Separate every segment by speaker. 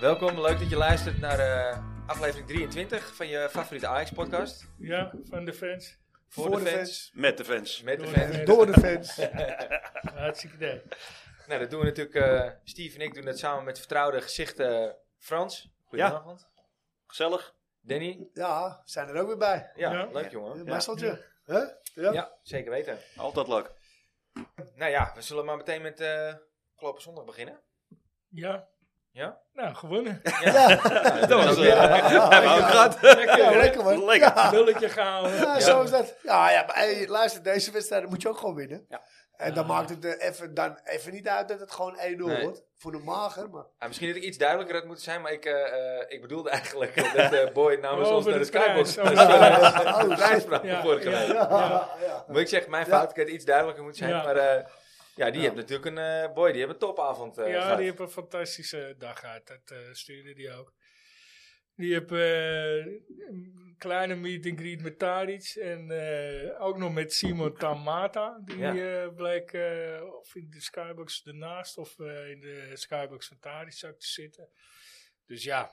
Speaker 1: Welkom, leuk dat je luistert naar eh, aflevering 23 van je favoriete Ajax-podcast.
Speaker 2: Ja, van de fans.
Speaker 1: Voor, de, fans,
Speaker 3: Met de fans.
Speaker 1: met de
Speaker 2: Door
Speaker 1: fans.
Speaker 2: de
Speaker 4: Door de fans.
Speaker 2: Hartstikke idee.
Speaker 1: Nou, dat doen we natuurlijk, eh, Steve en ik doen dat samen met vertrouwde gezichten eh, Frans. Goedenavond.
Speaker 3: Gezellig.
Speaker 1: Danny.
Speaker 4: Ja, zijn er ook weer bij.
Speaker 1: Ja,
Speaker 2: Ja.
Speaker 1: leuk
Speaker 4: Een
Speaker 1: jongen. Ja.
Speaker 4: Marceltje. hè? Ja.
Speaker 1: Ja, zeker weten.
Speaker 3: Altijd leuk.
Speaker 1: Nou ja, we zullen maar meteen met eh afgelopen zondag beginnen.
Speaker 2: Ja.
Speaker 1: Ja?
Speaker 2: Nou, gewonnen.
Speaker 1: Ja,
Speaker 3: Dat was,
Speaker 1: ook weer,
Speaker 3: eh,
Speaker 1: eh,
Speaker 3: Hebben we ook gehad.
Speaker 4: Ja, lekker man.
Speaker 3: Lekker.
Speaker 4: Ja.
Speaker 2: Nulletje gehouden.
Speaker 4: Ja, zo is dat. Ja, ja maar hey, luister, deze wedstrijd moet je ook gewoon winnen.
Speaker 3: Ja.
Speaker 4: En dan maakt het eh, even, dan even niet uit dat het gewoon 1-0
Speaker 1: Nee.
Speaker 4: wordt. Voor de mager, maar
Speaker 1: Ah, misschien dat ik iets duidelijker had moeten zijn, maar ik, eh, eh, ik bedoelde eigenlijk dat eh, Boy namens
Speaker 2: Over
Speaker 1: ons naar de
Speaker 2: de
Speaker 1: skybox.
Speaker 2: prijs.
Speaker 4: Oh, shit.
Speaker 1: prijsvraag
Speaker 2: Ja,
Speaker 1: vorige
Speaker 2: ja.
Speaker 1: week.
Speaker 4: ja, ja.
Speaker 1: Moet ik zeggen, mijn
Speaker 4: Ja.
Speaker 1: fout, ik had iets duidelijker moeten zijn.
Speaker 2: Ja.
Speaker 1: Maar eh, ja, die heeft natuurlijk een, eh, boy, die hebben een topavond eh,
Speaker 2: ja,
Speaker 1: gehad.
Speaker 2: die heeft een fantastische dag gehad. Dat eh, stuurde die ook. Die heeft eh, een kleine meet and greet met Taric. En eh, ook nog met Simon Tamata. Die
Speaker 1: Ja.
Speaker 2: eh, bleek eh, of in de skybox ernaast of eh, in de skybox van Taric ook te zitten. Dus ja,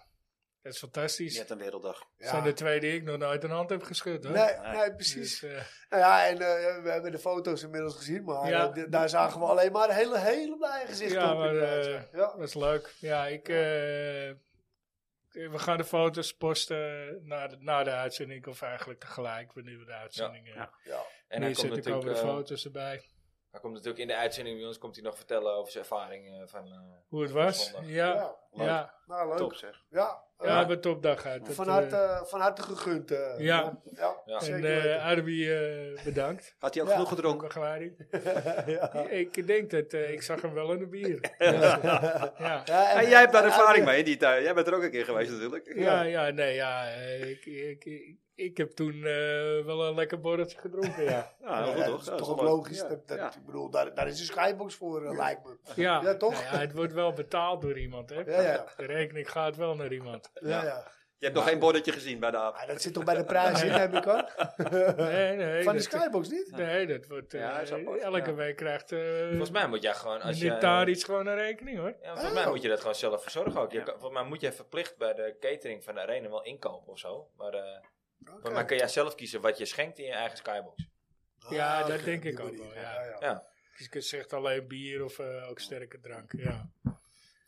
Speaker 2: dat is fantastisch.
Speaker 3: Je hebt een werelddag.
Speaker 4: Ja.
Speaker 2: zijn de twee die ik nog nooit een hand heb geschud. Hoor.
Speaker 4: Nee, nee, precies.
Speaker 2: Dus, eh,
Speaker 4: Nou ja, en eh, we hebben de foto's inmiddels gezien, maar
Speaker 2: Ja.
Speaker 4: eh, d- daar zagen we alleen maar hele, hele blije gezichten
Speaker 2: Ja,
Speaker 4: op.
Speaker 2: maar,
Speaker 4: inderdaad,
Speaker 2: eh,
Speaker 4: ja. Ja.
Speaker 2: dat is leuk. Ja, ik, eh, we gaan de foto's posten na de, na de uitzending. Of eigenlijk tegelijk, wanneer we de uitzending eh,
Speaker 3: ja.
Speaker 4: Ja.
Speaker 1: en hij komt,
Speaker 2: neerzetten.
Speaker 1: natuurlijk,
Speaker 2: komen de
Speaker 1: eh,
Speaker 2: foto's erbij.
Speaker 1: hij komt natuurlijk in de uitzending bij ons komt hij nog vertellen over zijn ervaring eh, van... eh,
Speaker 2: Hoe het was.
Speaker 1: zondag.
Speaker 2: Ja, ja.
Speaker 4: Ja.
Speaker 3: Leuk.
Speaker 2: ja.
Speaker 4: Nou, leuk.
Speaker 3: Top zeg.
Speaker 4: Ja.
Speaker 2: we
Speaker 4: eh,
Speaker 2: hebben een topdag uit. Dat,
Speaker 4: van,
Speaker 2: eh,
Speaker 4: harte, van harte gegund. eh,
Speaker 2: ja.
Speaker 4: man. ja.
Speaker 1: Ja.
Speaker 2: en
Speaker 4: Zeker
Speaker 2: eh
Speaker 4: weten.
Speaker 2: Arby, eh, bedankt.
Speaker 3: Had hij ook
Speaker 4: Ja.
Speaker 3: genoeg gedronken?
Speaker 2: Begeleiding.
Speaker 4: ja.
Speaker 2: Ik denk dat eh, ik zag hem wel in de bier. ja.
Speaker 4: Ja,
Speaker 3: En jij hebt daar ervaring mee in die tijd. Jij bent er ook een keer geweest natuurlijk.
Speaker 2: Ja, ja, nee, ja. eh, Ik, ik, ik, ik heb toen eh, wel een lekker borreltje gedronken, ja.
Speaker 3: Ja, heel
Speaker 4: Ja,
Speaker 3: goed
Speaker 4: dat
Speaker 3: toch?
Speaker 4: is
Speaker 3: Ja, dat
Speaker 4: toch
Speaker 3: is
Speaker 4: ook
Speaker 3: nou, wel leuk.
Speaker 4: logisch.
Speaker 3: Ja.
Speaker 4: Dat, dat-
Speaker 3: Ja.
Speaker 4: Ik bedoel, daar, daar is een skybox voor, eh, lijkt me.
Speaker 2: Ja,
Speaker 4: Ja, toch?
Speaker 2: Nou ja, het wordt wel betaald door iemand, hè?
Speaker 4: Ja, ja.
Speaker 2: De rekening gaat wel naar iemand.
Speaker 4: Ja, ja.
Speaker 3: Je hebt nog geen bordetje gezien bij de aap.
Speaker 4: Maar dat zit toch bij de prijs in, neem ik aan?
Speaker 2: Nee, nee.
Speaker 4: Van de
Speaker 2: dat-
Speaker 4: skybox niet?
Speaker 2: Nee, dat wordt... eh,
Speaker 3: Ja, is apart,
Speaker 2: elke
Speaker 3: ja.
Speaker 2: week krijgt eh
Speaker 1: Volgens mij moet jij gewoon... Als
Speaker 2: meneer
Speaker 1: jij-
Speaker 2: Tadic gewoon een rekening, hoor.
Speaker 1: Ja, volgens mij
Speaker 4: Oh.
Speaker 1: moet je dat gewoon zelf verzorgen ook. Je
Speaker 3: Ja.
Speaker 1: kan- volgens mij moet je verplicht bij de catering van de arena wel inkopen of zo. Maar, eh
Speaker 4: Oké.
Speaker 1: volgens mij kun jij zelf kiezen wat je schenkt in je eigen skybox.
Speaker 2: Ja,
Speaker 4: Ah,
Speaker 2: dat
Speaker 4: oké,
Speaker 2: denk
Speaker 4: die
Speaker 2: ik ook
Speaker 4: manier.
Speaker 2: wel, ja.
Speaker 4: ja.
Speaker 1: Ja.
Speaker 2: Dus je zegt alleen bier of eh, ook sterke drank, ja.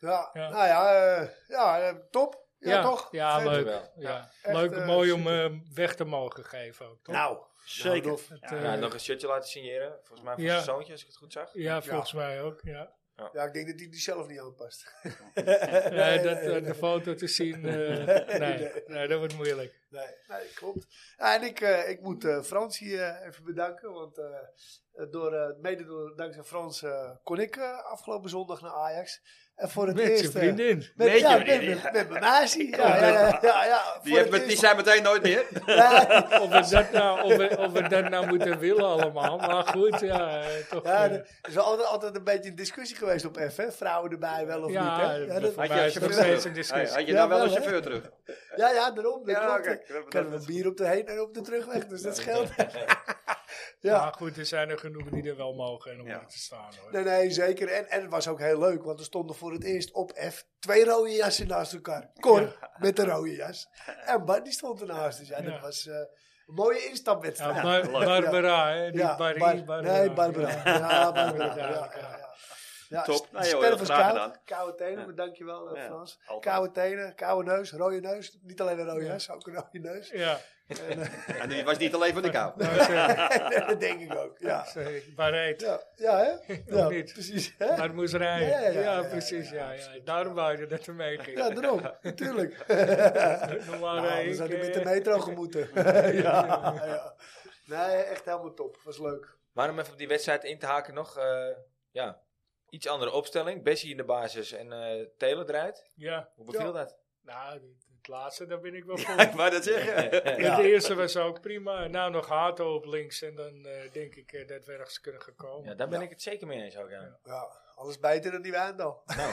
Speaker 4: Ja,
Speaker 2: Ja.
Speaker 4: nou ja, eh, ja eh, top. Ja, toch?
Speaker 2: Ja,
Speaker 4: Vet.
Speaker 2: leuk.
Speaker 1: wel.
Speaker 2: Ja.
Speaker 4: echt,
Speaker 2: leuk,
Speaker 4: eh,
Speaker 2: mooi om
Speaker 4: super.
Speaker 2: eh, weg te mogen geven ook, toch?
Speaker 4: Nou,
Speaker 3: Zeker.
Speaker 4: Nou,
Speaker 2: Het,
Speaker 1: Ja,
Speaker 2: eh,
Speaker 1: nog een shirtje laten signeren. Volgens mij voor
Speaker 2: Ja.
Speaker 1: zijn zoontje, als ik het goed zag.
Speaker 2: ja, volgens mij ook, ja.
Speaker 4: ja, ik denk dat hij die zelf niet aanpast.
Speaker 2: Nee,
Speaker 4: Nee,
Speaker 2: dat,
Speaker 4: nee,
Speaker 2: eh, de foto te zien, eh, nee,
Speaker 4: Nee.
Speaker 2: nee, dat wordt moeilijk.
Speaker 4: Nee, nee klopt. Ja, en ik, eh, ik moet eh, Frans hier eh, even bedanken. Want eh, eh, door, eh, mede door, dankzij Frans eh, kon ik eh, afgelopen zondag naar Ajax. En voor het
Speaker 2: Met
Speaker 4: eerst...
Speaker 2: je
Speaker 4: eh,
Speaker 2: vriendin.
Speaker 4: met,
Speaker 3: Met
Speaker 4: ja,
Speaker 3: je
Speaker 4: met,
Speaker 3: vriendin.
Speaker 4: met, met mijn nazi. Ja, ja, ja. ja, ja.
Speaker 3: Die,
Speaker 4: Voor het
Speaker 3: hebt, met- die
Speaker 4: eerst-
Speaker 3: zijn meteen nooit meer.
Speaker 4: Ja,
Speaker 2: Of we, dat nou, of, we, of we dat nou moeten willen allemaal. Maar goed, ja, eh, toch.
Speaker 4: Ja,
Speaker 2: eh,
Speaker 4: er is wel altijd, altijd een beetje een discussie geweest op F, hè? Vrouwen erbij wel of niet, hè? Ja, dat-
Speaker 2: voor
Speaker 3: Had je
Speaker 2: mij
Speaker 3: een
Speaker 2: is het nog
Speaker 3: chauffeur?
Speaker 2: steeds een discussie.
Speaker 3: Hey, had je
Speaker 4: Ja,
Speaker 3: daar wel een
Speaker 4: wel, hè?
Speaker 3: chauffeur terug?
Speaker 4: ja, ja, daarom. Dat
Speaker 3: Ja,
Speaker 4: klopt.
Speaker 3: oké.
Speaker 4: Ik kan hem een bier op de heen en op de terugweg, dus dat scheelt.
Speaker 2: ja.
Speaker 4: ja.
Speaker 2: goed, er zijn er genoeg die er wel mogen en om
Speaker 3: Ja.
Speaker 2: er te staan. Hoor.
Speaker 4: Nee, nee, zeker. En, en het was ook heel leuk, want er stonden voor het eerst op F twee rode jassen naast elkaar. Cor met de rode jas en Bart die stond ernaast. Dus ja,
Speaker 2: Ja.
Speaker 4: dat was eh, een mooie
Speaker 2: Ja,
Speaker 4: instapwedstrijd.
Speaker 2: Bar- Barbara, hè? Niet
Speaker 4: Ja,
Speaker 2: Barry,
Speaker 4: Bar-
Speaker 2: Barbara.
Speaker 4: Nee, Barbara. Ja,
Speaker 2: Ja,
Speaker 4: Barbara. Ja,
Speaker 2: ja.
Speaker 4: ja, ja. Ja,
Speaker 3: Top.
Speaker 4: s-
Speaker 3: Nou, joh,
Speaker 4: sterven is
Speaker 3: graag
Speaker 4: koud.
Speaker 3: gedaan.
Speaker 4: Koude tenen,
Speaker 3: Ja.
Speaker 4: maar dankjewel eh,
Speaker 3: Ja,
Speaker 4: Frans.
Speaker 3: altijd.
Speaker 4: Koude tenen, koude neus, rode neus. Niet alleen een rode
Speaker 2: Ja.
Speaker 4: jas, ook een rode neus.
Speaker 2: Ja,
Speaker 3: En die was niet alleen van de kou.
Speaker 2: nou, ze-
Speaker 4: dat denk ik ook, ja.
Speaker 2: ze- maar reed.
Speaker 4: Ja, ja hè? Ja,
Speaker 2: niet.
Speaker 4: precies. Hè?
Speaker 2: Maar moest rijden. Ja,
Speaker 4: Ja, ja, ja, ja,
Speaker 2: precies.
Speaker 4: ja,
Speaker 2: Ja, ja,
Speaker 4: absoluut.
Speaker 2: Daarom wou je dat er mee ging.
Speaker 4: Ja, daarom. Natuurlijk.
Speaker 2: Normaal
Speaker 4: Nou,
Speaker 2: reed
Speaker 4: anders
Speaker 2: ik,
Speaker 4: had ik met de
Speaker 2: eh,
Speaker 4: metro gemoeten. ja, ja. Nee, echt helemaal top. Was leuk.
Speaker 1: Maar om even op die wedstrijd in te haken nog. eh, ja, iets andere opstelling. Bessie in de basis en eh Taylor eruit.
Speaker 2: Ja,
Speaker 1: Hoe beviel
Speaker 4: Ja.
Speaker 1: dat?
Speaker 2: nou, het laatste, daar ben ik wel voor.
Speaker 3: Maar dat zeggen.
Speaker 4: Ja.
Speaker 2: De eerste was ook prima. Nou, nog Hato op links. En dan eh, denk ik eh, dat we ergens kunnen gaan
Speaker 1: Ja,
Speaker 2: komen.
Speaker 1: daar ben
Speaker 4: Ja.
Speaker 1: ik het zeker mee eens ook. Ja.
Speaker 4: Ja, alles beter dan die Wijndal.
Speaker 1: Nou,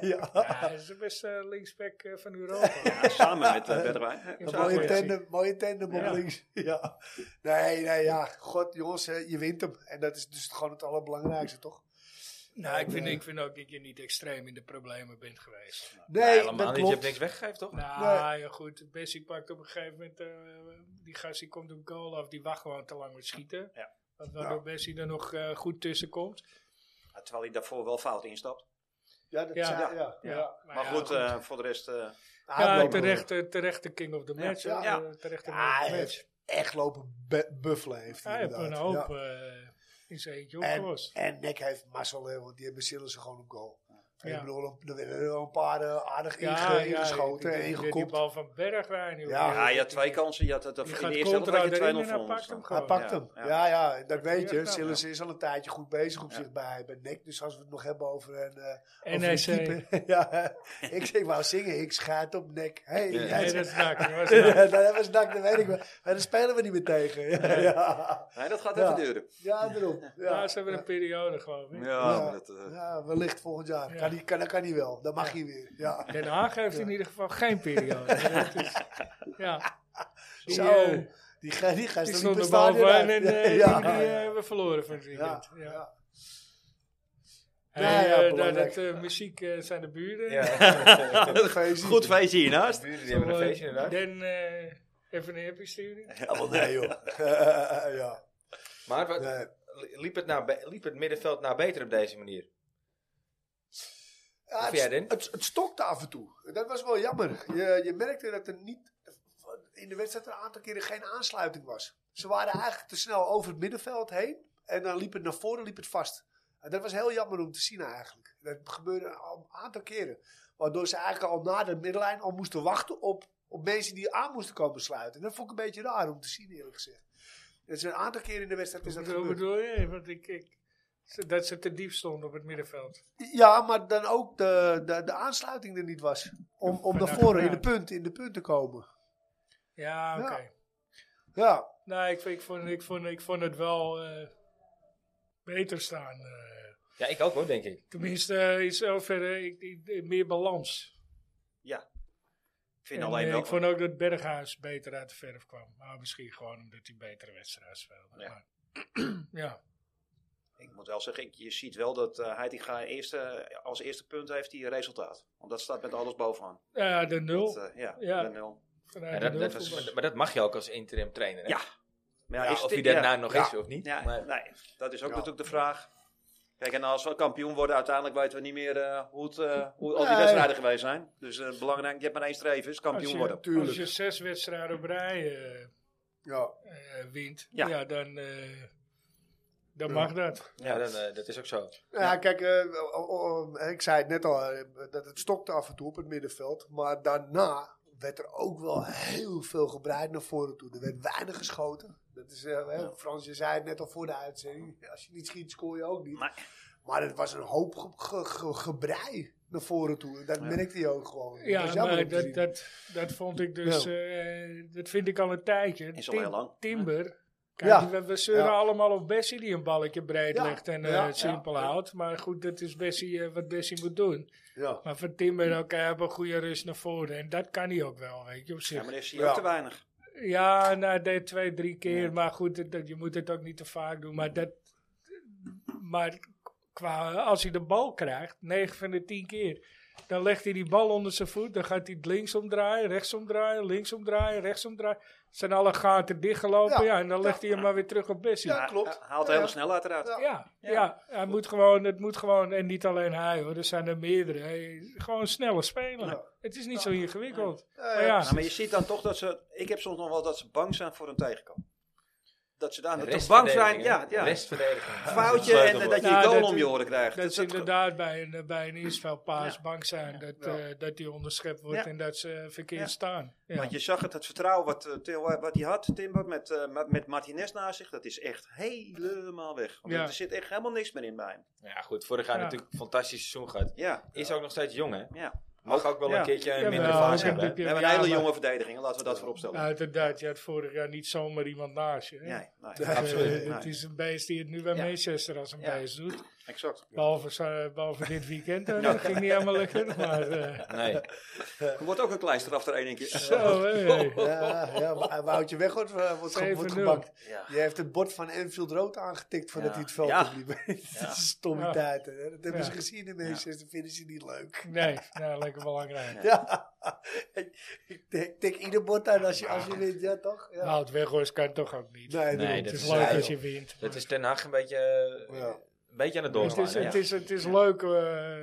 Speaker 4: ja.
Speaker 2: Ja, dat is de beste linksback eh, van Europa.
Speaker 3: Ja, samen met uh, Bergwijn.
Speaker 2: Ja,
Speaker 4: Een
Speaker 2: Zou
Speaker 4: mooie
Speaker 2: mooi zien.
Speaker 4: tandem, mooie tandem op
Speaker 2: Ja.
Speaker 4: links. Ja. Nee, nee, ja. God, jongens, eh, je wint hem. En dat is dus gewoon het allerbelangrijkste, toch?
Speaker 2: Nou, ik vind,
Speaker 4: Nee.
Speaker 2: ik vind ook dat je niet extreem in de problemen bent geweest.
Speaker 1: Ja,
Speaker 4: Nee,
Speaker 1: helemaal
Speaker 4: dat
Speaker 1: niet. Je hebt
Speaker 4: klopt.
Speaker 1: niks weggegeven, toch?
Speaker 2: Nou ja, goed. Bessie pakt op een gegeven moment. eh, die gast die komt op goal af. Die wacht gewoon te lang met schieten.
Speaker 3: Ja.
Speaker 2: Want Waardoor
Speaker 4: Ja.
Speaker 2: Bessie er nog eh, goed tussen komt.
Speaker 3: Ja, Terwijl hij daarvoor wel fout instapt.
Speaker 4: Ja, dat
Speaker 2: Ja.
Speaker 4: ja. Ja, ja.
Speaker 2: Ja,
Speaker 3: Maar
Speaker 2: ja,
Speaker 3: goed, eh, voor de rest... eh,
Speaker 2: Ja,
Speaker 4: Aanlopen.
Speaker 2: terecht, eh, terecht de king of the match.
Speaker 4: Ja.
Speaker 2: eh,
Speaker 3: Ja.
Speaker 2: Terecht de
Speaker 4: Ja,
Speaker 2: man of
Speaker 4: hij
Speaker 2: the match.
Speaker 4: heeft echt lopen bu- buffelen. Heeft hij
Speaker 2: Hij heeft een
Speaker 4: inderdaad.
Speaker 2: hoop
Speaker 4: Ja.
Speaker 2: eh, in zijn eentje
Speaker 4: En,
Speaker 2: opgelost.
Speaker 4: en Nek heeft mazzel, hè, want die hebben Sillissen gewoon op goal.
Speaker 2: Ja.
Speaker 4: Ik bedoel, er werden er wel een paar eh, aardig inge- ingeschoten
Speaker 2: die-
Speaker 4: en
Speaker 2: die- die- Die
Speaker 4: ingekopt.
Speaker 2: bal van Bergwijn. joh.
Speaker 4: Ja.
Speaker 3: ja, je had twee kansen. Je had het, in
Speaker 2: Die
Speaker 3: de
Speaker 2: gaat
Speaker 3: eerste helft
Speaker 2: contra
Speaker 3: had je 2-0
Speaker 2: erin en hij
Speaker 3: voor
Speaker 2: pakt
Speaker 3: ons.
Speaker 2: hem
Speaker 3: staan.
Speaker 2: gewoon.
Speaker 4: Hij pakt
Speaker 3: Ja,
Speaker 4: hem. Ja,
Speaker 3: ja.
Speaker 4: ja, en dat weet je.
Speaker 2: oh, Ja.
Speaker 4: Sillissen is al een tijdje goed bezig op
Speaker 3: Ja.
Speaker 4: zich bij, bij Nek. Dus als we het nog hebben over een, eh,
Speaker 2: En
Speaker 4: over
Speaker 2: hij
Speaker 4: een
Speaker 2: zei...
Speaker 4: keeper. ja, ik, ik wou zingen, ik schaat op Nek. Hey,
Speaker 3: Ja.
Speaker 4: hij
Speaker 2: Nee,
Speaker 4: is-
Speaker 2: dat is nak. dat was nak.
Speaker 4: Ja, dat was dak, dat weet ik wel. Maar daar spelen we niet meer tegen. Ja, ja.
Speaker 3: Nee, dat gaat
Speaker 4: Ja.
Speaker 3: even duren.
Speaker 4: ja daarom.
Speaker 2: Ja,
Speaker 4: Ja.
Speaker 2: ze hebben een periode, geloof ik.
Speaker 3: Ja,
Speaker 4: Ja.
Speaker 3: maar dat... eh,
Speaker 4: Ja, wellicht volgend jaar.
Speaker 2: Ja.
Speaker 4: Kan die, kan, dat kan hij wel. Dan mag hij weer. Ja.
Speaker 2: Den Haag heeft in ieder geval geen periode. Dat is, ja. Die,
Speaker 4: Zo,
Speaker 2: eh,
Speaker 4: die, ga- die
Speaker 2: die
Speaker 4: gasten die
Speaker 2: stonden
Speaker 4: bestaan
Speaker 2: bovenaan en
Speaker 4: inderdaad.
Speaker 2: eh,
Speaker 4: ja.
Speaker 2: die, die, eh,
Speaker 4: Ja.
Speaker 2: hebben verloren van het
Speaker 4: Ja.
Speaker 2: weekend. Ja.
Speaker 4: Ja.
Speaker 2: Hey,
Speaker 4: Ja, ja,
Speaker 2: eh, dat-
Speaker 4: belangrijk.
Speaker 2: dat, eh, muziek eh, zijn de buren.
Speaker 1: Ja.
Speaker 4: Feestje.
Speaker 3: Goed feestje hiernaast.
Speaker 1: Buren die hebben een feestje inderdaad.
Speaker 2: Den, eh, even een happy sturen.
Speaker 4: Ja, wel nee joh. Eh, ja.
Speaker 1: Maar wat,
Speaker 4: Nee.
Speaker 1: liep, het nou be- liep het middenveld nou beter op deze manier?
Speaker 4: Ja,
Speaker 1: jij,
Speaker 4: het,
Speaker 1: Den?
Speaker 4: het, het stokte af en toe. Dat was wel jammer. Je, je merkte dat er niet in de wedstrijd een aantal keren geen aansluiting was. Ze waren eigenlijk te snel over het middenveld heen. En dan liep het naar voren, liep het vast. En dat was heel jammer om te zien eigenlijk. Dat gebeurde al een aantal keren. Waardoor ze eigenlijk al na de middenlijn al moesten wachten op, op mensen die aan moesten komen sluiten. En dat vond ik een beetje raar om te zien eerlijk gezegd. Dat is een aantal keren in de wedstrijd is dat
Speaker 2: Hoe
Speaker 4: gebeurd.
Speaker 2: bedoel je? Want ik, ik, dat ze te diep stonden op het middenveld.
Speaker 4: Ja, maar dan ook de, de, de aansluiting er niet was. Om, om
Speaker 2: Van
Speaker 4: naar voren in de,
Speaker 2: achteruit.
Speaker 4: punt, in de punt te komen.
Speaker 2: Ja, oké.
Speaker 4: Ja. Ja,
Speaker 2: Nou, ik, vind- ik, vond, ik, vond, ik vond het wel eh, beter staan. eh.
Speaker 1: Ja, ik ook hoor, denk ik.
Speaker 2: tenminste, eh, in zoverre eh, ik, ik- meer balans.
Speaker 3: Ik vind
Speaker 2: En,
Speaker 3: alleen
Speaker 2: eh,
Speaker 3: wel...
Speaker 2: ik vond ook dat Berghuis beter uit de verf kwam. Maar misschien gewoon omdat hij betere wedstrijd speelde.
Speaker 3: Ja.
Speaker 2: Maar, ja.
Speaker 3: Ik moet wel zeggen, ik, je ziet wel dat eh Heitinga eerste, als eerste punt heeft hij resultaat. Want dat staat met alles bovenaan.
Speaker 2: Ja, de
Speaker 3: Dat,
Speaker 2: nul.
Speaker 3: eh, ja,
Speaker 2: Ja.
Speaker 3: de nul.
Speaker 1: Ja,
Speaker 2: Vanuit
Speaker 1: dat,
Speaker 2: de
Speaker 1: dat
Speaker 2: nul
Speaker 1: was-
Speaker 2: voetbal.
Speaker 1: maar dat mag je ook als interim trainer. Hè?
Speaker 3: Ja, Maar ja,
Speaker 1: Ja,
Speaker 3: is
Speaker 1: of
Speaker 3: dit-
Speaker 1: hij dat
Speaker 3: ja,
Speaker 1: nou nog
Speaker 4: Ja.
Speaker 1: is of niet.
Speaker 3: ja,
Speaker 1: maar,
Speaker 3: nee, dat is ook
Speaker 4: Ja.
Speaker 3: natuurlijk de vraag. Kijk, en als we kampioen worden, uiteindelijk weten we niet meer eh, hoe, het, eh, hoe al die
Speaker 4: Nee.
Speaker 3: wedstrijden geweest zijn. Dus eh, belangrijk, je hebt maar één streven, is
Speaker 2: Als
Speaker 3: kampioen
Speaker 2: je-
Speaker 3: worden.
Speaker 4: tuurlijk.
Speaker 2: Als je zes wedstrijden op rij eh,
Speaker 4: ja.
Speaker 2: eh, wint, ja.
Speaker 3: Ja.
Speaker 2: dan, eh, dan
Speaker 4: Ja.
Speaker 2: mag dat.
Speaker 1: ja, dan, eh, dat is ook zo.
Speaker 4: Ja, kijk, eh, o- o- o- ik zei het net al, eh, dat het stokte af en toe op het middenveld. Maar daarna werd er ook wel heel veel gebreid naar voren toe. Er werd weinig geschoten. Dat is, eh, hè, Frans, je zei het net al voor de uitzending. Als je niet schiet, scoor je ook niet.
Speaker 3: Nee.
Speaker 4: Maar het was een hoop ge- ge- ge- gebrei naar voren toe. En dat merkte je ook gewoon.
Speaker 2: Ja,
Speaker 4: dat was jammer
Speaker 2: maar
Speaker 4: om te zien. Nou.
Speaker 2: dat, dat, dat vond ik dus, eh, dat vind ik al een tijdje.
Speaker 3: Is al heel lang.
Speaker 2: Timber. Kijk,
Speaker 4: Ja.
Speaker 2: we, we zeuren
Speaker 4: Ja.
Speaker 2: allemaal op Bessie die een balletje breed
Speaker 4: Ja.
Speaker 2: legt en eh,
Speaker 4: Ja.
Speaker 2: het simpel
Speaker 4: Ja.
Speaker 2: houdt. Maar goed, dat is Bessie, eh, wat Bessie moet doen.
Speaker 4: ja.
Speaker 2: Maar van Timber, oké, hij heeft een goede rust naar voren. En dat kan hij ook wel, weet je, op
Speaker 3: Ja,
Speaker 2: zich.
Speaker 3: maar
Speaker 2: Ja,
Speaker 3: dan is hij
Speaker 4: Ja.
Speaker 3: ook te weinig.
Speaker 2: nou, hij deed twee, drie keer.
Speaker 3: Ja.
Speaker 2: Maar goed, dat, dat- je moet het ook niet te vaak doen. Maar, dat, maar qua, als hij de bal krijgt, 9 van de 10 keer. Dan legt hij die bal onder zijn voet. Dan gaat hij het links omdraaien, rechts omdraaien, links omdraaien, rechts omdraaien. Zijn alle gaten dichtgelopen. Ja,
Speaker 4: Ja.
Speaker 2: en dan legt hij hem maar weer terug op Bessie.
Speaker 4: Ja, klopt.
Speaker 3: Hij haalt
Speaker 4: Ja,
Speaker 3: heel
Speaker 4: ja.
Speaker 3: snel uiteraard.
Speaker 4: Ja.
Speaker 2: Ja, ja. hij moet gewoon, het moet gewoon, en niet alleen hij hoor, er zijn er meerdere. Hij- gewoon sneller spelen.
Speaker 4: Ja.
Speaker 2: Het is niet zo ingewikkeld.
Speaker 4: Ja,
Speaker 2: Maar ja,
Speaker 3: Nou, maar je ziet dan toch dat ze... Ik heb soms nog wel dat ze bang zijn voor een tegenkomer. Dat ze daar te bang zijn.
Speaker 1: Restverdediging, hè?
Speaker 3: Ja, ja.
Speaker 1: Restverdediging.
Speaker 3: foutje
Speaker 1: Dat is
Speaker 3: en
Speaker 1: het
Speaker 3: eh, dat
Speaker 1: sleutelwoord.
Speaker 3: je een
Speaker 2: Ja,
Speaker 3: goal
Speaker 2: dat-
Speaker 3: om je oren krijgt.
Speaker 2: dat ze inderdaad bij een, eh, bij een inspelpaas
Speaker 3: Ja.
Speaker 2: bang zijn dat,
Speaker 4: Ja.
Speaker 2: eh, dat die onderschept wordt
Speaker 3: Ja.
Speaker 2: en dat ze eh, verkeerd
Speaker 3: Ja.
Speaker 2: staan. Ja.
Speaker 3: Want je zag het, het vertrouwen wat, eh, Theo, wat hij had, Timber, met, eh, met- met Martinez naast zich, dat is echt helemaal weg. Want
Speaker 2: Ja.
Speaker 3: Er zit echt helemaal niks meer in bij hem.
Speaker 1: Ja, goed. Vorig jaar
Speaker 2: Ja.
Speaker 1: natuurlijk een fantastisch seizoen gehad.
Speaker 3: Ja,
Speaker 1: Is ook nog steeds jong, hè?
Speaker 3: ja.
Speaker 1: Mag ook wel
Speaker 3: Ja.
Speaker 1: een keertje een
Speaker 2: Jawel,
Speaker 1: mindere
Speaker 2: ik
Speaker 1: fase
Speaker 2: heb-
Speaker 1: hebben. hè?
Speaker 2: ik
Speaker 3: We
Speaker 2: heb-
Speaker 3: hebben
Speaker 2: ja,
Speaker 3: een hele
Speaker 2: maar-
Speaker 3: jonge verdediging, laten we dat vooropstellen.
Speaker 2: Nou, Uiteraard, je had vorig jaar niet zomaar iemand naast je. hè.
Speaker 3: Nee, nee,
Speaker 2: Dus, eh,
Speaker 3: absoluut.
Speaker 2: het
Speaker 3: nee.
Speaker 2: is een beest die het nu bij
Speaker 3: Ja.
Speaker 2: Manchester als een
Speaker 3: Ja.
Speaker 2: beest doet.
Speaker 3: Exact.
Speaker 2: Behalve, za- behalve dit weekend, eh, dat ging niet helemaal lekker. Maar eh,
Speaker 1: Nee.
Speaker 5: Er wordt ook een kleister af er één keer.
Speaker 2: zo, hé.
Speaker 4: Ja, ja maar Woutje weg wordt, eh, wordt, ge- wordt
Speaker 2: 7-0.
Speaker 4: gebakt.
Speaker 3: Ja.
Speaker 4: Je heeft het bord van Enfield rood aangetikt voordat
Speaker 5: Ja.
Speaker 4: hij het veld
Speaker 5: Ja.
Speaker 4: op liep. dat
Speaker 5: Ja.
Speaker 4: is stomme
Speaker 2: Ja.
Speaker 4: tijd. Hè? Dat hebben
Speaker 2: Ja.
Speaker 4: ze gezien in Manchester. Vinden ze niet leuk.
Speaker 2: Nee, nou, lekker belangrijk.
Speaker 4: Ja. Ik- ik tik- tik ieder bord aan als je, als je wint. Ja, toch? Ja.
Speaker 2: Nou, het Weghorst kan toch ook niet.
Speaker 4: nee,
Speaker 1: Nee,
Speaker 4: daarom.
Speaker 2: het
Speaker 1: dat
Speaker 2: is
Speaker 1: is-
Speaker 2: leuk
Speaker 1: ja,
Speaker 2: als
Speaker 1: joh.
Speaker 2: je wint.
Speaker 1: Dat is Den Haag een beetje, eh,
Speaker 4: Ja.
Speaker 1: een beetje aan het
Speaker 2: het,
Speaker 1: doorslaan.
Speaker 2: is,
Speaker 1: hè?
Speaker 2: het, is, het is leuk eh,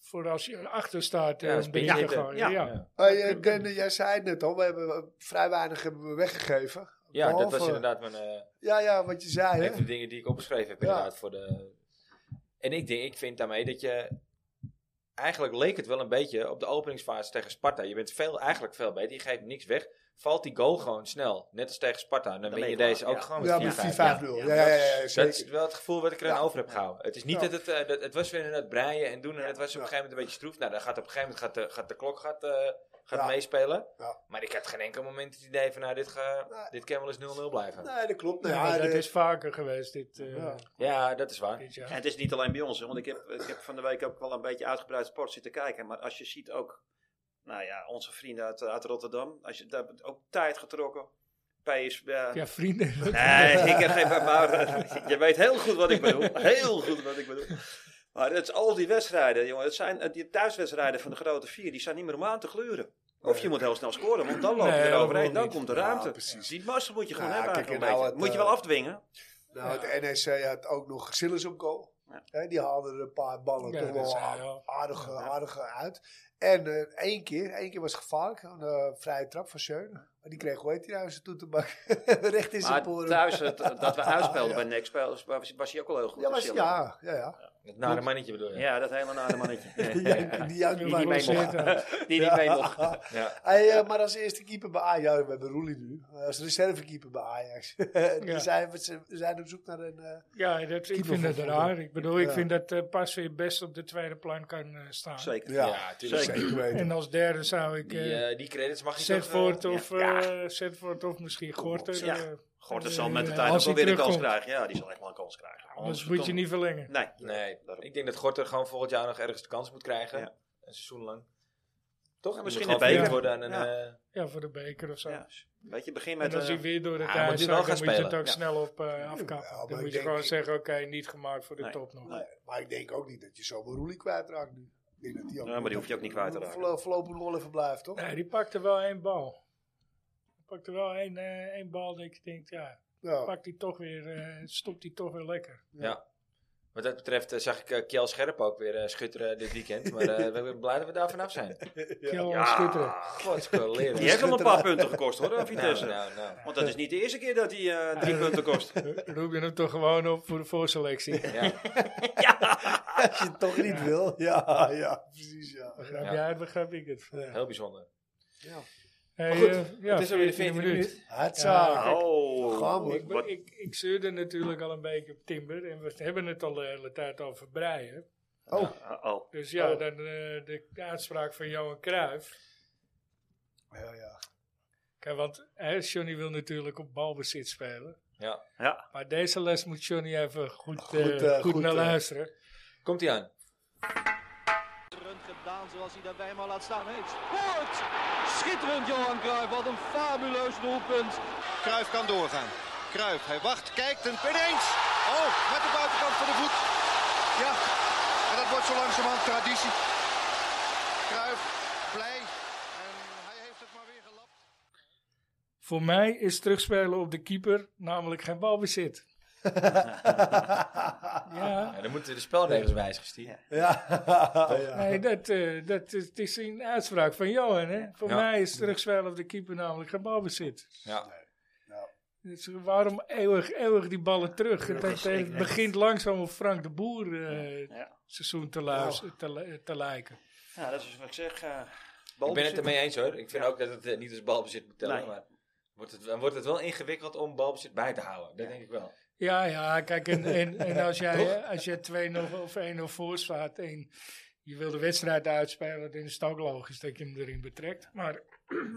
Speaker 2: voor als je achter staat. eh,
Speaker 1: Ja,
Speaker 2: om
Speaker 1: als
Speaker 2: binnen te
Speaker 1: binnenhitter.
Speaker 2: gaan.
Speaker 3: Ja.
Speaker 2: ja.
Speaker 4: Hey, eh, Ken, eh, jij zei het net al. We hebben eh, vrij weinig hebben we weggegeven.
Speaker 1: Ja, dat was
Speaker 4: Behalve-
Speaker 1: inderdaad mijn, eh,
Speaker 4: Ja, ja, wat je zei.
Speaker 1: een
Speaker 4: Hè?
Speaker 1: van de dingen die ik opgeschreven heb.
Speaker 4: Ja.
Speaker 1: Inderdaad, voor de... En ik, denk, ik vind daarmee dat je... Eigenlijk leek het wel een beetje op de openingsfase tegen Sparta. Je bent veel, eigenlijk veel beter. Je geeft niks weg. Valt die goal gewoon snel. Net als tegen Sparta. Dan, ben
Speaker 3: ben
Speaker 1: je
Speaker 3: je
Speaker 1: deze
Speaker 3: klaar,
Speaker 1: ook
Speaker 3: ja.
Speaker 1: gewoon
Speaker 4: Ja,
Speaker 1: met 4-5.
Speaker 4: met 4-5-0.
Speaker 1: Ja.
Speaker 4: Ja, ja, ja, ja,
Speaker 1: Dat is
Speaker 4: zeker.
Speaker 1: wel het gevoel wat ik er aan
Speaker 4: Ja.
Speaker 1: over heb gehouden. Het is niet
Speaker 4: Ja.
Speaker 1: dat het, eh, dat, het was weer inderdaad breien en doen. En het was op
Speaker 4: Ja.
Speaker 1: een gegeven moment een beetje stroef. Nou, dan gaat op een gegeven moment gaat de, gaat de klok gaat, eh, gaat
Speaker 4: Ja.
Speaker 1: meespelen.
Speaker 4: Ja.
Speaker 1: Maar ik had geen enkel moment het idee van, nou, dit, ga,
Speaker 4: Nee.
Speaker 1: dit kan wel eens 0-0 blijven.
Speaker 4: Nee, dat klopt. Nou,
Speaker 2: Ja,
Speaker 4: ja,
Speaker 2: dat
Speaker 4: de-
Speaker 2: is vaker geweest dit, eh,
Speaker 4: Ja.
Speaker 1: Ja, dat is waar.
Speaker 2: dit
Speaker 3: En
Speaker 2: jaar.
Speaker 3: het is niet alleen bij ons, hè, want ik heb, ik heb van de week ook wel een beetje uitgebreid sport zitten kijken. Maar als je ziet ook, nou ja, onze vrienden uit, uit Rotterdam, als je, daar ook tijd getrokken. PSV.
Speaker 2: Ja, vrienden.
Speaker 3: Nee, ik heb geen maar eh, je weet heel goed wat ik bedoel. Heel goed wat ik bedoel. Maar het is al die wedstrijden, jongen. Het zijn eh, die thuiswedstrijden van de grote vier, die zijn niet meer om aan te gluren. Of je moet heel snel scoren, want dan loop je
Speaker 2: Nee,
Speaker 3: er overheen.
Speaker 2: helemaal
Speaker 3: Dan
Speaker 2: niet.
Speaker 3: komt de ruimte.
Speaker 4: Ja, precies.
Speaker 3: Die massa moet je gewoon
Speaker 4: Ja,
Speaker 3: hebben.
Speaker 4: kijk,
Speaker 3: eigenlijk een
Speaker 4: en nou het,
Speaker 3: beetje. moet je wel
Speaker 4: eh,
Speaker 3: afdwingen.
Speaker 4: Nou, het NEC had ook nog Sillis op goal.
Speaker 3: Ja.
Speaker 4: Hè, die haalden er een paar ballen
Speaker 2: Ja,
Speaker 4: toch
Speaker 2: dat
Speaker 4: wel
Speaker 2: zei je al.
Speaker 4: aardig,
Speaker 3: Ja.
Speaker 4: aardig uit. En eh, één keer, één keer was het gevaarlijk, een eh, vrije trap van Schöne. Maar die kreeg, hoe heet die nou, zijn toetenbak recht in zijn
Speaker 3: Maar
Speaker 4: poren.
Speaker 3: thuis, het, dat we uitspelden bij Next was, was, was hij ook al heel goed.
Speaker 4: ja,
Speaker 3: te
Speaker 4: was,
Speaker 3: chillen.
Speaker 4: ja, ja, ja.
Speaker 1: Het nare nou, mannetje bedoel je?
Speaker 3: ja, dat hele nare mannetje.
Speaker 4: Die jank- Die jank-
Speaker 2: Die
Speaker 4: maar-
Speaker 2: mee mocht.
Speaker 3: die niet mee mocht.
Speaker 1: Ja.
Speaker 4: Hey, eh, maar als eerste keeper bij Ajax, ja, we hebben Roelie nu, Eh, als reservekeeper bij Ajax.
Speaker 2: Ja.
Speaker 4: we, zijn, we zijn- we zijn op zoek naar een... eh,
Speaker 2: Ja, dat, ik
Speaker 4: Keeper
Speaker 2: vind
Speaker 4: van
Speaker 2: dat
Speaker 4: Volendam.
Speaker 2: raar. Ik bedoel, ik
Speaker 4: Ja.
Speaker 2: vind dat eh Pas weer best op de tweede plan kan eh, staan.
Speaker 3: Zeker.
Speaker 4: ja,
Speaker 1: Ja, tuurlijk.
Speaker 3: Zeker.
Speaker 4: zeker weten.
Speaker 2: En als derde zou ik
Speaker 1: Die,
Speaker 2: eh
Speaker 1: eh, die credits mag je toch... eh,
Speaker 2: Zandvoort
Speaker 1: ja.
Speaker 2: of, eh, Zandvoort of misschien
Speaker 3: Kom op,
Speaker 2: Gorter.
Speaker 3: ja.
Speaker 2: eh,
Speaker 3: Gorter
Speaker 2: eh,
Speaker 3: zal met de
Speaker 2: eh,
Speaker 3: tijd ook
Speaker 2: als
Speaker 3: wel
Speaker 2: hij
Speaker 3: weer een kans
Speaker 2: terugkomt.
Speaker 3: krijgen. Ja, die zal echt wel een kans krijgen.
Speaker 2: Anders moet je
Speaker 3: verdomme.
Speaker 2: niet verlengen.
Speaker 3: Nee.
Speaker 1: Nee,
Speaker 3: Daarom.
Speaker 1: ik denk dat Gorter gewoon volgend jaar nog ergens de kans moet krijgen.
Speaker 3: Ja.
Speaker 1: Een seizoen lang. Toch?
Speaker 3: Ja,
Speaker 1: En
Speaker 3: misschien
Speaker 1: misschien een
Speaker 3: een
Speaker 1: beter
Speaker 2: beker.
Speaker 1: worden aan een...
Speaker 3: Ja.
Speaker 1: eh,
Speaker 2: Ja, voor de beker of zo.
Speaker 3: Ja. Weet je, begin met...
Speaker 2: En als
Speaker 3: eh,
Speaker 2: hij weer door het
Speaker 1: hij moet
Speaker 2: ijs
Speaker 1: nu
Speaker 2: zakt,
Speaker 1: wel
Speaker 2: dan
Speaker 1: gaan
Speaker 2: moet je het
Speaker 1: spelen.
Speaker 2: ook
Speaker 3: Ja.
Speaker 2: snel op eh, afkappen.
Speaker 4: Ja, maar
Speaker 2: dan
Speaker 4: ik
Speaker 2: moet je
Speaker 4: denk-
Speaker 2: gewoon
Speaker 4: ik-
Speaker 2: zeggen, oké, niet gemaakt voor de
Speaker 3: Nee.
Speaker 2: top nog.
Speaker 3: Nee.
Speaker 4: Maar ik denk ook niet dat je zomaar Roelie kwijtraakt nu. Ik denk dat die ook
Speaker 3: Ja, maar die hoef je ook niet kwijt te raken.
Speaker 4: Voorlo- Voorlopig nog wel even blijft, toch?
Speaker 2: Nee, die pakte wel één bal. Die pakte wel één, eh, één bal dat ik denk, ja,
Speaker 4: Ja.
Speaker 2: pakt hij toch weer, eh, stopt hij toch weer lekker.
Speaker 1: Wat dat betreft eh, zag ik eh, Kjell Scherp ook weer eh, schutteren dit weekend. Maar eh, we zijn blij dat we daar vanaf zijn.
Speaker 2: Kiel
Speaker 3: ja.
Speaker 2: schitteren.
Speaker 1: God, leren.
Speaker 3: Die heeft al een paar punten gekost hoor, aan Vitesse.
Speaker 1: Nou, nou, nou.
Speaker 3: Want dat is niet de eerste keer dat hij eh, drie punten kost.
Speaker 2: Roep je hem toch gewoon op voor de voorselectie.
Speaker 1: Ja.
Speaker 4: Als je het toch niet wil. Ja, ja, precies, ja.
Speaker 2: Begrijp
Speaker 1: Ja.
Speaker 2: jij het, begrijp ik het.
Speaker 1: Heel bijzonder.
Speaker 2: Hey,
Speaker 1: goed,
Speaker 2: eh, ja,
Speaker 1: het is alweer de
Speaker 2: 14e
Speaker 1: 14e minuut.
Speaker 4: Hatsa.
Speaker 2: Ja.
Speaker 3: Oh,
Speaker 4: Gaan we.
Speaker 2: Ik,
Speaker 3: Wat-
Speaker 2: ben- ik, ik zeurde natuurlijk al een beetje op Timber. En we hebben het al de hele tijd over breien.
Speaker 4: Oh,
Speaker 3: oh, oh.
Speaker 2: Dus ja,
Speaker 4: Oh.
Speaker 2: dan eh, de uitspraak van Johan Cruijff.
Speaker 4: Oh, ja, ja.
Speaker 2: Kijk, want hè, Johnny wil natuurlijk op balbezit spelen.
Speaker 1: Ja.
Speaker 3: Ja.
Speaker 2: Maar deze les moet Johnny even goed, eh,
Speaker 4: Goed, eh,
Speaker 2: goed,
Speaker 4: goed,
Speaker 2: naar
Speaker 4: eh.
Speaker 2: luisteren.
Speaker 1: Komt hij aan?
Speaker 6: schitterend gedaan zoals hij dat bij hem al laat staan heeft. Scoort! Schitterend Johan Cruijff, wat een fabuleus doelpunt.
Speaker 7: Kruif kan doorgaan. Kruif, hij wacht, kijkt en ineens. Oh, met de buitenkant van de voet. Ja, en dat wordt zo langzamerhand traditie. Kruif, blij. En hij heeft het maar weer gelapt.
Speaker 2: Voor mij is terugspelen op de keeper namelijk geen balbezit. ja,
Speaker 1: Ja, dan moeten de spelregels wijzigen, Steve.
Speaker 4: Ja, ja.
Speaker 2: nee, dat, eh, dat is, het is een uitspraak van Johan. Hè? Voor
Speaker 1: Ja.
Speaker 2: mij is terugspelen op de keeper namelijk geen balbezit.
Speaker 1: Ja.
Speaker 2: Dus waarom eeuwig, eeuwig die ballen terug? Het, het- het begint langzaam op Frank de Boer eh,
Speaker 3: Ja.
Speaker 2: seizoen te, luisteren, te, li- te lijken.
Speaker 3: Ja, dat is wat ik zeg. eh,
Speaker 1: Ik ben het
Speaker 3: balbezit.
Speaker 1: ermee eens hoor. Ik vind ook dat het eh, niet als balbezit moet tellen.
Speaker 3: Nee.
Speaker 1: Maar wordt het, dan wordt het wel ingewikkeld om balbezit bij te houden. Dat denk ik wel.
Speaker 2: Ja, ja, kijk, en, en, en als jij, als jij 2-0 of 1-0 voor staat en je wil de wedstrijd uitspelen, dan is het ook logisch dat je hem erin betrekt. Maar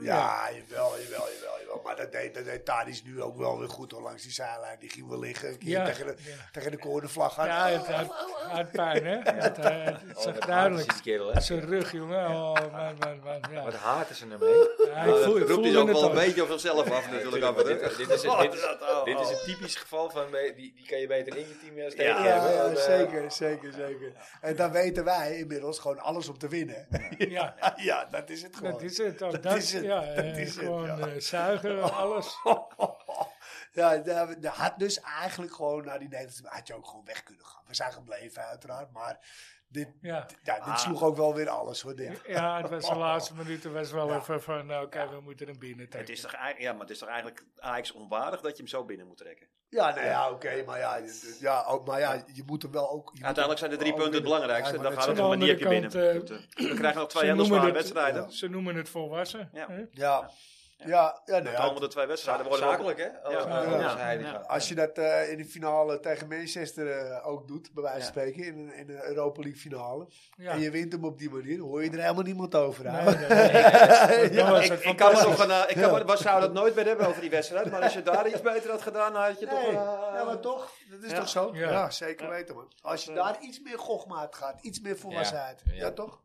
Speaker 4: Ja, jawel, jawel, jawel. jawel. maar dat deed, dat deed Tadic nu ook wel weer goed hoor, langs die zijlijn. Die ging wel liggen, een keer
Speaker 2: Ja,
Speaker 4: tegen, de,
Speaker 2: ja.
Speaker 4: tegen de koordenvlag aan.
Speaker 2: Ja, het had, had pijn, hè? Het, eh, het zag duidelijk. Zijn rug, jongen. Oh, man, man, man. Ja.
Speaker 1: Wat haat is er nou mee?
Speaker 2: Ja,
Speaker 3: Eh,
Speaker 2: ik voel, ik
Speaker 5: roept
Speaker 3: dus
Speaker 5: hij
Speaker 2: voelde
Speaker 5: ook
Speaker 2: het
Speaker 5: wel
Speaker 2: al.
Speaker 5: een beetje op zichzelf af natuurlijk.
Speaker 1: Tuurlijk,
Speaker 5: af en
Speaker 1: maar
Speaker 5: toe.
Speaker 1: dit, dit, is, dit, is,
Speaker 3: Oh, oh, oh.
Speaker 1: dit is een typisch geval van eh, die, die kan je beter in je team als
Speaker 3: Ja,
Speaker 1: tegen
Speaker 4: Ja,
Speaker 1: hebben.
Speaker 4: ja,
Speaker 1: Eh,
Speaker 4: zeker, zeker, zeker. En dan weten wij inmiddels gewoon alles om te winnen.
Speaker 2: Ja,
Speaker 4: ja, dat is het gewoon.
Speaker 2: dat is het. Ook dat, is het. Ja,
Speaker 4: dat
Speaker 2: eh,
Speaker 4: is het,
Speaker 2: gewoon
Speaker 4: ja.
Speaker 2: eh, zuigen, alles.
Speaker 4: Ja, daar daar had dus eigenlijk gewoon naar die Nederlandse... Had je ook gewoon weg kunnen gaan. We zijn gebleven uiteraard, maar dit,
Speaker 2: Ja.
Speaker 4: ja,
Speaker 3: Ah.
Speaker 4: dit sloeg ook wel weer alles hoor. Dit.
Speaker 2: Ja, het was de laatste minuten was wel
Speaker 4: Ja.
Speaker 2: even van, nou, oké, we moeten hem binnen trekken.
Speaker 3: Het is toch eigenlijk, ja, maar het is toch eigenlijk Ajax onwaardig dat je hem zo binnen moet trekken.
Speaker 4: Ja, nou ja, oké, maar, ja, dit- dit- ja, ook- maar ja, je moet hem wel ook... je moet
Speaker 3: Uiteindelijk zijn de drie
Speaker 4: ook
Speaker 3: punten het
Speaker 4: winnen.
Speaker 3: belangrijkste.
Speaker 4: Ja,
Speaker 3: dan
Speaker 4: ik
Speaker 3: gaat
Speaker 4: wou
Speaker 3: het
Speaker 4: net
Speaker 3: om
Speaker 2: zeggen,
Speaker 3: wanneer je
Speaker 2: aan de
Speaker 3: binnen
Speaker 2: andere
Speaker 3: moet. We krijgen nog twee hele
Speaker 2: noemen
Speaker 3: zware
Speaker 2: het-
Speaker 3: wedstrijden.
Speaker 2: Ze noemen het volwassen.
Speaker 3: Ja.
Speaker 2: hè?
Speaker 4: Ja, ja, ja, nou
Speaker 3: De
Speaker 4: ja,
Speaker 3: komende twee wedstrijden worden we ook-
Speaker 1: Zakelijk, hè? Als,
Speaker 3: Ja.
Speaker 1: eh,
Speaker 4: Ja.
Speaker 1: als hij die
Speaker 6: Ja.
Speaker 1: gaat.
Speaker 4: Als je dat eh, in de finale tegen Manchester eh, ook doet, bij wijze van
Speaker 3: Ja.
Speaker 4: spreken, in, een- in de Europa League finale.
Speaker 2: Ja.
Speaker 4: En je wint hem op die manier, hoor je er helemaal niemand over. hè?
Speaker 2: Nee, nee, nee.
Speaker 4: Ja,
Speaker 2: Dan was
Speaker 3: Ik,
Speaker 2: het
Speaker 3: ik kan er
Speaker 2: fantastisch.
Speaker 3: nog een, eh, ik kan er- we zouden het nooit meer hebben over die wedstrijd. Maar als je daar iets beter had gedaan, dan had je toch...
Speaker 4: Nee,
Speaker 3: eh,
Speaker 4: ja, maar toch, dat is
Speaker 3: Ja.
Speaker 4: toch zo?
Speaker 2: Ja.
Speaker 4: Ja, zeker weten man. Als je daar iets meer gochmaat gaat, iets meer volwassenheid. Ja,
Speaker 1: Ja.
Speaker 4: toch?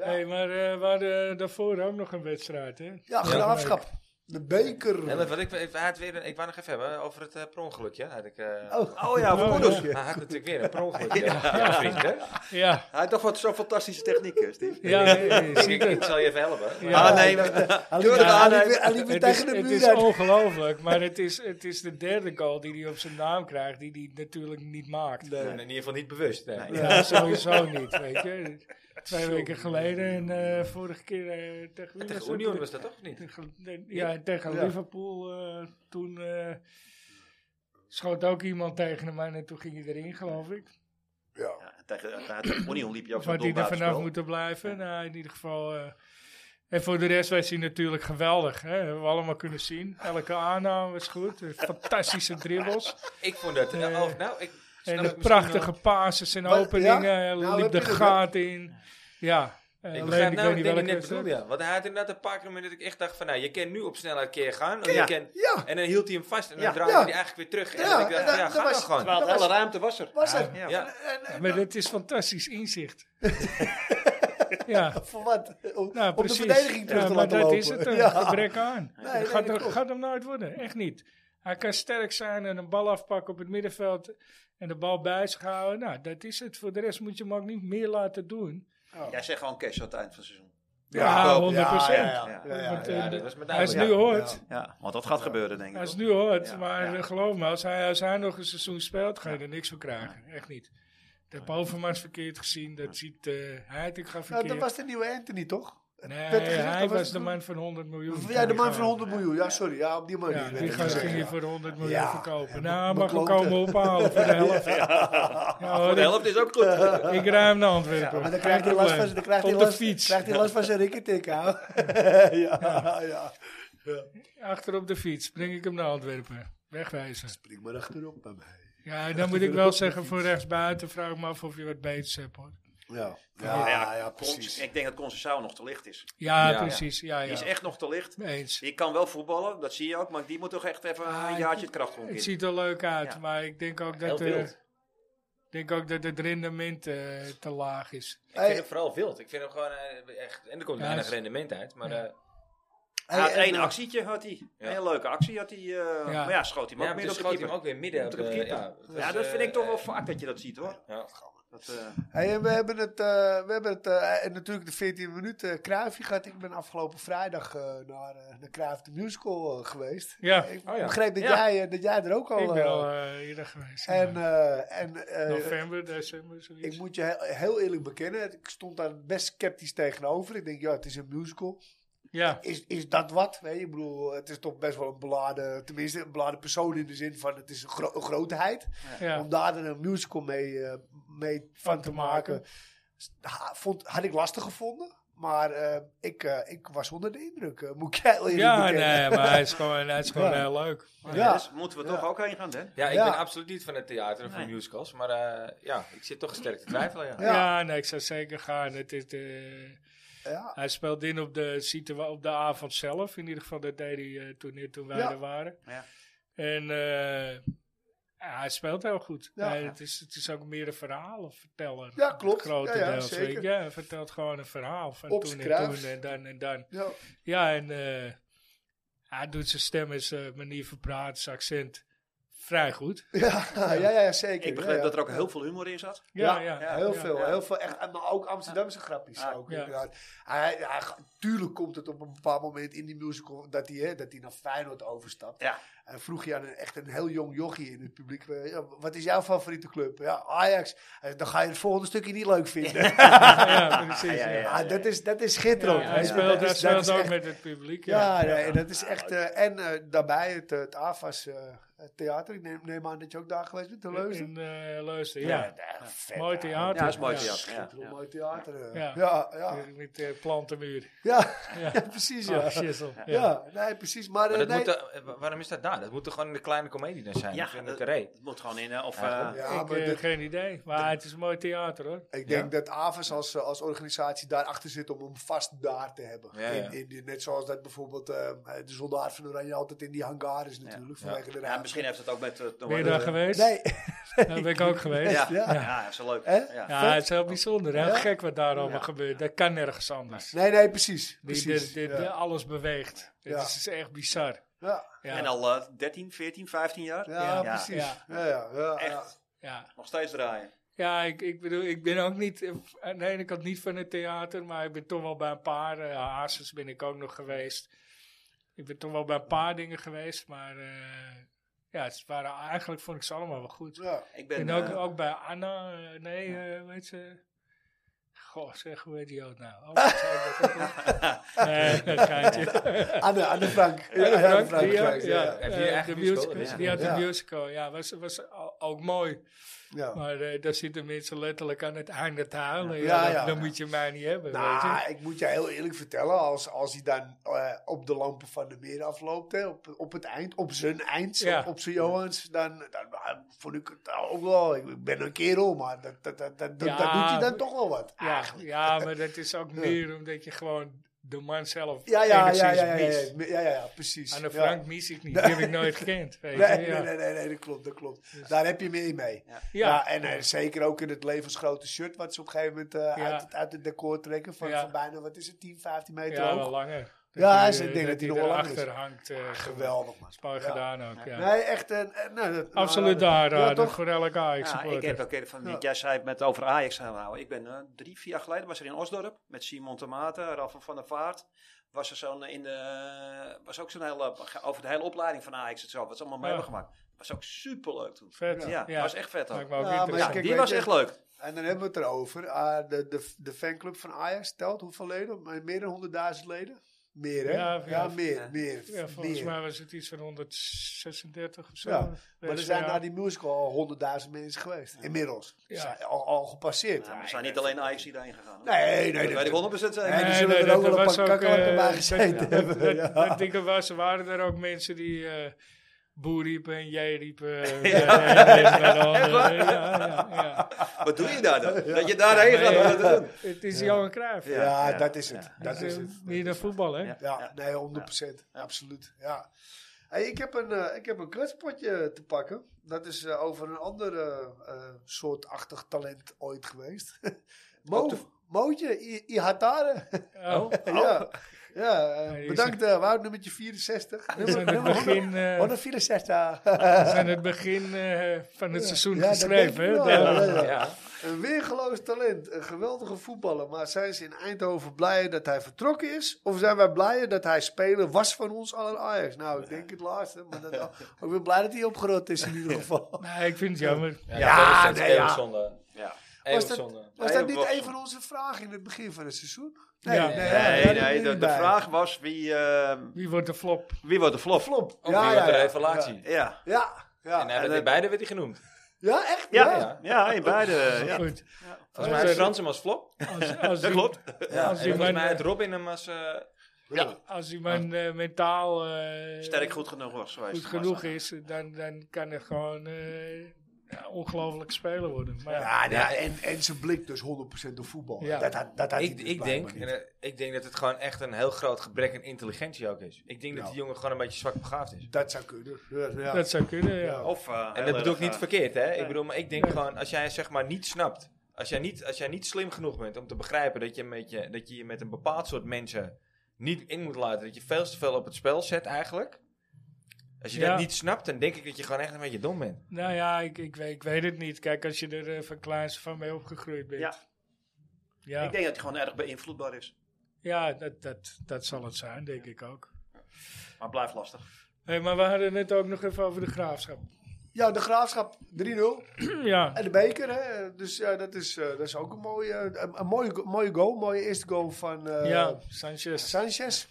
Speaker 2: Hey, maar eh, we hadden daarvoor ook nog een wedstrijd, hè?
Speaker 4: Ja, graafschap. De beker.
Speaker 1: Ja, maar wat ik, ik, hij had weer een, ik wou nog even hebben over het eh, perongelukje. Had ik, eh,
Speaker 4: Oh,
Speaker 3: Oh ja,
Speaker 2: Oh,
Speaker 3: voor
Speaker 2: ja.
Speaker 3: Kudus.
Speaker 1: Hij had natuurlijk weer een perongelukje. ja. Ja, vriend, hè?
Speaker 2: Ja,
Speaker 3: Hij had toch wat zo'n fantastische technieken, Steve.
Speaker 2: ja, nee, nee,
Speaker 1: Ik,
Speaker 2: zie
Speaker 1: ik,
Speaker 2: je
Speaker 1: ik
Speaker 2: het.
Speaker 1: zal je even helpen.
Speaker 2: Ja.
Speaker 4: Ah,
Speaker 3: Aannemen.
Speaker 4: hij liep,
Speaker 3: Doe het
Speaker 4: hij
Speaker 3: aan,
Speaker 4: liep
Speaker 3: hè.
Speaker 4: weer- hij liep weer
Speaker 2: Het is,
Speaker 4: tegen de
Speaker 2: het
Speaker 4: muur
Speaker 2: is
Speaker 4: aan.
Speaker 2: ongelooflijk, maar het is, het is de derde goal die hij op zijn naam krijgt, die hij natuurlijk niet maakt.
Speaker 1: In ieder geval niet bewust. Nee.
Speaker 2: Ja, sowieso niet, weet je. Twee weken geleden en eh, vorige keer eh, tegen wie was
Speaker 1: Tegen
Speaker 2: dat?
Speaker 1: Union was dat toch of niet?
Speaker 2: Tegen- nee, Ja, en tegen
Speaker 4: Ja.
Speaker 2: Liverpool eh, toen eh, schoot ook iemand tegen hem aan en toen ging hij erin, geloof ik.
Speaker 4: Ja.
Speaker 3: Ja, tegen, ja, tegen Union liep je ook
Speaker 2: Of
Speaker 3: zo'n
Speaker 2: had hij er vanaf
Speaker 3: doelbuitenspel.
Speaker 2: moeten blijven? Nou, in ieder geval. eh, en voor de rest was hij natuurlijk geweldig. Hè? Hebben we allemaal kunnen zien. Elke aanname was goed. Eh, Fantastische dribbles.
Speaker 1: Ik vond dat... eh,
Speaker 2: Eh,
Speaker 1: oh, nou, ik snap
Speaker 2: En
Speaker 1: het
Speaker 2: de
Speaker 1: misschien
Speaker 2: prachtige
Speaker 1: wel.
Speaker 2: passes en
Speaker 4: Wat-
Speaker 2: openingen.
Speaker 4: ja?
Speaker 2: eh,
Speaker 4: Nou,
Speaker 2: liep
Speaker 4: heb
Speaker 2: de
Speaker 4: je het,
Speaker 2: gaten in. Ja, eh,
Speaker 1: Ik
Speaker 2: alleen
Speaker 1: begrijp nou
Speaker 2: ik weet
Speaker 1: het
Speaker 2: niet
Speaker 1: ding die
Speaker 2: welke
Speaker 1: net
Speaker 2: wedstrijd.
Speaker 1: bedoelde. ja. Want hij had inderdaad een paar keer momenten dat ik echt dacht van... Nou, je kan nu op snelheid keer gaan. want
Speaker 3: Ja.
Speaker 1: je kan-
Speaker 4: Ja.
Speaker 1: En dan hield hij hem vast. En dan
Speaker 3: Ja.
Speaker 1: draaide
Speaker 4: Ja.
Speaker 1: hij eigenlijk weer terug. En
Speaker 4: Ja,
Speaker 1: dan ik
Speaker 4: en
Speaker 1: dacht
Speaker 4: dat-
Speaker 1: ja,
Speaker 4: dat
Speaker 1: ga
Speaker 4: was-
Speaker 1: dan gewoon.
Speaker 3: Terwijl alle ruimte was er.
Speaker 4: Was het?
Speaker 3: Ja.
Speaker 1: Ja.
Speaker 4: En- en-
Speaker 2: Maar dit is fantastisch inzicht. ja.
Speaker 4: Voor wat? Om,
Speaker 2: Nou,
Speaker 4: om de
Speaker 2: precies.
Speaker 4: verdediging terug
Speaker 2: Ja,
Speaker 4: te
Speaker 2: maar
Speaker 4: laten
Speaker 2: dat
Speaker 4: lopen.
Speaker 2: is het, een gebrek aan.
Speaker 4: Nee,
Speaker 2: dat
Speaker 4: nee,
Speaker 2: gaat,
Speaker 4: dat
Speaker 2: er-
Speaker 4: klopt.
Speaker 2: gaat hem nooit worden, echt niet. Hij kan sterk zijn en een bal afpakken op het middenveld en de bal bij zich houden. Nou, dat is het. Voor de rest moet je hem ook niet meer laten doen.
Speaker 3: Jij zegt gewoon cash aan het eind van het seizoen.
Speaker 2: Ja,
Speaker 4: klopt.
Speaker 2: 100%.
Speaker 4: Ja, ja, ja, ja,
Speaker 2: Want,
Speaker 4: ja,
Speaker 2: eh,
Speaker 1: Ja, dat was met
Speaker 2: Hij is
Speaker 1: name-
Speaker 2: nu
Speaker 1: ja.
Speaker 2: hoort.
Speaker 3: Ja, want dat gaat gebeuren, denk ik.
Speaker 2: Hij is
Speaker 3: wel.
Speaker 2: nu hoort.
Speaker 3: Ja,
Speaker 2: maar
Speaker 3: ja.
Speaker 2: eh, geloof me, als hij, als hij nog een seizoen speelt, ga je er niks voor krijgen. Echt niet. Ik heb Overmars verkeerd gezien. Dat ziet eh hij. Ik ga
Speaker 4: Nou,
Speaker 2: verkeerd.
Speaker 4: dat was de nieuwe Anthony, toch?
Speaker 2: nee,
Speaker 4: werd gezegd,
Speaker 2: hij
Speaker 4: dat
Speaker 2: was,
Speaker 4: was
Speaker 2: de
Speaker 4: het-
Speaker 2: man van 100 miljoen.
Speaker 4: Ja, de man van
Speaker 2: Ja.
Speaker 4: 100 miljoen. Ja, sorry. Ja, op die manier.
Speaker 2: Ja,
Speaker 4: werd
Speaker 2: die
Speaker 4: het
Speaker 2: gast
Speaker 4: gezegd,
Speaker 2: ging je
Speaker 4: ja.
Speaker 2: voor 100 miljoen
Speaker 4: Ja.
Speaker 2: verkopen.
Speaker 4: Ja,
Speaker 2: Nou,
Speaker 4: be-
Speaker 2: mag ik
Speaker 4: bekloten.
Speaker 2: komen ophalen voor de helft. Ja, hoor,
Speaker 3: Voor de helft is ook goed.
Speaker 2: ik- Ik ruim naar Antwerpen.
Speaker 4: Maar dan krijgt hij last van, dan krijgt
Speaker 2: Op
Speaker 4: hij
Speaker 2: de
Speaker 4: last,
Speaker 2: fiets.
Speaker 4: krijgt hij last van zijn rikketik, hou. ja, ja.
Speaker 2: Achter op de fiets breng ik hem naar Antwerpen. Wegwijzen.
Speaker 4: Spring maar achterop bij mij.
Speaker 2: Ja, en dan moet ik wel zeggen voor rechtsbuiten. Vraag ik me af of je wat beters hebt hoor.
Speaker 4: Ja, ja, ja, precies.
Speaker 3: Ik denk dat Concecao nog te licht is.
Speaker 2: Ja,
Speaker 1: Ja.
Speaker 2: precies. Ja,
Speaker 3: Die
Speaker 2: ja.
Speaker 3: is echt nog te licht.
Speaker 2: Eens.
Speaker 3: Die kan wel voetballen, dat zie je ook. Maar die moet toch echt even
Speaker 2: Ah,
Speaker 3: een jaartje het kracht
Speaker 2: Het
Speaker 3: in.
Speaker 2: ziet er leuk uit,
Speaker 3: Ja.
Speaker 2: maar ik denk ook
Speaker 1: Heel
Speaker 2: dat, eh,
Speaker 1: wild.
Speaker 2: ik denk ook dat het rendement eh, te laag is.
Speaker 1: Ik vind hem vooral wild. Ik vind hem gewoon eh, echt... En er komt
Speaker 2: Ja,
Speaker 1: weinig
Speaker 2: hij is-
Speaker 1: rendement uit. Maar
Speaker 2: Ja.
Speaker 1: eh,
Speaker 3: Hij had
Speaker 4: Hey, en-
Speaker 3: één actietje, had hij.
Speaker 1: Ja.
Speaker 3: Een leuke actie had hij. eh, Maar ja, schoot hij hem
Speaker 1: ja, maar
Speaker 3: ook meer
Speaker 1: toen
Speaker 3: op de
Speaker 1: schoot hij
Speaker 3: keeper.
Speaker 1: hem ook weer midden op
Speaker 3: Op de
Speaker 1: de...
Speaker 3: keeper.
Speaker 1: Ja, het was,
Speaker 3: Ja, dat
Speaker 1: eh,
Speaker 3: vind ik toch wel vaak dat je dat ziet hoor.
Speaker 1: ja.
Speaker 3: Dat, eh,
Speaker 4: Hey, en we hebben het, eh, we hebben het eh, en natuurlijk de 14 minuten uh, Kruifje gehad. Ik ben afgelopen vrijdag eh, naar eh, de Kruif de Musical eh, geweest.
Speaker 2: Ja,
Speaker 4: Ik
Speaker 1: Oh ja.
Speaker 4: begreep dat,
Speaker 3: Ja.
Speaker 4: jij, eh, dat jij er ook al...
Speaker 2: ik ben
Speaker 4: eh,
Speaker 2: al eh, eerder geweest.
Speaker 4: en,
Speaker 2: ja.
Speaker 4: eh, en eh,
Speaker 2: November, december, zoiets.
Speaker 4: ik moet je heel, heel eerlijk bekennen, ik stond daar best sceptisch tegenover. Ik denk, ja, het is een musical.
Speaker 2: ja.
Speaker 4: is, is dat wat? Weet je, ik bedoel, het is toch best wel een beladen, tenminste een beladen persoon in de zin van het is een, gro- een grootheid.
Speaker 2: Ja.
Speaker 4: Om daar dan een musical mee, eh, mee van te maken, ha- vond, had ik lastig gevonden. Maar eh, ik, eh, ik was onder de indruk, eh, moet ik heel eerlijk
Speaker 2: ja,
Speaker 4: bekennen.
Speaker 2: nee, maar hij is gewoon, hij is gewoon
Speaker 4: Ja.
Speaker 2: heel leuk.
Speaker 3: maar
Speaker 4: Ja.
Speaker 3: Dus moeten we toch ook heen gaan, hè?
Speaker 1: Ja, ik
Speaker 4: Ja.
Speaker 1: ben absoluut niet van het theater of van
Speaker 3: Nee.
Speaker 1: musicals. Maar eh, ja, ik zit toch sterk te twijfelen. Ja.
Speaker 4: Ja.
Speaker 2: Ja, nee, ik zou zeker gaan. Het is, eh,
Speaker 4: Ja.
Speaker 2: Hij speelde in op de, situa- op de avond zelf. In ieder geval, dat deed hij eh, toen, toen wij
Speaker 4: Ja.
Speaker 2: er waren.
Speaker 5: Ja.
Speaker 2: En eh, ja, hij speelt heel goed.
Speaker 4: Ja.
Speaker 2: Hij- het, is, het is ook meer een verhalenverteller.
Speaker 4: Ja, klopt. Ja, ja,
Speaker 2: Grotendeels. weet
Speaker 4: zeker.
Speaker 2: je. Ja, hij vertelt gewoon een verhaal van
Speaker 4: Op
Speaker 2: toen
Speaker 4: z'n
Speaker 2: en
Speaker 4: kruis.
Speaker 2: toen en dan en dan.
Speaker 4: Ja.
Speaker 2: Ja, en eh, hij doet zijn stem en zijn manier van praten, zijn accent vrij goed.
Speaker 4: Ja, ja, ja, zeker.
Speaker 3: Ik begreep
Speaker 4: ja, ja.
Speaker 3: dat er ook heel veel humor in zat.
Speaker 2: Ja, ja.
Speaker 4: heel
Speaker 2: ja.
Speaker 4: veel.
Speaker 2: Ja.
Speaker 4: Heel veel echt, en maar ook Amsterdamse grapjes.
Speaker 3: Ja.
Speaker 4: Ook,
Speaker 2: Ja.
Speaker 4: inderdaad. Hij, hij, ga- tuurlijk komt het op een bepaald moment in die musical dat hij, hè, dat hij naar Feyenoord overstapt.
Speaker 3: Ja.
Speaker 4: En vroeg je aan een, echt een heel jong jochie in het publiek, eh, ja, wat is jouw favoriete club? Ja, Ajax. Hij zei, Dan ga je het volgende stukje niet leuk vinden.
Speaker 2: Ja, precies.
Speaker 3: Ja, ja, ja.
Speaker 4: Ah, dat, is, dat is schitterend.
Speaker 2: Ja, hij
Speaker 4: Ja,
Speaker 2: speelt,
Speaker 4: dat
Speaker 2: hij
Speaker 4: is- dat
Speaker 2: speelt
Speaker 4: is
Speaker 2: ook
Speaker 4: echt-
Speaker 2: met het publiek. Ja.
Speaker 4: Ja, nee, dat is echt... eh, en eh, daarbij het, eh, het AFAS eh, theater. Ik neem, neem aan dat je ook daar geweest bent, de Leuzen.
Speaker 2: In eh Leusden, ja.
Speaker 4: Ja, vet,
Speaker 2: Mooi
Speaker 4: hè.
Speaker 2: theater.
Speaker 3: Ja, is mooi
Speaker 2: Ja.
Speaker 3: theater. Ja,
Speaker 4: Schitterend mooi theater. eh.
Speaker 2: Ja.
Speaker 4: Ja, ja.
Speaker 2: Met eh, plantenmuur.
Speaker 4: Ja,
Speaker 2: Ja.
Speaker 4: ja, precies. Ja.
Speaker 2: Ah, shizzle.
Speaker 4: ja. nee, precies. Maar, eh,
Speaker 1: Maar dat
Speaker 4: nee,
Speaker 1: moet, eh, wa- waarom is dat daar? Dat moet toch gewoon in de kleine komedie dan zijn?
Speaker 3: Ja,
Speaker 1: Ja, vind ik
Speaker 3: dat-
Speaker 1: een reet.
Speaker 3: Het moet gewoon in, eh, of...
Speaker 1: Ja,
Speaker 3: eh,
Speaker 4: ja,
Speaker 2: ik
Speaker 4: maar
Speaker 2: heb
Speaker 4: dit-
Speaker 2: geen idee. Maar het is een mooi theater hoor.
Speaker 4: ik denk dat AVAS als, eh, als organisatie daarachter zit om hem vast daar te hebben.
Speaker 1: Ja, ja.
Speaker 4: In, in, die- net zoals dat bijvoorbeeld eh, de soldaat van Oranje altijd in die hangar is natuurlijk.
Speaker 1: Ja.
Speaker 4: Vanwege de
Speaker 3: ja,
Speaker 4: raad.
Speaker 3: misschien heeft het ook met... eh,
Speaker 2: Ben je daar
Speaker 3: eh,
Speaker 2: geweest?
Speaker 4: Nee,
Speaker 2: Daar ben ik ook geweest.
Speaker 3: Ja,
Speaker 2: Ja,
Speaker 3: ja.
Speaker 4: Ja.
Speaker 3: dat is wel leuk.
Speaker 4: Hè?
Speaker 3: Ja.
Speaker 2: het is heel bijzonder. Heel
Speaker 4: Ja.
Speaker 2: gek wat daar allemaal gebeurt. Dat kan nergens anders.
Speaker 4: nee, nee, precies.
Speaker 2: Die,
Speaker 4: precies.
Speaker 2: dit- dit-
Speaker 4: ja.
Speaker 2: Alles beweegt.
Speaker 4: Ja.
Speaker 2: Het is, is echt bizar.
Speaker 4: Ja.
Speaker 2: Ja,
Speaker 3: En al eh, 13, 14, 15 jaar?
Speaker 4: Ja,
Speaker 2: Ja.
Speaker 4: precies.
Speaker 2: Ja.
Speaker 4: Ja, ja, ja, ja.
Speaker 3: Echt.
Speaker 2: ja.
Speaker 3: Nog steeds draaien.
Speaker 2: ja ik, ik bedoel, ik ben ook niet, eh, aan de ene kant niet van het theater, maar ik ben toch wel bij een paar, eh Hazes ben ik ook nog geweest. Ik ben toch wel bij een paar dingen geweest, maar eh, ja, het waren, eigenlijk vond ik ze allemaal wel goed.
Speaker 4: Ja.
Speaker 3: Ik ben...
Speaker 2: en ook,
Speaker 3: eh,
Speaker 2: ook bij Anna, eh, nee, eh, weet ze. Goh, zeg, hoe heet die ook nou? Oh, wat zei ik dat ook weer? nee, een geintje.
Speaker 4: Anne, Anne Frank. Ja,
Speaker 2: Anne
Speaker 4: Anne
Speaker 2: Frank,
Speaker 4: Frank,
Speaker 2: die,
Speaker 4: Frank,
Speaker 2: eh, ja,
Speaker 4: ja.
Speaker 1: Heb je
Speaker 2: eh,
Speaker 1: echt
Speaker 2: de
Speaker 1: musical?
Speaker 2: musical,
Speaker 1: Ja.
Speaker 2: Die had
Speaker 4: Ja.
Speaker 2: een musical, ja, was, was al- ook mooi.
Speaker 4: Ja.
Speaker 2: Maar eh, daar zitten mensen letterlijk aan het einde te huilen. Ja,
Speaker 4: Ja,
Speaker 2: dat-
Speaker 4: ja.
Speaker 2: dan moet je mij niet hebben, weet
Speaker 4: Nou,
Speaker 2: je.
Speaker 4: ik moet je heel eerlijk vertellen, als, als hij dan eh, op de lampen van de meer afloopt, hè, op, op het eind, op zijn eind,
Speaker 2: Ja.
Speaker 4: op, op zijn Johans, dan, dan ah, vond ik het ook wel, ik, ik ben een kerel, maar dat, dat, dat, dat,
Speaker 2: Ja,
Speaker 4: dat doet hij dan
Speaker 2: maar-
Speaker 4: toch wel wat,
Speaker 2: Ja,
Speaker 4: eigenlijk.
Speaker 2: ja, maar dat is ook meer omdat je gewoon de man zelf
Speaker 4: Ja, ja, ja,
Speaker 2: enigszins
Speaker 4: ja, ja, ja,
Speaker 2: mist.
Speaker 4: ja, ja, ja, ja, precies.
Speaker 2: Anne
Speaker 4: Ja.
Speaker 2: Frank mis ik niet, die heb ik nooit gekend, weet je.
Speaker 4: Nee, nee,
Speaker 2: ja. Dus-
Speaker 4: nee, nee, nee, dat klopt, dat klopt. Daar heb je meer mee. Ja,
Speaker 2: Ja.
Speaker 4: en eh, zeker ook in het levensgrote shirt, wat ze op een gegeven moment eh,
Speaker 2: Ja.
Speaker 4: uit, het, uit het decor trekken, van,
Speaker 2: Ja.
Speaker 4: van bijna, wat is het, 10, 15 meter
Speaker 2: Ja,
Speaker 4: hoog.
Speaker 2: wel langer.
Speaker 4: Ja,
Speaker 2: hij-
Speaker 4: ze- ik denk dat hij nog wel langer is. Ah,
Speaker 2: erachter hangt. eh,
Speaker 4: Geweldig, man.
Speaker 2: Spaar
Speaker 4: Ja.
Speaker 2: gedaan ook, ja.
Speaker 4: Nee, echt een... een- nou, dat-
Speaker 2: Absoluut
Speaker 4: nou,
Speaker 2: daar, eh,
Speaker 4: Ja, toch?
Speaker 2: voor elke Ajax
Speaker 3: ja, ik
Speaker 2: supporter.
Speaker 3: heb ook keer van, jij zei het met over Ajax aanhouden. Ik ben eh, drie, vier jaar geleden was er in Osdorp met Simon Tomaten, Raffel van der Vaart. Was er zo'n eh, in de, was ook zo'n hele, over de hele opleiding van Ajax en zo. Was allemaal mee
Speaker 2: Ja.
Speaker 3: hebben gemaakt. Was ook superleuk toen.
Speaker 2: Vet.
Speaker 3: Ja,
Speaker 2: Ja.
Speaker 3: was echt vet ook.
Speaker 2: Maakt me ook
Speaker 4: Ja, maar
Speaker 3: Ja,
Speaker 2: interessant.
Speaker 4: Kijk,
Speaker 3: die
Speaker 4: weet
Speaker 3: was
Speaker 4: je-
Speaker 3: echt leuk.
Speaker 4: En dan hebben we het erover. Ah, de, de, de fanclub van Ajax telt hoeveel leden? Maar Meer dan 100.000 leden? Meer, hè?
Speaker 2: Ja,
Speaker 4: Ja,
Speaker 2: ja.
Speaker 4: meer,
Speaker 3: Ja.
Speaker 4: meer.
Speaker 2: Ja, volgens
Speaker 4: meer.
Speaker 2: mij was het iets van 136 of zo.
Speaker 4: Ja, maar er
Speaker 2: Dus
Speaker 4: zijn
Speaker 2: ja.
Speaker 4: na die musical al 100.000 mensen geweest. Inmiddels.
Speaker 2: Ja.
Speaker 4: Zijn al, al gepasseerd.
Speaker 3: Ja, we zijn niet alleen Ajax die daarheen gegaan. hoor.
Speaker 4: Nee, nee, nee.
Speaker 3: Dat weet ik 100% zeker.
Speaker 4: Nee, die
Speaker 2: Nee,
Speaker 4: zullen
Speaker 2: nee,
Speaker 4: er ook
Speaker 2: dat
Speaker 4: wel een
Speaker 2: was
Speaker 4: paar
Speaker 2: ook,
Speaker 4: kakkerlakken
Speaker 2: eh,
Speaker 4: bij
Speaker 2: dat-
Speaker 4: gezeten hebben.
Speaker 2: Dat,
Speaker 4: Ja.
Speaker 2: dat dikke was, er waren er ook mensen die eh, boer riepen en jij riepen. eh, bij de een en bij de ander. Ja, ja, ja.
Speaker 3: Wat doe je daar dan? Dat je daarheen gaat om dat te doen.
Speaker 2: Nee, eh, Het is Johan Cruijff.
Speaker 4: Ja,
Speaker 3: Ja,
Speaker 4: dat is het. Dat
Speaker 2: Dat
Speaker 4: is
Speaker 2: is
Speaker 4: het.
Speaker 2: Meer dan voetbal, hè?
Speaker 3: Ja.
Speaker 4: Ja, nee, 100 Absoluut. Ja. Hey, ik, heb een, eh ik heb een kletspotje te pakken. Dat is eh, over een ander eh, eh, soortachtig talent ooit geweest. Mo, Mootje, I- Ihatare.
Speaker 2: Oh.
Speaker 4: ja, ja eh,
Speaker 2: Ja, die is
Speaker 4: bedankt eh Wout, nummertje 64.
Speaker 2: Dat is aan het begin, eh,
Speaker 4: 164.
Speaker 2: dat is aan het begin eh, van het seizoen
Speaker 4: Ja, dat denk
Speaker 2: geschreven,
Speaker 4: ik
Speaker 2: hè?
Speaker 4: wel,
Speaker 2: Daar-
Speaker 4: ja, ja. Een weergeloos talent, een geweldige voetballer. Maar zijn ze in Eindhoven blij dat hij vertrokken is? Of zijn wij blij dat hij speler was van ons allen Ajax? Nou, ik denk het laatste. Maar dat, ik ben blij dat hij opgerot is in ieder geval.
Speaker 2: Nee, ik vind het jammer.
Speaker 1: Ja,
Speaker 4: Ja,
Speaker 1: dat is
Speaker 4: nee, ja.
Speaker 1: eeuwig zonde.
Speaker 3: Ja.
Speaker 1: Eeuwig
Speaker 4: Was dat-
Speaker 1: zonde.
Speaker 4: Was
Speaker 3: Ja,
Speaker 4: dat niet
Speaker 3: wacht.
Speaker 4: een van onze vragen in het begin van het seizoen?
Speaker 2: Ja.
Speaker 4: ja, daar
Speaker 3: Nee,
Speaker 4: doen we
Speaker 3: nee, de,
Speaker 4: niet
Speaker 3: de
Speaker 4: bij.
Speaker 3: vraag was wie, eh,
Speaker 2: Wie wordt de flop?
Speaker 3: wie wordt de flop?
Speaker 4: Flop.
Speaker 1: Ook weer wat een revelatie.
Speaker 3: Ja,
Speaker 4: Ja, ja.
Speaker 1: En
Speaker 4: ja.
Speaker 1: hij werd,
Speaker 3: dat-
Speaker 1: in beide werd hij genoemd.
Speaker 4: Ja, echt?
Speaker 3: ja,
Speaker 1: Ja.
Speaker 3: ja. in beide. ja.
Speaker 2: Goed.
Speaker 1: Volgens mij
Speaker 2: Ja.
Speaker 1: heeft Frans hem als flop.
Speaker 2: Als, als
Speaker 3: Dat
Speaker 2: die-
Speaker 3: klopt.
Speaker 1: En
Speaker 2: Als die
Speaker 1: volgens
Speaker 2: man,
Speaker 1: mij heeft Robin hem als... eh,
Speaker 2: als die man eh, mentaal eh,
Speaker 3: Sterk goed genoeg was geweest.
Speaker 2: goed genoeg is, dan, dan kan er gewoon eh, ja, ongelooflijk speler worden. Maar ja,
Speaker 4: Ja, nou,
Speaker 1: Ja,
Speaker 4: en, en zijn blik dus 100% op voetbal.
Speaker 2: Ja.
Speaker 4: Dat, had- dat had hij
Speaker 1: Ik,
Speaker 4: dus
Speaker 1: ik,
Speaker 4: blijkbaar
Speaker 1: denk,
Speaker 4: niet.
Speaker 1: en, eh, ik denk dat het gewoon echt een heel groot gebrek aan intelligentie ook is. Ik denk
Speaker 4: Nou.
Speaker 1: dat die jongen gewoon een beetje zwak begaafd is.
Speaker 4: Dat zou kunnen. Ja, ja.
Speaker 2: dat zou kunnen, ja.
Speaker 3: Of, eh, heel
Speaker 1: En dat bedoel
Speaker 3: erg,
Speaker 1: ik niet
Speaker 3: eh,
Speaker 1: verkeerd, hè? Ik bedoel, maar ik denk
Speaker 2: Nee.
Speaker 1: gewoon, als jij zeg maar niet snapt, als jij niet, als jij niet slim genoeg bent om te begrijpen dat je, met je, dat je je met een bepaald soort mensen niet in moet laten, dat je veel te veel op het spel zet eigenlijk. Als je
Speaker 2: Ja.
Speaker 1: dat niet snapt, dan denk ik dat je gewoon echt een beetje dom bent.
Speaker 2: Nou ja, ik, ik, weet, ik weet het niet. Kijk, als je er eh, van Klaas van mee opgegroeid bent.
Speaker 3: Ja.
Speaker 2: Ja,
Speaker 3: Ik denk dat hij gewoon erg beïnvloedbaar is.
Speaker 2: ja dat, dat, dat zal het zijn, denk ik ook.
Speaker 3: Maar blijft lastig.
Speaker 2: Hey, maar we hadden het net ook nog even over de graafschap.
Speaker 4: ja, de graafschap 3-0.
Speaker 2: ja,
Speaker 4: En de beker, hè? Dus ja, dat is, eh, dat is ook een mooie, eh, een, een mooie, go- mooie goal. Mooie eerste goal van eh,
Speaker 2: ja, Sanchez.
Speaker 4: Sanchez.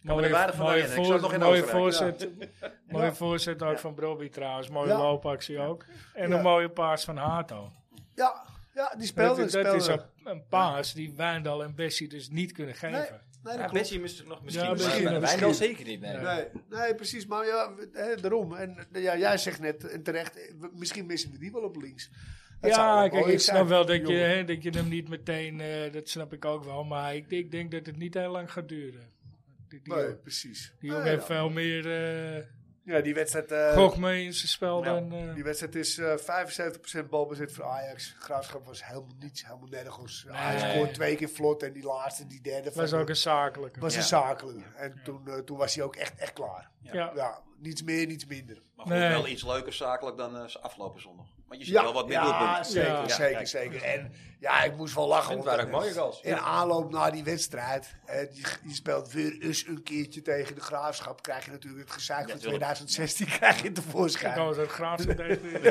Speaker 3: me er weinig van
Speaker 2: mooie
Speaker 3: herinneren. Ik zat nog in
Speaker 2: mooie
Speaker 3: Oostenrijk,
Speaker 2: voorzet, mooie voorzet ook van Broby trouwens. Mooie
Speaker 4: Ja.
Speaker 2: loopactie ook. En
Speaker 4: Ja.
Speaker 2: een mooie paas van Hato.
Speaker 4: Ja, ja die
Speaker 2: Dat,
Speaker 4: speelde.
Speaker 2: dat
Speaker 4: speelde.
Speaker 2: is een, een paas die Wijndal en Bessie dus niet kunnen
Speaker 4: Nee,
Speaker 2: geven.
Speaker 4: nee, dat
Speaker 1: Ja,
Speaker 4: klopt.
Speaker 1: Bessie misschien nog misschien,
Speaker 2: Ja,
Speaker 1: maar-
Speaker 2: misschien,
Speaker 1: maar wij
Speaker 4: misschien.
Speaker 1: wel zeker niet. Nee.
Speaker 4: Nee, nee, precies. Maar ja, we- hè, daarom. En eh, ja, jij zegt net eh, terecht, eh, we- misschien missen we die wel op links. Dat zou wel
Speaker 2: ja, kijk,
Speaker 4: mooi
Speaker 2: ik
Speaker 4: zijn,
Speaker 2: snap wel dat je,
Speaker 4: jongen.
Speaker 2: hè, dat je hem niet meteen, eh, dat snap ik ook wel, maar ik, ik denk dat het niet heel lang gaat duren. Die, die,
Speaker 4: Nee,
Speaker 2: jongen-
Speaker 4: precies.
Speaker 2: die jongen
Speaker 4: Ah, ja.
Speaker 2: heeft veel meer eh
Speaker 4: Ja, die wedstrijd, eh,
Speaker 2: gok mee in zijn spel
Speaker 3: ja,
Speaker 2: dan... eh,
Speaker 4: nou, die wedstrijd is eh 75% balbezit voor Ajax. Graafschap was helemaal niets, helemaal nergens. Ajax
Speaker 2: Nee.
Speaker 4: scoort twee keer vlot en die laatste, die derde.
Speaker 2: was
Speaker 4: van-
Speaker 2: ook een zakelijke.
Speaker 4: was
Speaker 3: Ja.
Speaker 4: een zakelijke. En toen, eh, toen was hij ook echt, echt klaar.
Speaker 2: ja.
Speaker 4: Ja, niets meer, niets minder.
Speaker 5: Maar goed,
Speaker 2: Nee.
Speaker 5: wel iets leuker zakelijk dan eh, afgelopen zondag. Want je ziet
Speaker 4: ja,
Speaker 5: wel wat meer
Speaker 4: ja,
Speaker 5: doelpunten.
Speaker 4: zeker,
Speaker 2: Ja.
Speaker 4: zeker,
Speaker 5: kijk.
Speaker 4: zeker. En ja, ik moest wel lachen.
Speaker 1: En het
Speaker 4: want
Speaker 1: waren ook
Speaker 4: dat-
Speaker 1: mooie goals.
Speaker 4: In aanloop naar die wedstrijd, eh, je, je speelt weer eens een keertje tegen de Graafschap, krijg je natuurlijk het gezeik van 2016 krijg je
Speaker 2: Ik
Speaker 4: tevoorschijn.
Speaker 2: hou dat graag zo tegen.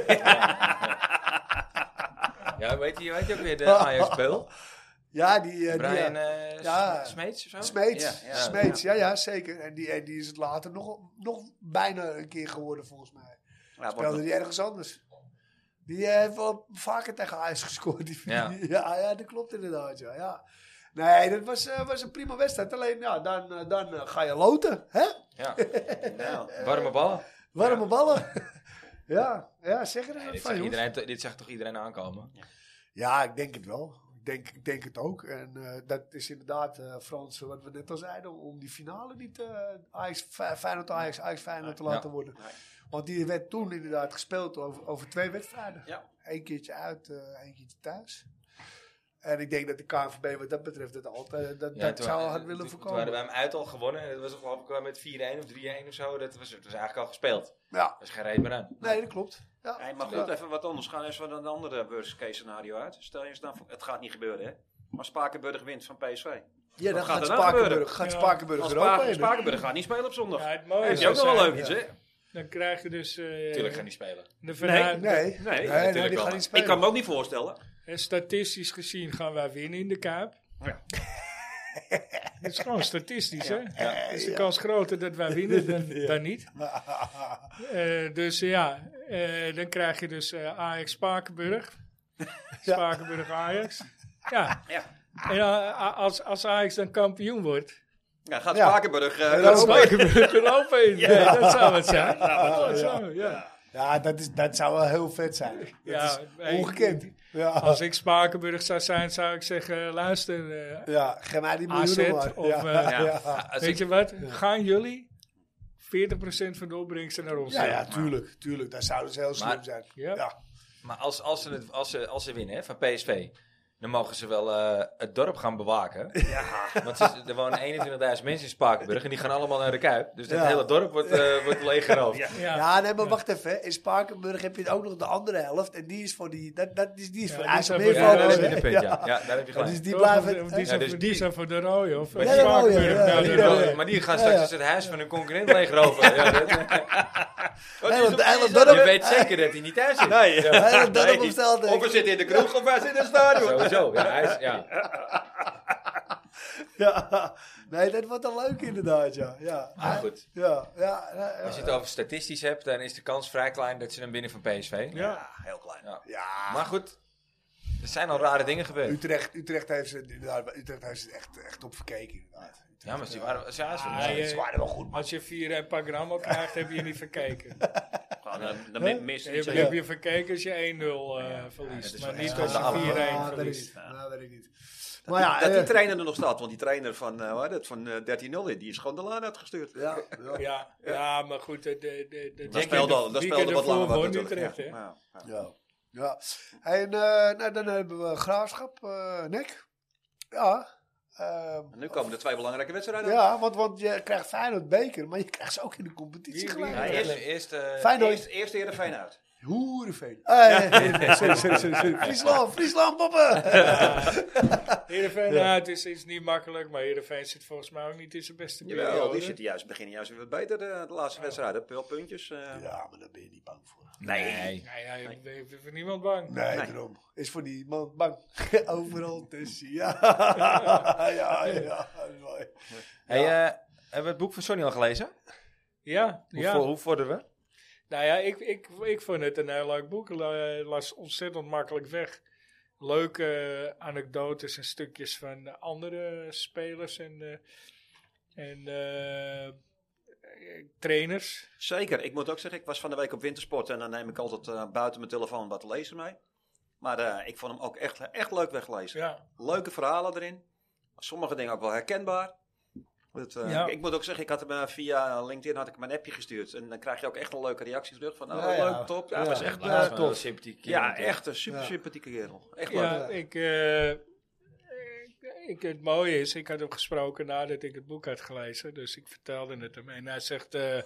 Speaker 1: Ja, weet je, weet je ook weer de Ajax-spel?
Speaker 4: Ja, die, eh, die
Speaker 1: Brian
Speaker 4: eh,
Speaker 1: eh, S-
Speaker 4: Ja.
Speaker 1: Smeets of zo?
Speaker 4: Smeets,
Speaker 1: Ja, ja.
Speaker 4: Smeets, ja, ja, zeker. En die, en die is het later nog, nog bijna een keer geworden volgens mij.
Speaker 5: Ja, wordt
Speaker 4: Speelde die ergens anders. Die eh, heeft wel vaker tegen Ajax gescoord. Die,
Speaker 1: Ja.
Speaker 4: ja. ja, dat klopt inderdaad, ja. ja. Nee, dat was, eh, was een prima wedstrijd. Alleen, ja, dan, eh, dan eh, ga je loten, hè?
Speaker 1: Ja.
Speaker 5: nou,
Speaker 1: Warme ballen.
Speaker 4: Eh, Warme ballen. ja, ja, zeg er eens
Speaker 1: Nee,
Speaker 4: wat
Speaker 1: dit,
Speaker 4: van,
Speaker 1: zag
Speaker 4: jongens.
Speaker 1: iedereen, dit zag toch iedereen aankomen?
Speaker 4: Ja, ik denk het wel. Ik denk, ik denk het ook. En eh, dat is inderdaad, eh Frans, wat we net al zeiden, om, om die finale niet eh Ajax, Fe- Feyenoord Ajax, Ajax Feyenoord te laten worden.
Speaker 5: Nee.
Speaker 4: Want die werd toen inderdaad gespeeld over, over twee wedstrijden.
Speaker 5: Ja.
Speaker 4: Eén keertje uit, eh één keertje thuis. En ik denk dat de KNVB wat dat betreft dat altijd, dat,
Speaker 1: Ja,
Speaker 4: dat
Speaker 1: toen-
Speaker 4: zou
Speaker 1: eh,
Speaker 4: had
Speaker 1: toen-
Speaker 4: willen
Speaker 1: Toen hadden
Speaker 4: voorkomen.
Speaker 1: wij hem uit al gewonnen. En dat was geloof ik wel met 4-1 of 3-1 of zo. Dat was, dat was eigenlijk al gespeeld.
Speaker 4: Ja,
Speaker 1: Er is geen reet meer aan.
Speaker 4: nee, dat klopt. Ja,
Speaker 5: hey, maar
Speaker 4: Ja.
Speaker 5: goed, eh, even wat anders. Gaan eens van een andere worst case scenario uit. Stel je eens dan, voor- het gaat niet gebeuren hè. Maar Spakenburg wint van PSV.
Speaker 4: Ja,
Speaker 5: Wat
Speaker 4: dan
Speaker 5: gaat
Speaker 4: gaat
Speaker 5: er nou gebeuren?
Speaker 4: Spakenburg, gaat
Speaker 2: Ja.
Speaker 4: Spakenburg
Speaker 5: Want
Speaker 4: er ook
Speaker 5: Spaken-
Speaker 4: heen.
Speaker 5: Spakenburg gaat niet spelen op zondag.
Speaker 2: Ja,
Speaker 5: Ja,
Speaker 2: het mooie
Speaker 5: dat
Speaker 2: is
Speaker 5: is ook nog
Speaker 2: als
Speaker 5: wel
Speaker 2: hij-
Speaker 5: leuk iets hè.
Speaker 2: Dan krijg je dus... eh,
Speaker 1: Tuurlijk gaan die spelen.
Speaker 2: de verhuis-
Speaker 4: Nee, nee, nee,
Speaker 5: natuurlijk
Speaker 4: die
Speaker 1: wel.
Speaker 4: gaan niet spelen.
Speaker 5: Ik kan me ook niet voorstellen.
Speaker 2: Eh, Statistisch gezien gaan wij winnen in de Kuip. Het is gewoon statistisch, hè? is de kans groter dat wij winnen dan, dan niet. Eh, dus ja, eh, dan krijg je dus eh, Ajax Spakenburg. Spakenburg Ajax. Ja.
Speaker 5: Ja.
Speaker 2: En eh, als, als Ajax dan kampioen wordt,
Speaker 5: Ja, gaat
Speaker 4: Ja.
Speaker 5: Spakenburg... eh,
Speaker 4: dat
Speaker 2: dan
Speaker 4: is
Speaker 2: Spakenburg Europa in. Nee, dat zou het zijn. Ja, zo, ja.
Speaker 4: Ja, dat, is, dat zou wel heel vet zijn. Dat
Speaker 2: Ja,
Speaker 4: is
Speaker 2: hey,
Speaker 4: ongekend. Ja,
Speaker 2: Als ik Spakenburg zou zijn, zou ik zeggen, luister, eh,
Speaker 4: ja geef mij die
Speaker 2: AZ
Speaker 4: miljoenen maar.
Speaker 2: of,
Speaker 4: ja.
Speaker 2: eh,
Speaker 4: ja. Ja.
Speaker 1: Ah, als
Speaker 2: Weet
Speaker 1: ik-
Speaker 2: je wat? Gaan jullie 40% van de opbrengsten naar ons?
Speaker 4: ja,
Speaker 2: doen?
Speaker 4: tuurlijk, tuurlijk. Dat zou dus heel slim
Speaker 1: Maar-
Speaker 4: zijn.
Speaker 2: Ja.
Speaker 4: Ja.
Speaker 1: Maar als, als, ze het, als, ze, als ze winnen hè, van PSV, dan mogen ze wel eh, het dorp gaan bewaken. Want ze, er wonen 21.000 mensen in Spakenburg en die gaan allemaal naar de Kuip. Dus dat
Speaker 4: Ja.
Speaker 1: hele dorp wordt, eh wordt leeggeroofd.
Speaker 2: Ja.
Speaker 4: Ja, nee, maar wacht even. hè. In Spakenburg heb je ook nog de andere helft. En die is voor die... Dat, dat is, die is
Speaker 2: Ja,
Speaker 4: voor
Speaker 2: die zijn
Speaker 4: IJsselmeer.
Speaker 2: voor
Speaker 1: Ja, dat
Speaker 2: de- dat
Speaker 1: is
Speaker 2: is
Speaker 1: een punt, ja.
Speaker 4: Ja.
Speaker 1: ja. Daar heb je
Speaker 4: Ja,
Speaker 1: gelijk.
Speaker 4: Dus die
Speaker 2: Toch?
Speaker 4: blijven...
Speaker 2: Of die, zijn,
Speaker 1: dus
Speaker 2: voor-
Speaker 1: die-
Speaker 2: die zijn voor de rode, of?
Speaker 4: Ja, de rode,
Speaker 2: Spakenburg,
Speaker 4: ja,
Speaker 2: nou,
Speaker 4: die
Speaker 2: de
Speaker 4: rode.
Speaker 2: rode.
Speaker 1: Maar die gaan straks
Speaker 4: Ja, ja.
Speaker 1: dus het huis van hun concurrent leegroven. Ja, dat-
Speaker 4: Heel het hele
Speaker 1: je
Speaker 4: dorp...
Speaker 1: weet zeker dat hij niet thuis is.
Speaker 5: Nee.
Speaker 4: Heel het dorp
Speaker 5: Nee.
Speaker 4: op stel, denk
Speaker 5: Of we
Speaker 4: ik.
Speaker 5: zitten in de kroeg of wij zitten in het stadion.
Speaker 1: Sowieso, ja, hij is, ja.
Speaker 4: Ja. Nee, dat wordt dan leuk inderdaad, ja. Ja,
Speaker 1: Maar goed,
Speaker 4: ja. ja, nou, eh, ja,
Speaker 1: als je
Speaker 4: ja.
Speaker 1: het over statistisch hebt, dan is de kans vrij klein dat ze hem winnen van PSV.
Speaker 2: Ja.
Speaker 5: Heel klein.
Speaker 4: Ja.
Speaker 1: Maar goed, er zijn al rare dingen gebeurd.
Speaker 4: Utrecht, Utrecht heeft ze, inderdaad, Utrecht heeft ze echt, echt op verkeken, inderdaad.
Speaker 1: Ja, maar ze waren, ze waren-
Speaker 2: Ah,
Speaker 1: ze-
Speaker 2: je-
Speaker 4: Ze waren wel goed, maar...
Speaker 2: Als je 4 en paar gram al krijgt, heb je je niet verkeken.
Speaker 5: Nou, dan dan
Speaker 2: Hè?
Speaker 5: mis
Speaker 2: Je
Speaker 5: iets.
Speaker 2: heb je verkeken als je 1-0 eh, verliest.
Speaker 5: dat is
Speaker 2: maar
Speaker 5: wel-
Speaker 2: niet
Speaker 5: ja,
Speaker 2: als
Speaker 5: dat is
Speaker 2: je 4-1
Speaker 4: Ja, weet ik
Speaker 2: verliest.
Speaker 4: niet. Ja, Nou, weet ik niet.
Speaker 3: Maar
Speaker 4: Maar ja,
Speaker 3: dat die
Speaker 4: eh,
Speaker 3: trainer er nog staat, want die trainer van, eh, hoe heet het, van eh, 13-0, die is gewoon de laan uitgestuurd.
Speaker 4: ja, ja.
Speaker 2: Ja, ja, maar goed. De, de, de, de
Speaker 3: Dat speelde, al- dat speelde wat langer wat natuurlijk.
Speaker 2: Utrecht,
Speaker 3: ja.
Speaker 2: hè?
Speaker 3: Ja, ja.
Speaker 4: Ja. ja. En eh, nou, dan hebben we Graafschap, eh Nek. Ja. ehm,
Speaker 3: En Nu komen de twee belangrijke wedstrijden.
Speaker 4: ja, want, want je krijgt Feyenoord beker, maar je krijgt ze ook in de competitie
Speaker 2: Wie-
Speaker 4: gelijk.
Speaker 2: wie-
Speaker 1: eerst, eerst, eh,
Speaker 4: Feyenoord,
Speaker 5: Eerst, eerst Heerenveen uit.
Speaker 4: hoerenveen. Ah, ja, ja, ja. sorry, sorry, sorry, sorry. Friesland, Friesland, poppen!
Speaker 2: Heerenveen, ja. het is, is niet makkelijk, maar Heerenveen zit volgens mij ook niet in zijn beste periode.
Speaker 3: Jawel, die zitten juist, beginnen juist weer wat beter eh, de, de laatste wedstrijden. Wel puntjes. eh.
Speaker 4: Ja, maar daar ben je niet bang voor.
Speaker 1: Nee.
Speaker 2: Nou ja, je bent voor niemand bang.
Speaker 4: Nee, daarom. Is voor die man bang. Overal tussen. Ja, ja, ja. mooi.
Speaker 1: Hey, eh, hebben we het boek van Sonny al gelezen?
Speaker 2: Ja,
Speaker 1: Hoe,
Speaker 2: ja.
Speaker 1: vo- hoe vorderen we?
Speaker 2: Nou ja, ik, ik, ik vond het een heel leuk boek. La- Las ontzettend makkelijk weg. Leuke eh, anekdotes en stukjes van de andere spelers en, eh, en eh, eh, trainers.
Speaker 3: Zeker, ik moet ook zeggen, ik was van de week op wintersport en dan neem ik altijd eh, buiten mijn telefoon wat te lezen mee. Maar eh, ik vond hem ook echt, echt leuk weglezen.
Speaker 2: Ja,
Speaker 3: Leuke verhalen erin. Sommige dingen ook wel herkenbaar. Dat, eh,
Speaker 2: Ja.
Speaker 3: ik, ik moet ook zeggen, ik had hem eh, via LinkedIn had ik hem een appje gestuurd. En dan krijg je ook echt een leuke reactie terug. Van, oh,
Speaker 4: Ja, ja.
Speaker 3: leuk, top. Ja,
Speaker 4: Ja.
Speaker 3: was echt,
Speaker 1: Laat
Speaker 4: eh,
Speaker 1: eens maar
Speaker 4: tof.
Speaker 1: een sympathiek
Speaker 3: ja,
Speaker 1: iemand,
Speaker 3: echt een super
Speaker 4: Ja.
Speaker 3: sympathieke kerel. Echt leuk.
Speaker 2: ja ik, eh, ik, het mooie is, ik had hem gesproken nadat ik het boek had gelezen. Dus ik vertelde het hem. En hij zegt, eh,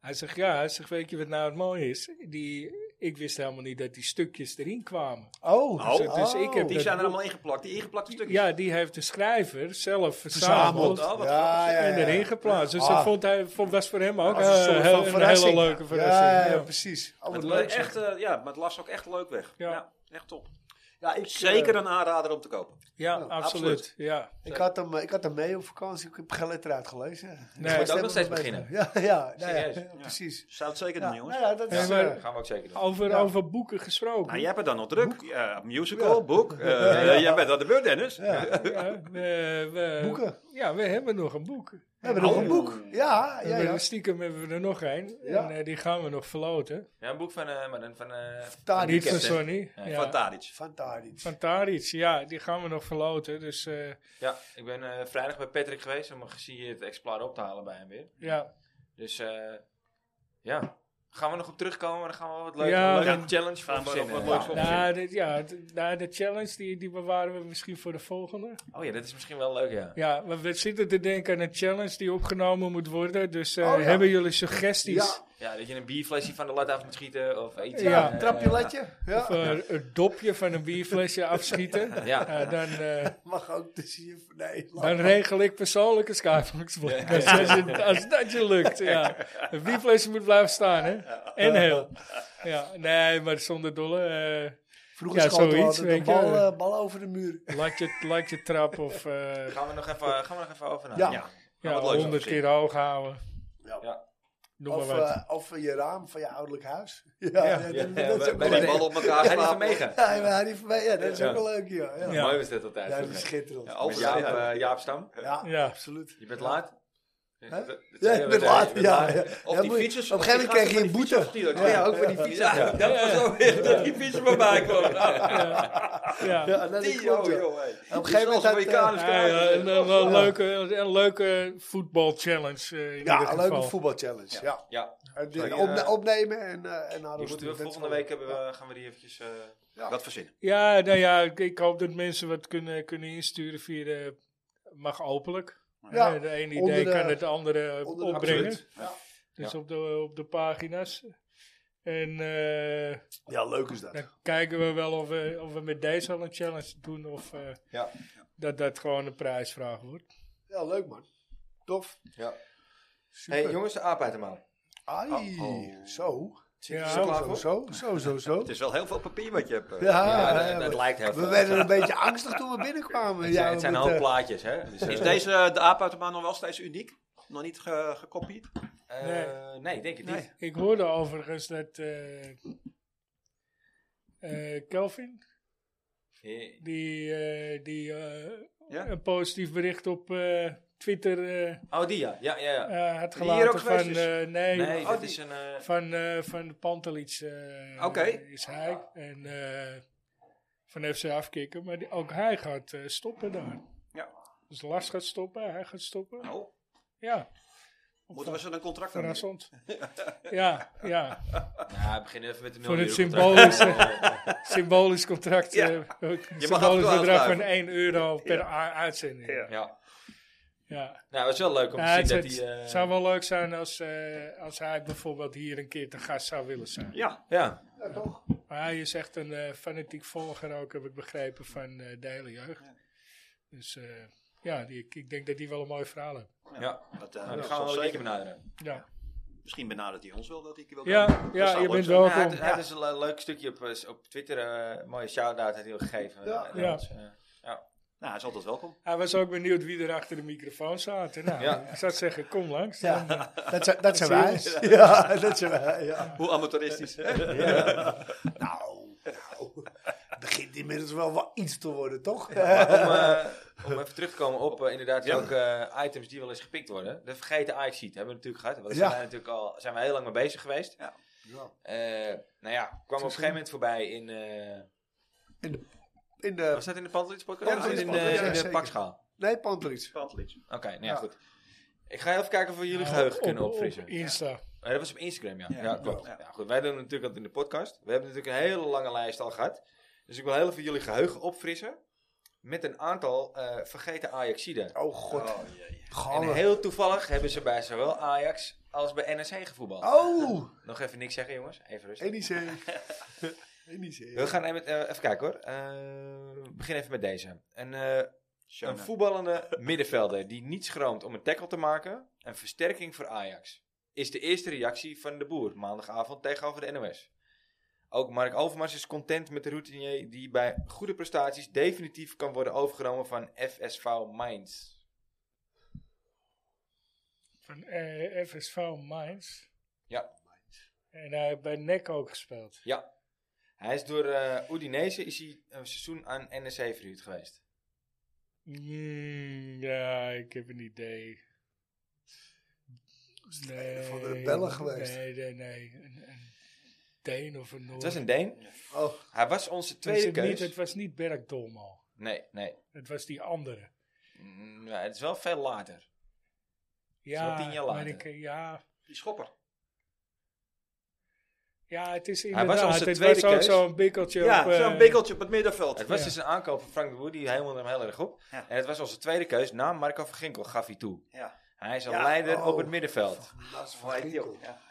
Speaker 2: hij zegt, ja, hij zegt, weet je wat nou het mooie is? Die, ik wist helemaal niet dat die stukjes erin kwamen.
Speaker 4: Oh,
Speaker 2: Dus- dus ik heb-
Speaker 3: Die zijn er allemaal ingeplakt, die ingeplakte stukjes.
Speaker 2: Ja, die heeft de schrijver zelf verzameld.
Speaker 4: verzameld. Ah,
Speaker 3: Oh, wat
Speaker 4: ja, ja, ja.
Speaker 2: En erin geplaatst. Dus
Speaker 4: Ah.
Speaker 2: dat vond hij, vond, was voor hem ook
Speaker 4: Als een
Speaker 2: eh,
Speaker 4: soort van
Speaker 2: heel- een hele
Speaker 4: verrassing.
Speaker 2: leuke
Speaker 4: Ja,
Speaker 2: verrassing.
Speaker 4: ja,
Speaker 2: Ja.
Speaker 4: precies. Oh, wat
Speaker 3: Het,
Speaker 4: leuk.
Speaker 3: leuk,
Speaker 4: zeg.
Speaker 3: echt, eh, ja, maar het las ook echt leuk weg.
Speaker 2: Ja.
Speaker 3: Ja, echt top.
Speaker 4: Ja, ik, eh,
Speaker 3: Zeker een aanrader om te kopen.
Speaker 2: Ja,
Speaker 4: Ja,
Speaker 2: absoluut.
Speaker 3: absoluut.
Speaker 2: Ja.
Speaker 4: ik, had hem, eh, ik had hem mee op vakantie. Ik heb geen letter uitgelezen.
Speaker 2: Nee. Moet
Speaker 1: ook nog steeds
Speaker 4: Ja, ja, ja, nou ja,
Speaker 1: Serieus?
Speaker 4: ja, precies.
Speaker 3: Zou het
Speaker 4: Ja,
Speaker 3: zeker doen,
Speaker 4: nou
Speaker 3: jongens.
Speaker 4: ja, dat
Speaker 2: Ja,
Speaker 4: is...
Speaker 2: maar-
Speaker 4: eh,
Speaker 1: hè? Gaan we ook zeker doen.
Speaker 2: Over,
Speaker 4: Ja.
Speaker 2: over boeken gesproken.
Speaker 3: Nou, jij hebt het dan nog druk. Ja, musical, boek. eh, Jij bent aan de beurt, Dennis.
Speaker 4: ja. We
Speaker 2: Ja, we, we-
Speaker 4: Boeken.
Speaker 2: Ja, we hebben nog een boek.
Speaker 4: hebben
Speaker 2: Oh.
Speaker 4: nog een boek. Ja,
Speaker 2: We
Speaker 4: ja,
Speaker 2: hebben-
Speaker 4: ja.
Speaker 2: Stiekem hebben we er nog een.
Speaker 4: Ja.
Speaker 2: En eh, die gaan we nog verloten.
Speaker 1: Ja, een boek van... eh, maar dan van eh,
Speaker 4: Tadic.
Speaker 1: die
Speaker 2: Niet van
Speaker 1: kent, hè?
Speaker 2: Sonny.
Speaker 1: Ja,
Speaker 2: Ja.
Speaker 3: Van Tadic.
Speaker 4: Van Tadic.
Speaker 2: Van Taric, ja, die gaan we nog verloten. Dus eh,
Speaker 1: Ja, ik ben eh, vrijdag bij Patrick geweest om een gesieerd exemplaar op te halen bij hem weer.
Speaker 2: ja.
Speaker 1: Dus eh, ja, gaan we nog op terugkomen. maar Dan gaan we wat leuke,
Speaker 2: Ja,
Speaker 1: leuke
Speaker 2: dan-
Speaker 1: challenge voor
Speaker 5: Gaan we nog
Speaker 1: verzinnen.
Speaker 5: wat leuks
Speaker 1: Ja.
Speaker 5: op-
Speaker 2: Nou, dit- ja, d- nou, de challenge die, die bewaren we misschien voor de volgende.
Speaker 1: Oh ja, dat is misschien wel leuk, ja.
Speaker 2: Ja, maar we zitten te denken aan een challenge die opgenomen moet worden. Dus eh,
Speaker 4: Oh, ja.
Speaker 2: hebben jullie suggesties?
Speaker 4: Ja.
Speaker 1: Ja, dat je een bierflesje van de lat af moet schieten of iets.
Speaker 2: Ja,
Speaker 1: eh,
Speaker 4: Trapje letje.
Speaker 2: Of
Speaker 4: Ja.
Speaker 2: eh, het dopje van een bierflesje afschieten?
Speaker 1: Ja.
Speaker 2: Nou, dan, eh,
Speaker 4: Mag ook tussen je... Nee, laat
Speaker 2: dan
Speaker 4: maar.
Speaker 2: regel ik persoonlijk een skybox als, als je- als dat je lukt, ja. Een bierflesje moet blijven staan, hè? En heel. Ja, nee, maar zonder dolle. eh
Speaker 4: Vroeger
Speaker 2: Ja,
Speaker 4: schoten we
Speaker 2: zoiets,
Speaker 4: altijd een
Speaker 2: weet je.
Speaker 4: bal, eh, bal over de muur.
Speaker 2: latje, latje trap of eh,
Speaker 1: Gaan we nog even, gaan we nog even over na.
Speaker 4: Ja.
Speaker 2: ja,
Speaker 3: wat leuks
Speaker 2: 100 keer hoog houden.
Speaker 4: Ja.
Speaker 1: Ja.
Speaker 2: Noem maar
Speaker 4: Of,
Speaker 2: wat.
Speaker 4: eh, of je raam van je ouderlijk huis. Ja, ja,
Speaker 1: Ja,
Speaker 4: dat,
Speaker 1: bij-
Speaker 4: dat is ook
Speaker 1: bij
Speaker 4: leuk.
Speaker 1: de bal op elkaar
Speaker 4: Ja,
Speaker 1: ja, van Mega.
Speaker 4: Ja, maar Harry van Megen, ja, dat is
Speaker 1: Ja.
Speaker 4: ook wel leuk, ja. Ja,
Speaker 2: Ja.
Speaker 4: ja.
Speaker 1: Mooi was dat altijd.
Speaker 4: dat is schitterend. Ja,
Speaker 1: Met Jaap, eh, Jaap Stam.
Speaker 2: Ja.
Speaker 4: absoluut.
Speaker 1: Je bent laat. Dat- dat-
Speaker 4: Ja,
Speaker 1: dat-
Speaker 4: ik ben
Speaker 1: dat-
Speaker 4: laat,
Speaker 1: je
Speaker 4: ja.
Speaker 1: bent
Speaker 4: ja.
Speaker 3: Of
Speaker 4: Ja,
Speaker 3: die
Speaker 4: moet je-
Speaker 3: fietsers.
Speaker 4: Op een gegeven moment krijg je een boete.
Speaker 3: Ja, ja, ook voor die fietsers. Ja, dat was ook weer dat die fietsen voorbij kwamen. Nou,
Speaker 2: Ja.
Speaker 4: Ja, dat is
Speaker 3: Die,
Speaker 4: klopt,
Speaker 3: joh,
Speaker 4: ja.
Speaker 3: joh. hey.
Speaker 4: Op een gegeven moment had, eh,
Speaker 3: Amerikanen
Speaker 2: Ja, ja,
Speaker 3: krijgen.
Speaker 2: een, een, een leuke, een leuke voetbalchallenge eh, in ieder
Speaker 4: Ja, een
Speaker 2: geval.
Speaker 4: leuke voetbalchallenge, ja.
Speaker 1: Ja,
Speaker 4: En
Speaker 1: Zal
Speaker 4: dit
Speaker 1: ik,
Speaker 4: opne-
Speaker 1: eh,
Speaker 4: Opnemen en eh, en
Speaker 1: die
Speaker 4: nadoen.
Speaker 1: moeten
Speaker 4: Dat
Speaker 1: we
Speaker 4: is
Speaker 1: volgende
Speaker 4: wel-
Speaker 1: week hebben we, gaan we die eventjes... eh,
Speaker 3: Wat verzinnen.
Speaker 2: Ja, nou ja, ik, ik hoop dat mensen wat kunnen, kunnen insturen via de... Mag openlijk.
Speaker 4: Ja,
Speaker 2: Eh, de ene
Speaker 4: onder
Speaker 2: idee
Speaker 4: de-
Speaker 2: kan het andere eh,
Speaker 4: onder de-
Speaker 2: opbrengen.
Speaker 4: absoluut. Ja.
Speaker 2: Dus op, de, op de pagina's. En eh,
Speaker 4: Ja, leuk is dat.
Speaker 2: dan kijken we wel of we, of we met deze al een challenge doen. Of eh,
Speaker 1: Ja.
Speaker 2: dat dat gewoon een prijsvraag wordt.
Speaker 4: Ja, leuk man. Tof.
Speaker 1: Ja.
Speaker 4: Super.
Speaker 1: Hey Oh, jongens, de aap uit de maan.
Speaker 4: Ai, zo.
Speaker 2: Ja,
Speaker 4: Zo, zo, zo, zo, zo, zo.
Speaker 3: Het is wel heel veel papier wat je hebt. eh.
Speaker 4: Ja,
Speaker 1: Ja,
Speaker 4: eh,
Speaker 1: dat, dat lijkt heel
Speaker 4: we
Speaker 1: veel.
Speaker 4: werden een beetje angstig toen we binnenkwamen.
Speaker 1: Het
Speaker 4: Ja,
Speaker 1: zijn, het zijn een
Speaker 4: met,
Speaker 1: hoop
Speaker 4: eh,
Speaker 1: plaatjes, hè? Dus, eh,
Speaker 3: Is deze, eh, de aap uit de maan, nog wel steeds uniek? Nog niet ge- gekopieerd?
Speaker 1: eh,
Speaker 2: Nee.
Speaker 1: nee, denk ik niet.
Speaker 2: Ik hoorde overigens dat eh, eh, Kelvin
Speaker 1: He-
Speaker 2: Die, eh, die eh,
Speaker 5: Ja?
Speaker 2: een positief bericht op eh, Twitter eh,
Speaker 1: Oh, die ja. Ja, ja, ja.
Speaker 2: eh, had
Speaker 5: Die hier ook
Speaker 2: gelaten van...
Speaker 5: geweest is?
Speaker 2: eh, nee,
Speaker 1: Nee, dat
Speaker 5: die-
Speaker 1: is een... eh,
Speaker 2: van, eh van de Pantelits eh,
Speaker 5: Oké.
Speaker 2: is hij. En eh, van FC afkicken. Maar die- ook hij gaat eh, stoppen daar.
Speaker 5: Ja.
Speaker 2: Dus Lars gaat stoppen, hij gaat stoppen.
Speaker 5: Nou,
Speaker 2: Ja,
Speaker 5: moeten we ze een contract aan doen?
Speaker 2: verrassend. ja, ja.
Speaker 1: nou, we beginnen even met de
Speaker 2: Voor het
Speaker 1: miljoenencontract.
Speaker 2: Symbolisch contract.
Speaker 5: Ja.
Speaker 2: eh, ook
Speaker 5: af en
Speaker 2: symbolisch
Speaker 5: toe
Speaker 2: bedrag van
Speaker 5: afsluiten.
Speaker 2: 1 euro per a- uitzending.
Speaker 3: Ja.
Speaker 2: Ja.
Speaker 1: ja. Nou, het is wel leuk om
Speaker 2: Ja,
Speaker 1: te
Speaker 2: het
Speaker 1: zien
Speaker 2: het
Speaker 1: dat hij... eh,
Speaker 2: zou wel leuk zijn als, eh, als hij bijvoorbeeld hier een keer te gast zou willen zijn.
Speaker 5: Ja,
Speaker 1: Ja,
Speaker 4: Ja, toch?
Speaker 2: Maar hij is echt een eh, fanatiek volger ook, heb ik begrepen, van eh de hele jeugd. Dus eh, ja, die, ik- ik denk dat die wel een mooi verhaal heeft.
Speaker 5: dat, eh,
Speaker 1: ja. Nou,
Speaker 5: dat
Speaker 1: dat
Speaker 5: zal
Speaker 1: gaan we wel een
Speaker 5: zeker.
Speaker 1: keertje benaderen.
Speaker 2: Ja,
Speaker 5: Misschien benadert hij ons wel dat hij wil komen.
Speaker 2: ja,
Speaker 5: Dat
Speaker 2: ja
Speaker 5: zou
Speaker 2: je
Speaker 5: leuk
Speaker 2: bent
Speaker 5: zijn.
Speaker 1: Ja,
Speaker 2: welkom.
Speaker 1: Nou, het, het is een le- leuk stukje op, eh, op Twitter. eh, mooie shout-out heeft hij ook gegeven.
Speaker 4: Ja.
Speaker 1: Eh,
Speaker 2: Ja.
Speaker 1: dat is, eh,
Speaker 5: Nou, hij is altijd welkom.
Speaker 2: Hij was ook benieuwd wie er achter de microfoon zaten. Nou,
Speaker 1: Ja.
Speaker 2: ik zou zeggen, kom langs.
Speaker 4: Ja.
Speaker 2: Dan, eh,
Speaker 4: Dat zijn, dat zijn wij.
Speaker 2: Serieus?
Speaker 4: Ja, dat zijn wij. Ja.
Speaker 5: Hoe amateuristisch.
Speaker 4: Nou, nou, het begint inmiddels wel wat iets te worden, toch?
Speaker 1: Maar om, eh, om even terug te komen op eh, inderdaad ook eh, items die wel eens gepikt worden. De vergeten Ajax sheet hebben we natuurlijk gehad. Want daar
Speaker 4: Ja.
Speaker 1: zijn, wij natuurlijk al, zijn we heel lang mee bezig geweest.
Speaker 5: Ja.
Speaker 4: Ja.
Speaker 1: Eh, nou ja, kwam op een gegeven moment voorbij in... eh,
Speaker 4: In de,
Speaker 1: was dat in de Pantelits
Speaker 4: Ja,
Speaker 1: podcast?
Speaker 4: Eh, dat
Speaker 1: in,
Speaker 4: is
Speaker 1: in,
Speaker 4: de Pantelits,
Speaker 1: de- in
Speaker 4: ja,
Speaker 1: de
Speaker 4: zeker.
Speaker 1: pakschaal.
Speaker 4: nee, Pantelits.
Speaker 1: Oké, nou ja,
Speaker 4: Ja.
Speaker 1: goed. Ik ga even kijken of we jullie geheugen
Speaker 2: Nou, op-
Speaker 1: kunnen
Speaker 2: op- op
Speaker 1: opfrissen.
Speaker 2: Insta.
Speaker 1: Eh, dat was op Instagram, ja.
Speaker 5: Ja,
Speaker 1: Ja,
Speaker 5: klopt.
Speaker 1: klopt.
Speaker 5: Ja.
Speaker 1: Ja. goed. Wij doen natuurlijk dat in de podcast. We hebben natuurlijk een hele lange lijst al gehad. Dus ik wil heel even jullie geheugen opfrissen. Met een aantal eh, vergeten Ajaxiden.
Speaker 4: Oh god,
Speaker 5: Oh, jee.
Speaker 1: En
Speaker 4: gallen.
Speaker 1: heel toevallig hebben ze bij zowel Ajax als bij NEC gevoetbald.
Speaker 4: Oh,
Speaker 1: Nog even niks zeggen, jongens. Even rustig.
Speaker 4: NEC. NEC.
Speaker 1: We gaan even, eh, even kijken hoor. Eh, we beginnen even met deze. Een, eh, een
Speaker 5: Schöne.
Speaker 1: voetballende middenvelder die niet schroomt om een tackle te maken. Een versterking voor Ajax. Is de eerste reactie van de boer maandagavond tegenover de NOS. Ook Mark Overmars is content met de routinier die bij goede prestaties definitief kan worden overgenomen van FSV Mainz.
Speaker 2: Van eh, FSV Mainz.
Speaker 1: Ja.
Speaker 2: En hij heeft bij NEC ook gespeeld.
Speaker 1: Ja. Hij is door eh Udinese is hij een seizoen aan NEC verhuurd geweest.
Speaker 2: Mm, ja, ik heb een idee. Nee,
Speaker 4: van de Belgen geweest?
Speaker 2: Nee, nee, nee. Een, een Deen of een Noor.
Speaker 1: Het was een Deen.
Speaker 4: Oh,
Speaker 1: Hij was onze
Speaker 2: Het was
Speaker 1: tweede
Speaker 2: het niet,
Speaker 1: keus.
Speaker 2: het was niet Berk Dolmo.
Speaker 1: Nee, nee.
Speaker 2: Het was die andere.
Speaker 1: Mm, ja, het is wel veel later.
Speaker 2: Ja,
Speaker 1: wel tien jaar
Speaker 2: maar
Speaker 1: later.
Speaker 2: ik, eh, ja,
Speaker 5: Die schopper.
Speaker 2: ja, het is
Speaker 1: was
Speaker 2: inderdaad.
Speaker 1: onze
Speaker 2: het
Speaker 1: tweede
Speaker 2: was ook
Speaker 1: keus.
Speaker 2: zo'n bikkeltje.
Speaker 5: Ja,
Speaker 2: op, eh,
Speaker 5: zo'n bikkeltje op het middenveld.
Speaker 1: Het was
Speaker 2: Ja.
Speaker 1: dus een aankoop van Frank de Boer, die hemelde hem heel erg op.
Speaker 5: Ja.
Speaker 1: En het was onze tweede keus, na Marco van Ginkel gaf hij toe.
Speaker 5: Ja.
Speaker 1: Hij is een
Speaker 5: Ja,
Speaker 1: leider op
Speaker 4: oh.
Speaker 1: het middenveld.
Speaker 4: dat is
Speaker 5: Hoe
Speaker 4: van
Speaker 5: heet die
Speaker 4: Ginkel.
Speaker 5: ook? Ja.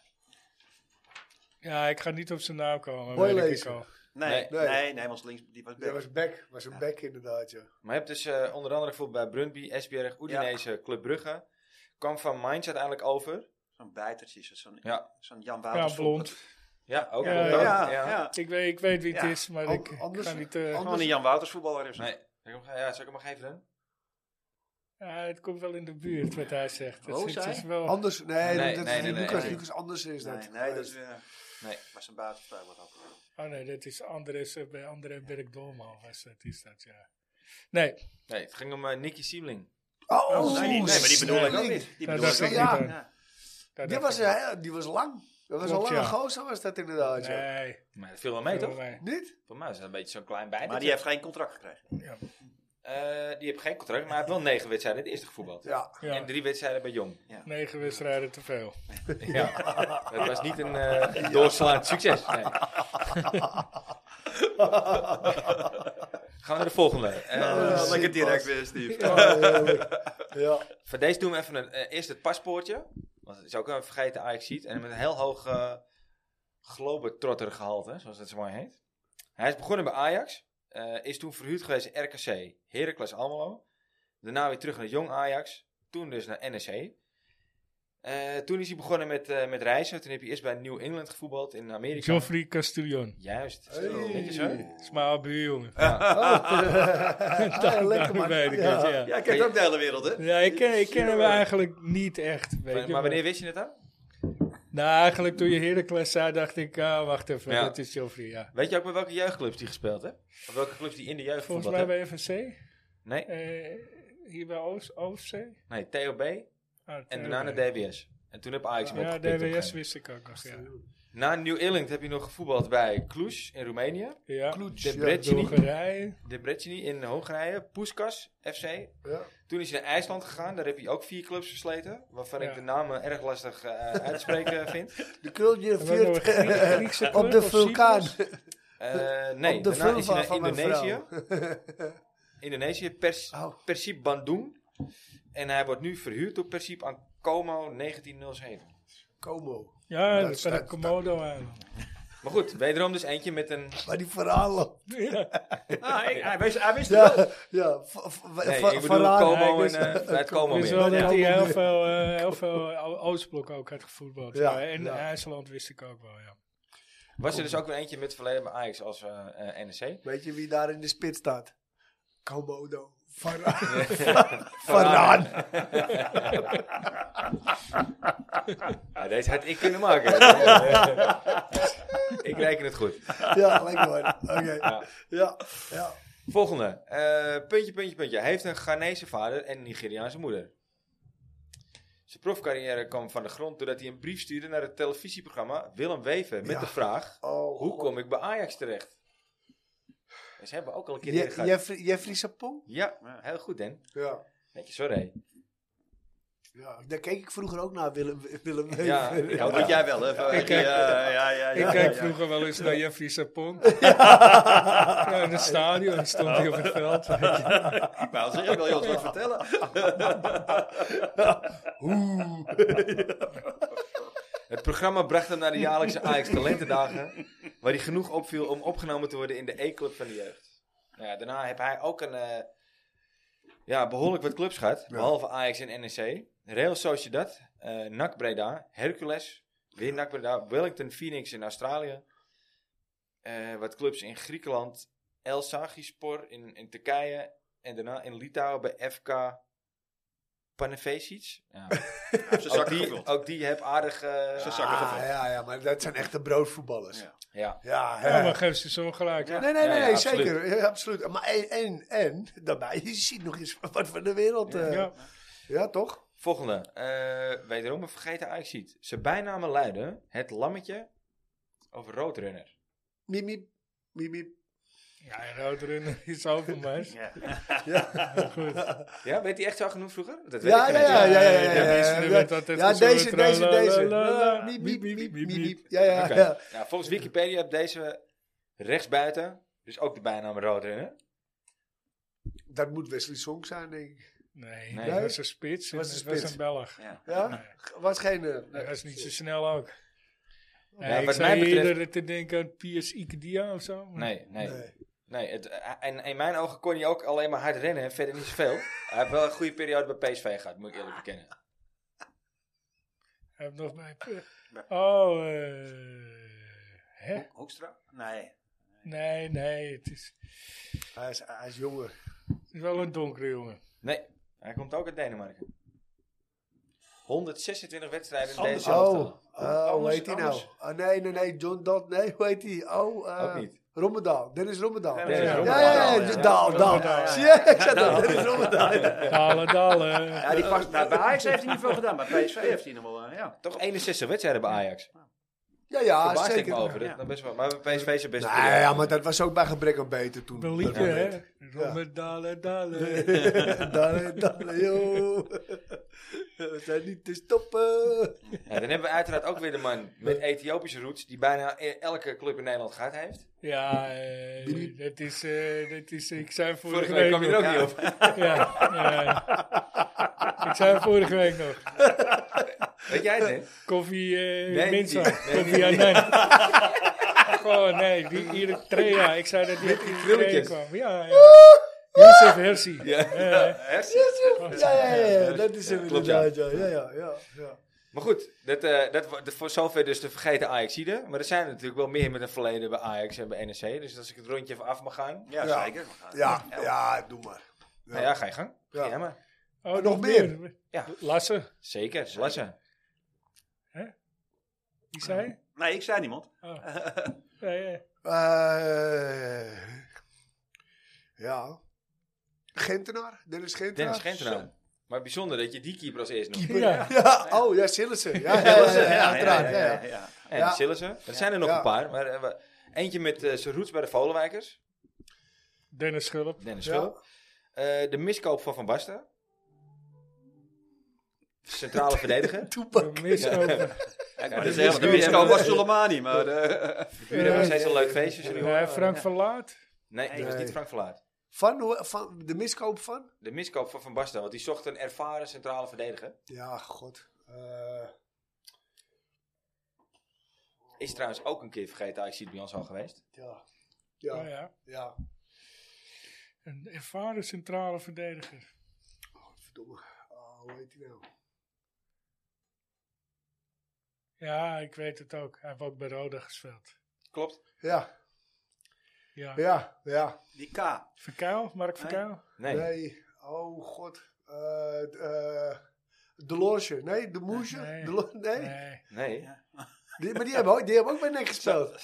Speaker 2: Ja, ik ga niet op zijn naam komen.
Speaker 4: Mooi
Speaker 2: weet ik
Speaker 4: lezen.
Speaker 2: al.
Speaker 5: Nee,
Speaker 4: Nee.
Speaker 5: nee, nee, hij was links. Die was
Speaker 4: Dat
Speaker 5: back.
Speaker 4: was Beck, was een Beck inderdaad, ja.
Speaker 1: Maar je hebt dus eh, onder andere gevoeld bij Brundby, SBR, Udinese, Club Brugge. Kwam van Mainz uiteindelijk over.
Speaker 5: Zo'n bijtertje. is het, Zo'n
Speaker 1: Ja.
Speaker 5: zo'n Jan
Speaker 2: Ja,
Speaker 5: Waters.
Speaker 2: blond.
Speaker 1: Ja, ook.
Speaker 2: Ja,
Speaker 1: wel.
Speaker 5: Ja, ja.
Speaker 2: Ik weet, ik weet wie het
Speaker 5: Ja,
Speaker 2: is, maar
Speaker 4: an-
Speaker 2: ik, ik
Speaker 4: anders-
Speaker 2: ga niet... eh,
Speaker 4: an-
Speaker 5: Gewoon een Jan Waters voetballer is.
Speaker 1: Nee. Zal ik hem, ja, zal ik hem geven dan?
Speaker 2: ja, het komt wel in de buurt, wat hij zegt. Dat
Speaker 5: Oh,
Speaker 2: is,
Speaker 5: zei
Speaker 2: het is
Speaker 5: hij?
Speaker 2: wel...
Speaker 4: Anders, nee,
Speaker 1: Nee,
Speaker 4: dat
Speaker 1: nee, nee,
Speaker 4: is niet
Speaker 1: nee,
Speaker 4: Lucas.
Speaker 1: nee.
Speaker 4: Lucas anders is dat.
Speaker 5: Nee, nee, dat is weer...
Speaker 1: Nee.
Speaker 5: was een buitenspel wat ook.
Speaker 2: Oh nee, dat is Andres, eh, bij André Berk Dolman was dat, is dat, ja. Nee,
Speaker 1: Nee, het ging om eh, Nicky Siemling.
Speaker 4: Oh,
Speaker 2: Oh,
Speaker 5: Nee, nee, maar die bedoel ik ook
Speaker 4: snap
Speaker 5: niet. Die
Speaker 2: Nou,
Speaker 5: bedoel ik
Speaker 2: dat
Speaker 5: ook
Speaker 2: zeg
Speaker 5: niet.
Speaker 2: ik
Speaker 4: is- Ja.
Speaker 2: niet. eh,
Speaker 5: Ja.
Speaker 2: dat
Speaker 4: Die
Speaker 2: dacht
Speaker 4: was,
Speaker 2: ik niet.
Speaker 4: eh, die was lang. Dat was
Speaker 2: Klopt,
Speaker 4: een lange
Speaker 2: ja. gozer,
Speaker 4: gozer, was dat inderdaad, ja.
Speaker 2: Nee,
Speaker 1: Maar dat viel wel mee, toch?
Speaker 2: nee.
Speaker 4: Niet?
Speaker 1: Voor mij is dat een beetje zo'n klein bijtje.
Speaker 5: Maar die heeft geen contract gekregen.
Speaker 1: Eh, die heeft geen contract, maar hij heeft wel negen wedstrijden het eerste gevoetbald.
Speaker 4: Ja.
Speaker 2: Ja,
Speaker 1: En drie wedstrijden bij Jong.
Speaker 2: negen wedstrijden te veel.
Speaker 1: Ja. Dat was niet een eh doorslaand succes. Nee. Gaan we naar de volgende. Eh,
Speaker 4: Eh,
Speaker 5: Lekker direct
Speaker 4: direct
Speaker 5: weer, Steve.
Speaker 4: ja. Oh.
Speaker 1: Voor deze doen we even een, eh, eerst het paspoortje. Want het is ook een vergeten Ajax ziet. En met een heel hoog uh, globetrotter gehalte, zoals het zo mooi heet. Hij is begonnen bij Ajax. eh, is toen verhuurd geweest in RKC, Heracles Almelo. Daarna weer terug naar Jong Ajax. Toen dus naar NEC. Eh, toen is hij begonnen met, eh, met reizen. Toen heb hij eerst bij New England gevoetbald in Amerika.
Speaker 2: Geoffrey Castillon.
Speaker 1: Juist.
Speaker 4: Hey.
Speaker 1: Weet je zo?
Speaker 2: Dat is mijn oude buurjongen.
Speaker 4: Oh. Ja, lekker
Speaker 2: Daarom
Speaker 4: man.
Speaker 2: Nou, weet ik
Speaker 4: Ja.
Speaker 2: het, ja.
Speaker 5: Ja, ik kent ook de hele wereld, hè?
Speaker 2: Ja, ik ken, ik ken hem eigenlijk niet echt, weet
Speaker 1: Maar,
Speaker 2: je.
Speaker 1: maar wanneer wist je het dan?
Speaker 2: Nou, eigenlijk toen je Heracles zei, dacht ik, ah, wacht even,
Speaker 1: Ja.
Speaker 2: dat is Joffrey, ja.
Speaker 1: Weet je ook bij welke jeugdclubs die gespeeld heeft? Of welke clubs die in de jeugd
Speaker 2: Volgens
Speaker 1: voetbal
Speaker 2: mij bij FNC,
Speaker 1: Nee,
Speaker 2: eh, hier bij Oost, Oostzee.
Speaker 1: nee, TOB en daarna naar DWS. En toen heb Ajax hem
Speaker 2: Ja,
Speaker 1: opgepikt op een
Speaker 2: DWS
Speaker 1: gegeven
Speaker 2: wist ik ook nog, ja.
Speaker 1: moment. Na New England heb je nog gevoetbald bij Cluj in Roemenië.
Speaker 2: Ja,
Speaker 4: Kloets,
Speaker 1: De
Speaker 4: ja.
Speaker 1: Brecini,
Speaker 2: Bulgarije.
Speaker 1: de Brecini in Hongarije. Puskas FC.
Speaker 4: Ja.
Speaker 1: Toen is hij naar IJsland gegaan. Daar heb hij ook vier clubs versleten. Waarvan
Speaker 2: Ja.
Speaker 1: ik de namen erg lastig eh, uit te spreken vind.
Speaker 4: De krultje
Speaker 2: En wat nog een Grie-
Speaker 4: viert
Speaker 2: Griekse
Speaker 4: op de
Speaker 2: club of
Speaker 4: vulkaan.
Speaker 2: Cyprus?
Speaker 1: Eh, nee,
Speaker 4: Op de
Speaker 1: daarna is hij
Speaker 4: vulva
Speaker 1: naar
Speaker 4: van mijn
Speaker 1: Indonesië.
Speaker 4: vrouw.
Speaker 1: Indonesië, Pers,
Speaker 4: Oh.
Speaker 1: Persib Bandung. En hij wordt nu verhuurd door Persib aan Como 1907.
Speaker 4: Como.
Speaker 2: Ja,
Speaker 4: Nou, Dat
Speaker 2: dat is
Speaker 4: staat-
Speaker 2: bij de Komodo aan.
Speaker 1: Maar goed, wederom dus eentje met een...
Speaker 4: Maar die verhalen.
Speaker 5: Ah, hij, hij wist, hij wist het wel.
Speaker 4: Ja, ja. v- v-
Speaker 1: Nee,
Speaker 4: va-
Speaker 1: ik bedoel
Speaker 4: verhalen.
Speaker 1: Como
Speaker 2: Nee,
Speaker 1: en,
Speaker 2: ik
Speaker 1: eh, vanuit Como
Speaker 2: Ik wist
Speaker 1: weer.
Speaker 2: wel dat
Speaker 4: Ja.
Speaker 2: hij heel veel, eh, heel veel O- Oostblok ook had gevoetbald.
Speaker 4: Ja,
Speaker 2: Ja, en
Speaker 4: ja.
Speaker 2: IJsland wist ik ook wel, ja.
Speaker 1: Was er dus ook weer eentje met verleden bij Ajax als eh eh, NEC.
Speaker 4: Weet je wie daar in de spit staat? Komodo. Varaan.
Speaker 1: Varaan.
Speaker 4: Varaan.
Speaker 1: Ja, deze had ik kunnen maken. ik reken het goed.
Speaker 4: Ja, lekker hoor. Oké.
Speaker 1: Ja.
Speaker 4: Ja. ja.
Speaker 1: Volgende. Eh, puntje, puntje, puntje. Hij heeft een Ghanese vader en een Nigeriaanse moeder. Zijn profcarrière kwam van de grond doordat hij een brief stuurde naar het televisieprogramma Willem Weven met
Speaker 4: Ja.
Speaker 1: de vraag:
Speaker 4: Oh,
Speaker 1: Hoe
Speaker 4: God.
Speaker 1: kom ik bij Ajax terecht? En ze hebben ook al een keer
Speaker 4: Je-
Speaker 1: eerder gehad.
Speaker 4: Jeffrey, Jeffrey Sapong?
Speaker 1: Ja, heel goed, Den.
Speaker 4: Ja.
Speaker 1: Weet je, sorry.
Speaker 4: ja. Daar keek ik vroeger ook naar, Willem. Willem
Speaker 1: Ja,
Speaker 4: Wever.
Speaker 1: ja,
Speaker 5: Dat moet jij wel, hè? Ja, ja, ja, ja,
Speaker 2: Ik
Speaker 5: ja,
Speaker 2: keek
Speaker 5: ja.
Speaker 2: vroeger wel eens naar Jeffrey Sapon. Ja, in het stadion stond hij op het veld. weet je.
Speaker 5: Ik wou zeggen, ik wil je ons wat vertellen.
Speaker 1: Het programma bracht hem naar de jaarlijkse Ajax Talentendagen, waar hij genoeg opviel om opgenomen te worden in de E-club van de jeugd. Nou ja, daarna heb hij ook een eh, ja, behoorlijk wat clubs gehad, behalve Ajax en NEC. Real Sociedad, eh NAC Breda, Hercules, weer NAC Breda, Wellington Phoenix in Australië. Eh, wat clubs in Griekenland, El Sagispor in, in Turkije en daarna in Litouwen bij FK Panevėžys. Ja,
Speaker 5: Ze
Speaker 1: ook,
Speaker 5: zakken
Speaker 1: die,
Speaker 5: gevuld.
Speaker 1: ook die heb aardig... eh,
Speaker 5: Ze zakken
Speaker 4: Ah,
Speaker 5: gevuld.
Speaker 4: ja, ja, maar dat zijn echte broodvoetballers.
Speaker 5: Ja.
Speaker 4: Ja,
Speaker 1: Ja.
Speaker 4: ja, hè.
Speaker 2: Ja, maar geef ze zo gelijk. hè.
Speaker 4: Nee, nee,
Speaker 1: Ja,
Speaker 4: nee,
Speaker 1: ja,
Speaker 4: nee,
Speaker 1: absoluut.
Speaker 4: zeker. Ja, absoluut. Maar en, en, en, daarbij, je ziet nog eens wat van de wereld. eh,
Speaker 2: Ja.
Speaker 4: ja. toch?
Speaker 1: Volgende. Eh, wederom een vergeten Ajaxiet. Zijn bijnamen luiden het lammetje of roodrunner.
Speaker 4: Miep, miep, miep, miep.
Speaker 2: Ja, en Roodrunner is over mij.
Speaker 5: Ja.
Speaker 1: Ja, werd hij echt zo genoemd vroeger? Dat weet
Speaker 4: Ja,
Speaker 1: ik
Speaker 4: ja,
Speaker 1: niet.
Speaker 4: ja, ja, ja, ja,
Speaker 2: Ja,
Speaker 4: ja,
Speaker 2: deze
Speaker 4: ja,
Speaker 2: die
Speaker 4: ja.
Speaker 2: werd altijd
Speaker 4: Ja,
Speaker 2: gezongen,
Speaker 4: deze, deze,
Speaker 2: eh,
Speaker 4: deze.
Speaker 2: tralalala.
Speaker 4: Miep, miep, miep, miep, miep,
Speaker 2: miep.
Speaker 4: miep. Ja, ja,
Speaker 1: Oké.
Speaker 4: ja.
Speaker 1: Nou, volgens Wikipedia heeft deze rechtsbuiten dus ook de bijnaam roodrunner.
Speaker 4: Dat moet Wesley Song zijn, denk ik.
Speaker 2: Nee,
Speaker 1: Nee.
Speaker 2: dat was een spits.
Speaker 4: Was
Speaker 2: Dat
Speaker 4: een
Speaker 2: was, was
Speaker 4: spits.
Speaker 2: een Belg.
Speaker 4: Ja? Was geen... eh,
Speaker 2: Dat
Speaker 4: nee.
Speaker 2: was niet zo snel ook. Nee,
Speaker 1: Ja,
Speaker 2: ik
Speaker 1: wat
Speaker 2: zou
Speaker 1: mij betreft-
Speaker 2: eerder te denken aan Piers Ikedia of zo.
Speaker 1: Nee, nee. nee.
Speaker 4: Nee.
Speaker 1: het, eh, en in mijn ogen kon hij ook alleen maar hard rennen en verder niet zoveel. Hij heeft wel een goede periode bij PSV gehad, moet ik eerlijk bekennen.
Speaker 2: Hij heeft nog bij... Oh, eh, hè?
Speaker 5: Hoekstra? Nee.
Speaker 2: Nee, nee, het is,
Speaker 4: Hij is, hij is jonger.
Speaker 2: het is wel een donkere jongen.
Speaker 1: Nee, hij komt ook uit Denemarken. 126 wedstrijden in
Speaker 5: Anders-
Speaker 1: deze
Speaker 4: Oh,
Speaker 1: elftal.
Speaker 4: eh, hoe
Speaker 5: Anders-
Speaker 4: heet hij nou?
Speaker 5: anders.
Speaker 4: Ah, nee, nee, nee, John Dalt. Nee, hoe heet hij? Oh, eh,
Speaker 1: Ook niet.
Speaker 4: Rommedaal. Dennis Rommedaal.
Speaker 5: Ja,
Speaker 4: Ja,
Speaker 1: Dennis
Speaker 4: ja,
Speaker 1: Rommedaal.
Speaker 4: ja,
Speaker 5: Ja, ja.
Speaker 4: ja, Daal,
Speaker 5: Rommedaal, ja.
Speaker 4: Daal. Zie je, ik zei dat, Dennis Rommedaal.
Speaker 2: Dalen, dalen.
Speaker 5: Ja, die past, nou, bij Ajax heeft hij niet veel gedaan, maar PSV heeft hij nog wel... eh, Ja.
Speaker 1: Toch 61 wedstrijden bij Ajax.
Speaker 4: Ja, ja,
Speaker 1: Verbaasd ik me
Speaker 4: Ah, zeker.
Speaker 1: over. Dat,
Speaker 5: Ja.
Speaker 1: dat best wel, maar PSV zijn best
Speaker 4: Nou ja, ja, maar dat was ook bij gebrek aan beter toen.
Speaker 2: Een
Speaker 4: Dat
Speaker 2: liedje,
Speaker 4: moment.
Speaker 2: hè? Robert, dalen, dalen.
Speaker 4: Dale, dale, eh, joh. We zijn niet te stoppen.
Speaker 1: Ja, dan hebben we uiteraard ook weer de man met Ethiopische roots... die bijna e- elke club in Nederland gehad heeft.
Speaker 2: Ja, eh, dat is, eh, dat is, ik zei vorige,
Speaker 1: Vorige week kwam je er
Speaker 2: nog.
Speaker 1: ook niet op.
Speaker 2: Ja, ja. ik zei vorige week nog.
Speaker 1: Weet jij het, hè?
Speaker 2: Koffie eh
Speaker 1: Nee,
Speaker 2: Minza.
Speaker 1: niet die. Nee,
Speaker 2: koffie
Speaker 1: niet
Speaker 2: Annan. Goh, nee, die Eritrea. Ik zei dat die uit Eritrea
Speaker 1: krulletjes.
Speaker 2: kwam. Ja, ja. Youssef Hersi. Eh, Ja.
Speaker 4: Ja, ja, ja, ja, dat is hem
Speaker 1: klopt, ja.
Speaker 4: inderdaad. Ja, ja, ja. ja, ja.
Speaker 1: Maar goed, dat, eh, dat, wa- de- voor zover dus de vergeten Ajaxide. Maar er zijn er natuurlijk wel meer met een verleden bij Ajax en bij NEC. Dus als ik het rondje even af mag gaan...
Speaker 5: Ja,
Speaker 4: Ja.
Speaker 5: zeker. We gaan-
Speaker 4: Ja, ja, doe maar.
Speaker 1: Nou ja, ga je gang.
Speaker 4: Ja.
Speaker 1: Ja, maar.
Speaker 2: Oh,
Speaker 4: Nog meer?
Speaker 1: Ja.
Speaker 2: Lassen.
Speaker 1: Zeker, Lasse.
Speaker 2: Hè? Die zei?
Speaker 3: Nee, ik zei niemand.
Speaker 2: Ja, ja.
Speaker 4: Eh, ja. Gentenaar, Dennis Gentenaar.
Speaker 1: Dennis Gentenaar. Maar bijzonder dat je die keeper als eerste noemt.
Speaker 2: Ja.
Speaker 4: Ja, oh ja, Sillissen. Ja, ja, ja,
Speaker 3: eh,
Speaker 4: ja, uiteraard. Ja, ja.
Speaker 1: En
Speaker 4: Ja.
Speaker 1: Sillissen. Er zijn er nog
Speaker 4: Ja.
Speaker 1: een paar. Maar, eh, we- eentje met eh, zijn roots bij de Volenwijkers.
Speaker 2: Dennis Schulp.
Speaker 1: Dennis
Speaker 4: Ja.
Speaker 1: Schulp. Eh, de miskoop van Van Basten. Centrale verdediger.
Speaker 2: De miskopen.
Speaker 3: Maar
Speaker 1: dat
Speaker 3: dat
Speaker 1: is heel-
Speaker 3: is de miskoop was Soleimani, maar... eh,
Speaker 1: Jullie hebben nog steeds een leuk feestje. zullen jullie
Speaker 2: Ja,
Speaker 1: horen?
Speaker 2: Frank Verlaat.
Speaker 1: Nee, dat was
Speaker 4: Nee.
Speaker 1: niet Frank Verlaat.
Speaker 4: Van, hoe- van de miskoop van?
Speaker 1: De miskoop van Van Basten. Want die zocht een ervaren centrale verdediger.
Speaker 4: Ja, god. Eh,
Speaker 1: Is trouwens ook een keer vergeten. Ik zie het bij ons al geweest.
Speaker 4: ja.
Speaker 2: Oh, Ja,
Speaker 4: Ja,
Speaker 2: ja.
Speaker 4: ja.
Speaker 2: Een ervaren centrale verdediger.
Speaker 4: Oh, verdomme. Oh, hoe heet die nou?
Speaker 2: Ja, ik weet het ook. Hij heeft ook bij Roda gespeeld.
Speaker 1: Klopt.
Speaker 4: Ja,
Speaker 2: Ja.
Speaker 4: ja, ja.
Speaker 3: Die K.
Speaker 2: Verkuil, Mark Verkuil.
Speaker 1: Nee.
Speaker 4: Nee, oh god. Eh eh de Loge, nee, de Moesje.
Speaker 2: Nee.
Speaker 4: De Lo- nee.
Speaker 2: Nee.
Speaker 1: Nee.
Speaker 4: Die, maar die hebben, ook, die hebben ook bij NEC gespeeld.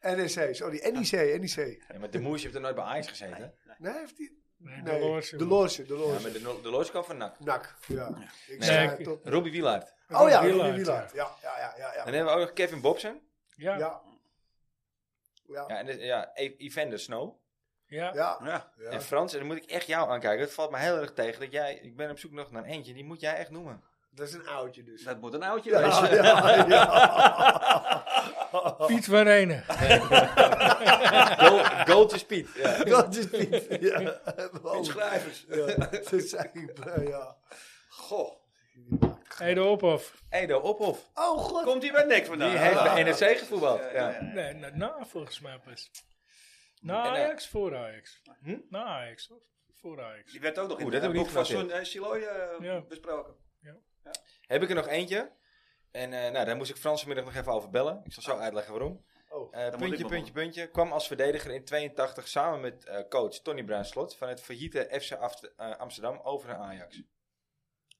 Speaker 4: NEC, sorry, E NEC, NEC.
Speaker 1: Ja, maar de Moes heeft er nooit bij Ajax gezeten.
Speaker 4: Nee, heeft die...
Speaker 2: Nee,
Speaker 4: Nee,
Speaker 2: de Loorse.
Speaker 4: De Loge, de
Speaker 1: Ja,
Speaker 4: Loge.
Speaker 1: maar de, no- de Loos kwam van NAC.
Speaker 4: Nak, ja. Ik
Speaker 1: Nee.
Speaker 4: zei
Speaker 2: Nee, ik-
Speaker 4: tot...
Speaker 1: Robbie Wielaert.
Speaker 4: Oh ja,
Speaker 2: Wielaert,
Speaker 4: Ronnie Wielaert. Ja, ja, ja, ja.
Speaker 1: En
Speaker 4: ja.
Speaker 1: dan hebben we ook nog Kevin Bobsen.
Speaker 2: Ja. Ja.
Speaker 4: Ja. Ja.
Speaker 1: Ja, en dus- ja, E- Evander Snow.
Speaker 4: Ja.
Speaker 3: Ja.
Speaker 4: Ja.
Speaker 1: En Frans, en dan moet ik echt jou aankijken. Dat valt me heel erg tegen. Dat jij, ik ben op zoek nog naar eentje. Die moet jij echt noemen.
Speaker 4: Dat is een oudje dus.
Speaker 3: Dat moet een oudje Ah,
Speaker 4: Ja,
Speaker 3: wezen.
Speaker 4: ja, ja.
Speaker 2: Piet van Renen.
Speaker 1: Go, go to speed. Ja.
Speaker 4: Dat is niet. Ja. Oh.
Speaker 3: Met schrijvers.
Speaker 4: Ja. Dat zei ik, eh, ja.
Speaker 3: Goh.
Speaker 2: Edo Ophof.
Speaker 1: Edo Ophof.
Speaker 4: Oh god.
Speaker 3: Komt hij bij Nick vandaan? Ah.
Speaker 1: Die heeft bij NEC gevoetbald. Ja.
Speaker 2: Nee, na, na volgens mij pas. Na Ajax, voor Ajax.
Speaker 1: Hm?
Speaker 2: Na Ajax, of? Voor Ajax.
Speaker 3: Die werd ook nog in
Speaker 1: Oeh,
Speaker 3: de
Speaker 1: dat heb ik
Speaker 3: boek
Speaker 1: niet
Speaker 3: van
Speaker 1: genoteerd.
Speaker 3: Sun en Siloy eh,
Speaker 2: Ja.
Speaker 3: besproken.
Speaker 1: Heb ik er nog eentje. En eh, nou, daar moest ik Frans vanmiddag nog even over bellen. Ik zal zo uitleggen waarom.
Speaker 4: Oh.
Speaker 1: Eh,
Speaker 3: moet ik
Speaker 1: puntje,
Speaker 3: nog
Speaker 1: puntje, puntje. Kwam als verdediger in 82 samen met eh, coach Tony Bruinslot van het failliete FC Afte- eh, Amsterdam over naar Ajax.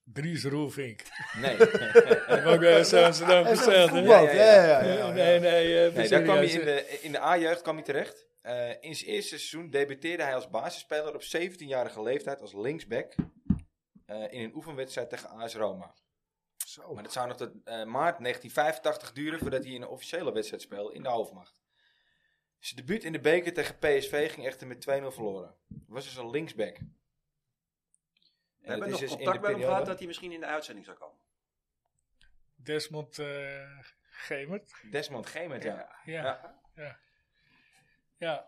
Speaker 2: Dries Roelvink.
Speaker 1: Nee.
Speaker 2: Dat heb ik ook wel eens aan ze dan
Speaker 4: Hij is
Speaker 2: verteld. hè?
Speaker 4: voetbal.
Speaker 1: Ja,
Speaker 4: Ja,
Speaker 1: ja, ja.
Speaker 4: ja, ja.
Speaker 2: Nee, nee, nee. eh,
Speaker 1: Nee, daar kwam hij
Speaker 2: serieus,
Speaker 1: in
Speaker 2: eh.
Speaker 1: de, in de A-jeugd kwam hij terecht. Eh, in zijn eerste seizoen debuteerde hij als basisspeler op 17-jarige leeftijd als linksback eh, in een oefenwedstrijd tegen AS Roma.
Speaker 4: Zo.
Speaker 1: Maar dat zou nog tot eh, maart 1985 duren voordat hij in een officiële wedstrijd speelde in de hoofdmacht. Zijn debuut in de beker tegen PSV ging echter met 2-0 verloren. Was dus een linksback.
Speaker 3: We
Speaker 1: dat
Speaker 3: hebben nog
Speaker 1: is dus in
Speaker 3: contact
Speaker 1: de
Speaker 3: met hem
Speaker 1: periode-
Speaker 3: gehad dat hij misschien in de uitzending zou komen.
Speaker 2: Desmond eh Gemert.
Speaker 1: Desmond Gemert, ja.
Speaker 2: Ja. Ja. ja.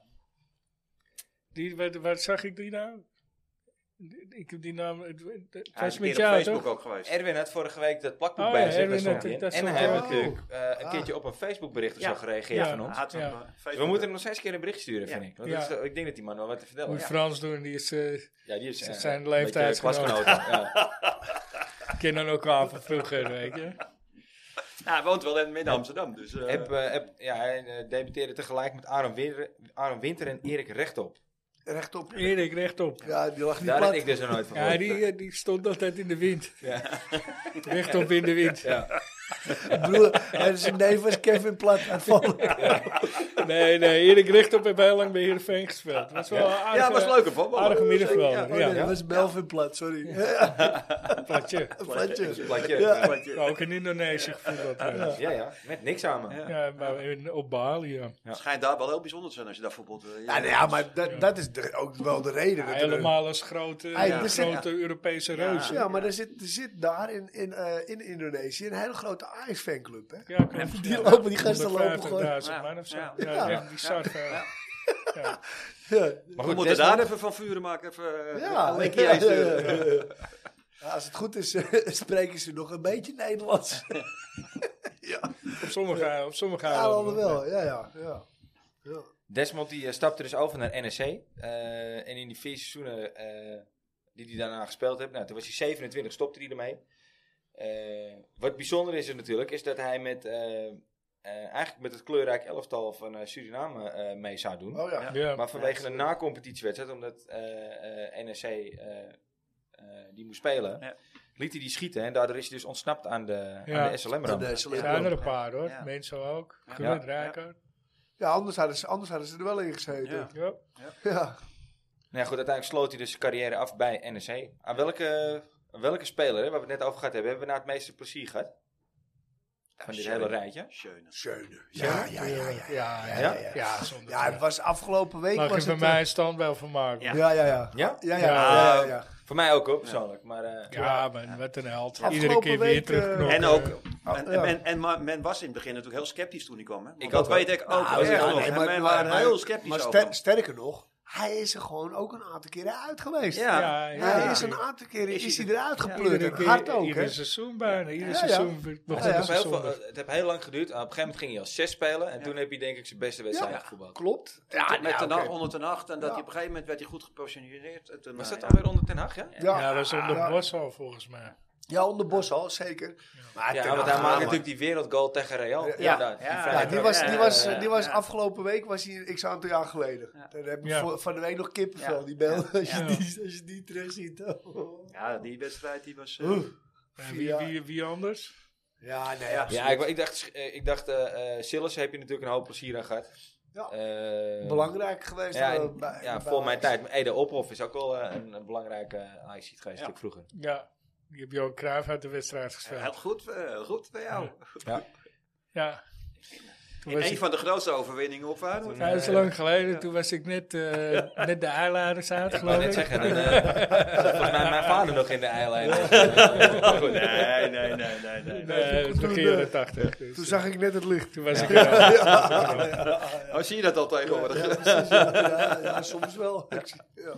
Speaker 2: Die, wat, wat zag ik die nou? Ik heb die naam. Het, het- het
Speaker 3: Hij
Speaker 2: was
Speaker 3: is een
Speaker 2: met
Speaker 3: keer op
Speaker 2: jou,
Speaker 3: Facebook
Speaker 2: toch?
Speaker 3: ook geweest.
Speaker 1: Erwin had vorige week dat plakboek
Speaker 2: Oh ja,
Speaker 1: bij zich.
Speaker 2: Erwin
Speaker 1: daar stond
Speaker 2: had
Speaker 1: hij in.
Speaker 2: het- daar
Speaker 1: En
Speaker 2: stond
Speaker 1: hij heeft
Speaker 4: hij.
Speaker 1: natuurlijk eh, een
Speaker 4: Ah.
Speaker 1: keertje op een Facebookbericht of
Speaker 3: Ja.
Speaker 1: zo gereageerd
Speaker 2: Ja.
Speaker 1: van ons.
Speaker 3: Hij had hem,
Speaker 2: Ja.
Speaker 3: eh,
Speaker 1: We
Speaker 3: Facebook.
Speaker 1: moeten hem nog steeds een keer een bericht sturen,
Speaker 3: Ja.
Speaker 1: vind ik. Want
Speaker 2: Ja.
Speaker 1: dat is- ik denk dat die man wel wat te vertellen
Speaker 2: Moet
Speaker 1: heeft.
Speaker 2: Frans doen, die is, eh,
Speaker 1: Ja, die is
Speaker 2: Ze
Speaker 1: eh,
Speaker 2: zijn
Speaker 1: een beetje
Speaker 2: leeftijdsgenoten.
Speaker 1: klasgenoten, ja.
Speaker 2: kennen elkaar van vroeger, weet je.
Speaker 3: Ja, Nou, hij woont wel in midden Amsterdam, dus... eh,
Speaker 1: Heb, eh, heb- ja, hij eh, debuteerde tegelijk met Aaron Winter, Aaron Winter en Erik Rechtop.
Speaker 4: Rechtop.
Speaker 2: Erik, rechtop.
Speaker 4: Ja, die lag niet
Speaker 1: Daar heb
Speaker 4: plat.
Speaker 1: ik dus nog nooit van
Speaker 2: Ja,
Speaker 1: gehoord.
Speaker 2: die, eh, die stond altijd in de wind.
Speaker 1: Ja.
Speaker 2: Rechtop in de wind.
Speaker 4: Broer, en zijn neef was Kevin Plat aan het vallen.
Speaker 2: Nee, nee, Erik Rechtop heeft heel lang bij Heerenveen gespeeld. Was wel een aardige,
Speaker 3: ja, was leuk ervan.
Speaker 2: aardige
Speaker 4: Oh,
Speaker 2: middenvelder.
Speaker 4: nee,
Speaker 2: Ja,
Speaker 4: dat was Melvin Plat, sorry.
Speaker 2: platje.
Speaker 4: Platje.
Speaker 1: Platje.
Speaker 4: Ja.
Speaker 1: Ja.
Speaker 2: Maar ook in Indonesië gevoeld. Ja,
Speaker 1: Ja, ja, met niks samen.
Speaker 3: Ja.
Speaker 2: ja maar in, op Bali, ja.
Speaker 3: Het schijnt daar wel heel bijzonder te zijn als je daar voetbalt. eh,
Speaker 4: Ja, nou ja, maar dat, dat is de- ook wel de reden.
Speaker 2: Ja,
Speaker 4: dat er-
Speaker 2: helemaal als grote,
Speaker 4: Hij- er zit-
Speaker 2: grote Europese reus. Ja,
Speaker 4: Ja, maar er zit, er zit daar in, in, eh, in Indonesië een hele grote Ajax-fanclub, hè?
Speaker 2: klopt.
Speaker 4: Die
Speaker 2: Ja.
Speaker 4: lopen, die gasten lopen gewoon.
Speaker 2: 150.000 man of zo.
Speaker 3: Ja.
Speaker 2: Ja, echt bizar veel.
Speaker 4: Ja,
Speaker 1: Maar
Speaker 3: dus We
Speaker 1: goed,
Speaker 3: moeten
Speaker 1: Desmond-
Speaker 3: daar even van vuren maken. Even, eh,
Speaker 4: ja, eh.
Speaker 3: een linkje
Speaker 4: ja, ja,
Speaker 3: sturen.
Speaker 4: ja, ja. Ja, Als het goed is, eh, spreken ze nog een beetje Nederlands.
Speaker 2: Op sommige, op sommige
Speaker 4: Ja,
Speaker 2: eilanden.
Speaker 4: wel. Ja, ja, ja. ja.
Speaker 1: Desmond die, eh, stapte dus over naar NEC. eh, en in die vier seizoenen eh, die hij daarna gespeeld heeft, nou, toen was hij 27, stopte hij ermee. Eh, wat bijzonder is er natuurlijk, is dat hij met, eh, eh, eigenlijk met het kleurrijk elftal van eh, Suriname eh, mee zou doen.
Speaker 4: Oh ja.
Speaker 3: Ja.
Speaker 2: Ja.
Speaker 1: Maar vanwege een E na-competitiewedstrijd, omdat eh eh, NEC eh, eh, die moest spelen,
Speaker 3: Ja.
Speaker 1: liet hij die schieten. En daardoor is hij dus ontsnapt aan de,
Speaker 2: Ja.
Speaker 1: aan de SLM.
Speaker 4: Dan,
Speaker 1: -ramp.
Speaker 4: eh, zal ik
Speaker 2: Er zijn er
Speaker 4: wel-
Speaker 2: een paar hoor.
Speaker 5: Ja.
Speaker 2: Mensen ook. Ja.
Speaker 1: Ja.
Speaker 2: Rijkaard.
Speaker 4: Ja, anders hadden, ze, anders hadden ze er wel in gezeten.
Speaker 2: Ja.
Speaker 4: Ja.
Speaker 1: Nou ja, goed, uiteindelijk sloot hij dus zijn carrière af bij NEC. Aan welke, aan welke speler, hè, waar we het net over gehad hebben, hebben we nou het meeste plezier gehad? Van dit hele rijtje.
Speaker 5: Schöne.
Speaker 4: Schöne. Ja, ja, ja. Ja,
Speaker 2: ja, ja,
Speaker 1: Ja?
Speaker 2: ja. ja, zonder
Speaker 4: ja het
Speaker 2: twijfel.
Speaker 4: was afgelopen week
Speaker 2: Mag
Speaker 4: was
Speaker 2: je bij
Speaker 4: het...
Speaker 2: mij een stand wel van maken?
Speaker 4: eh,
Speaker 2: Ja,
Speaker 4: Ja, ja, ja.
Speaker 1: Ja?
Speaker 4: Ja, ja, ja. ja, ja.
Speaker 1: Voor mij ook hoor, persoonlijk. Maar eh,
Speaker 2: man, wat een held.
Speaker 4: Afgelopen
Speaker 2: Iedere keer weer
Speaker 4: week,
Speaker 2: terugknokken.
Speaker 4: eh,
Speaker 3: En ook,
Speaker 2: Oh,
Speaker 3: en,
Speaker 4: ja.
Speaker 3: en, en, maar men was in het begin natuurlijk heel sceptisch toen hij kwam. Hè? Want
Speaker 1: Ik
Speaker 3: dat
Speaker 1: ook, hoor.
Speaker 3: weet ik ook.
Speaker 4: Ah,
Speaker 3: wel.
Speaker 4: ja,
Speaker 3: Ja,
Speaker 4: nee,
Speaker 3: en
Speaker 4: maar-
Speaker 3: men
Speaker 4: maar
Speaker 3: was
Speaker 4: hij-
Speaker 3: heel sceptisch
Speaker 4: Maar
Speaker 3: over
Speaker 4: ster- sterker nog, hij is er gewoon ook een aantal keren uit geweest.
Speaker 3: hem. Ja,
Speaker 2: ja, ja,
Speaker 4: hij
Speaker 2: ja.
Speaker 4: is een aantal keren
Speaker 3: Is
Speaker 4: is,
Speaker 3: hij
Speaker 4: hij eruit gepleurd.
Speaker 2: Iedere
Speaker 4: en
Speaker 2: keer,
Speaker 4: hard ook,
Speaker 2: ieder
Speaker 4: hè?
Speaker 2: seizoen bijna. Ieder
Speaker 4: Ja, ja.
Speaker 2: seizoen weer- nog
Speaker 4: Ja, eh,
Speaker 2: net
Speaker 4: ja.
Speaker 1: het, heeft
Speaker 2: als
Speaker 1: heel veel, eh,
Speaker 2: zondag.
Speaker 1: het heeft heel lang geduurd. Op een gegeven moment ging hij als zes spelen. En toen heb hij denk ik zijn beste wedstrijd
Speaker 4: Ja.
Speaker 1: gevoetbald.
Speaker 4: Klopt. Ah, Ja,
Speaker 3: met
Speaker 4: ja,
Speaker 3: de
Speaker 4: oké.
Speaker 3: nacht onder de nacht. En dat
Speaker 4: Ja.
Speaker 3: hij op een gegeven moment werd hij goed gepositioneerd. En toen,
Speaker 1: Was
Speaker 3: eh,
Speaker 4: Ah,
Speaker 1: dat
Speaker 3: ja.
Speaker 1: alweer onder Ten Hag, ja?
Speaker 2: Ja, dat is onder
Speaker 4: ja.
Speaker 2: Bos al volgens mij.
Speaker 4: Ja, onder Bos al, zeker. Maar
Speaker 1: Ja,
Speaker 4: Ten
Speaker 1: want
Speaker 4: Hag,
Speaker 1: hij maakte
Speaker 4: man.
Speaker 1: natuurlijk die wereldgoal tegen Real.
Speaker 4: Ja.
Speaker 1: inderdaad. Die Eh,
Speaker 3: Ja,
Speaker 1: vrije
Speaker 4: Ja, die
Speaker 1: trap.
Speaker 4: was, die was,
Speaker 1: ja, ja.
Speaker 4: die was afgelopen week, was hij een x aantal jaar geleden. Daar heb ik
Speaker 2: Ja.
Speaker 4: voor- van de week nog kippenvel,
Speaker 3: Ja.
Speaker 4: die bel. Als, je
Speaker 2: Ja.
Speaker 4: die, als je die terug ziet. oh.
Speaker 3: Ja, die wedstrijd die was... eh,
Speaker 4: Oeh.
Speaker 2: Eh, wie,
Speaker 4: Ja.
Speaker 2: wie, wie anders?
Speaker 4: Ja, nee, ja.
Speaker 1: Ja, ik, ik dacht, eh, ik dacht eh, eh, Sillis heb je natuurlijk een hoop plezier aan gehad.
Speaker 4: Ja.
Speaker 1: Eh,
Speaker 4: Belangrijk geweest.
Speaker 1: Ja,
Speaker 4: eh,
Speaker 1: en-
Speaker 4: bij-
Speaker 1: ja,
Speaker 4: bij-
Speaker 1: voor mijn tijd. Maar Ede Ophoff is ook wel eh, een, een belangrijke uh, ic geweest natuurlijk vroeger.
Speaker 2: Ja, die heb Johan Cruijff uit de wedstrijd
Speaker 3: Heel
Speaker 2: gespeeld.
Speaker 3: goed, eh, goed bij jou.
Speaker 2: Ja. Toen was
Speaker 3: Een
Speaker 2: ik-
Speaker 3: van de grootste overwinningen op Feyenoord.
Speaker 2: Ja, dat is lang geleden. Toen was ik net, eh, net de eilanders uit,
Speaker 1: Ik wou
Speaker 2: geloof
Speaker 1: net
Speaker 2: ik.
Speaker 1: zeggen, dan, eh, zat volgens mij mijn vader nog in de eiland. Maar goed, eh,
Speaker 3: Nee, nee, nee, nee, nee.
Speaker 2: Nee, het was begin
Speaker 4: Toen, eh,
Speaker 2: jaren 80. Dus,
Speaker 4: Toen
Speaker 2: eh,
Speaker 4: zag ik net het licht.
Speaker 2: toen was ik eh, er al.
Speaker 3: Oh, zie je dat al tegenwoordig?
Speaker 4: Ja, precies, ja, ja, ja, soms wel. Ik zie- ja.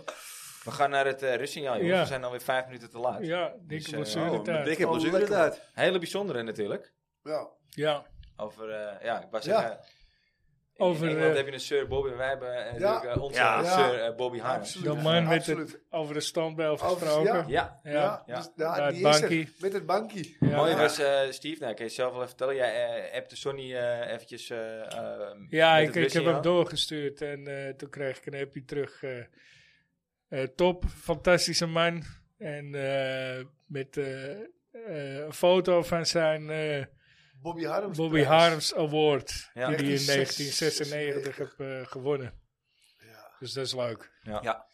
Speaker 1: we gaan naar het eh rustsignaal, jongens.
Speaker 2: Ja.
Speaker 1: We zijn alweer vijf minuten te laat.
Speaker 2: Ja,
Speaker 1: Dus,
Speaker 2: dikke
Speaker 1: eh,
Speaker 2: blessure
Speaker 3: Oh, dikke
Speaker 4: Oh,
Speaker 3: blessure
Speaker 4: lekker.
Speaker 3: inderdaad.
Speaker 1: Hele bijzondere natuurlijk.
Speaker 4: Ja.
Speaker 2: Ja,
Speaker 1: Over, eh, ja, ik wou
Speaker 4: Ja.
Speaker 1: zeggen... In
Speaker 2: Over,
Speaker 1: Engeland
Speaker 2: eh,
Speaker 1: heb je een Sir Bobby. Wij hebben eh, natuurlijk eh, onze
Speaker 3: Ja.
Speaker 1: Sir eh, Bobby Harms.
Speaker 4: Absoluut.
Speaker 2: Jan Maan werd
Speaker 4: Absoluut.
Speaker 2: het over de standbel
Speaker 4: Over-
Speaker 2: gesproken. Ja.
Speaker 1: Ja.
Speaker 4: Ja,
Speaker 1: ja.
Speaker 4: dus- ja,
Speaker 2: Ja, het
Speaker 4: die is er.
Speaker 2: bankie.
Speaker 4: Met het bankie.
Speaker 2: Ja.
Speaker 1: Mooi
Speaker 2: Ja.
Speaker 1: was, eh, Steve, nou, kan je zelf wel even vertellen. Jij eh appte Sonny eh, eventjes... eh, eh,
Speaker 2: Ja,
Speaker 1: met het
Speaker 2: ik, ik heb hem
Speaker 1: rustsignaal.
Speaker 2: doorgestuurd en eh, toen kreeg ik een appje terug. eh, eh, top, fantastische man. En eh, met eh, eh, een foto van zijn eh,
Speaker 4: Bobby Harms.
Speaker 2: Bobby
Speaker 4: prijs.
Speaker 2: Harms Award.
Speaker 1: Ja.
Speaker 2: Die hij in 1996
Speaker 4: 1996
Speaker 2: heb eh, gewonnen.
Speaker 4: Ja.
Speaker 2: Dus dat is leuk.
Speaker 4: Ja,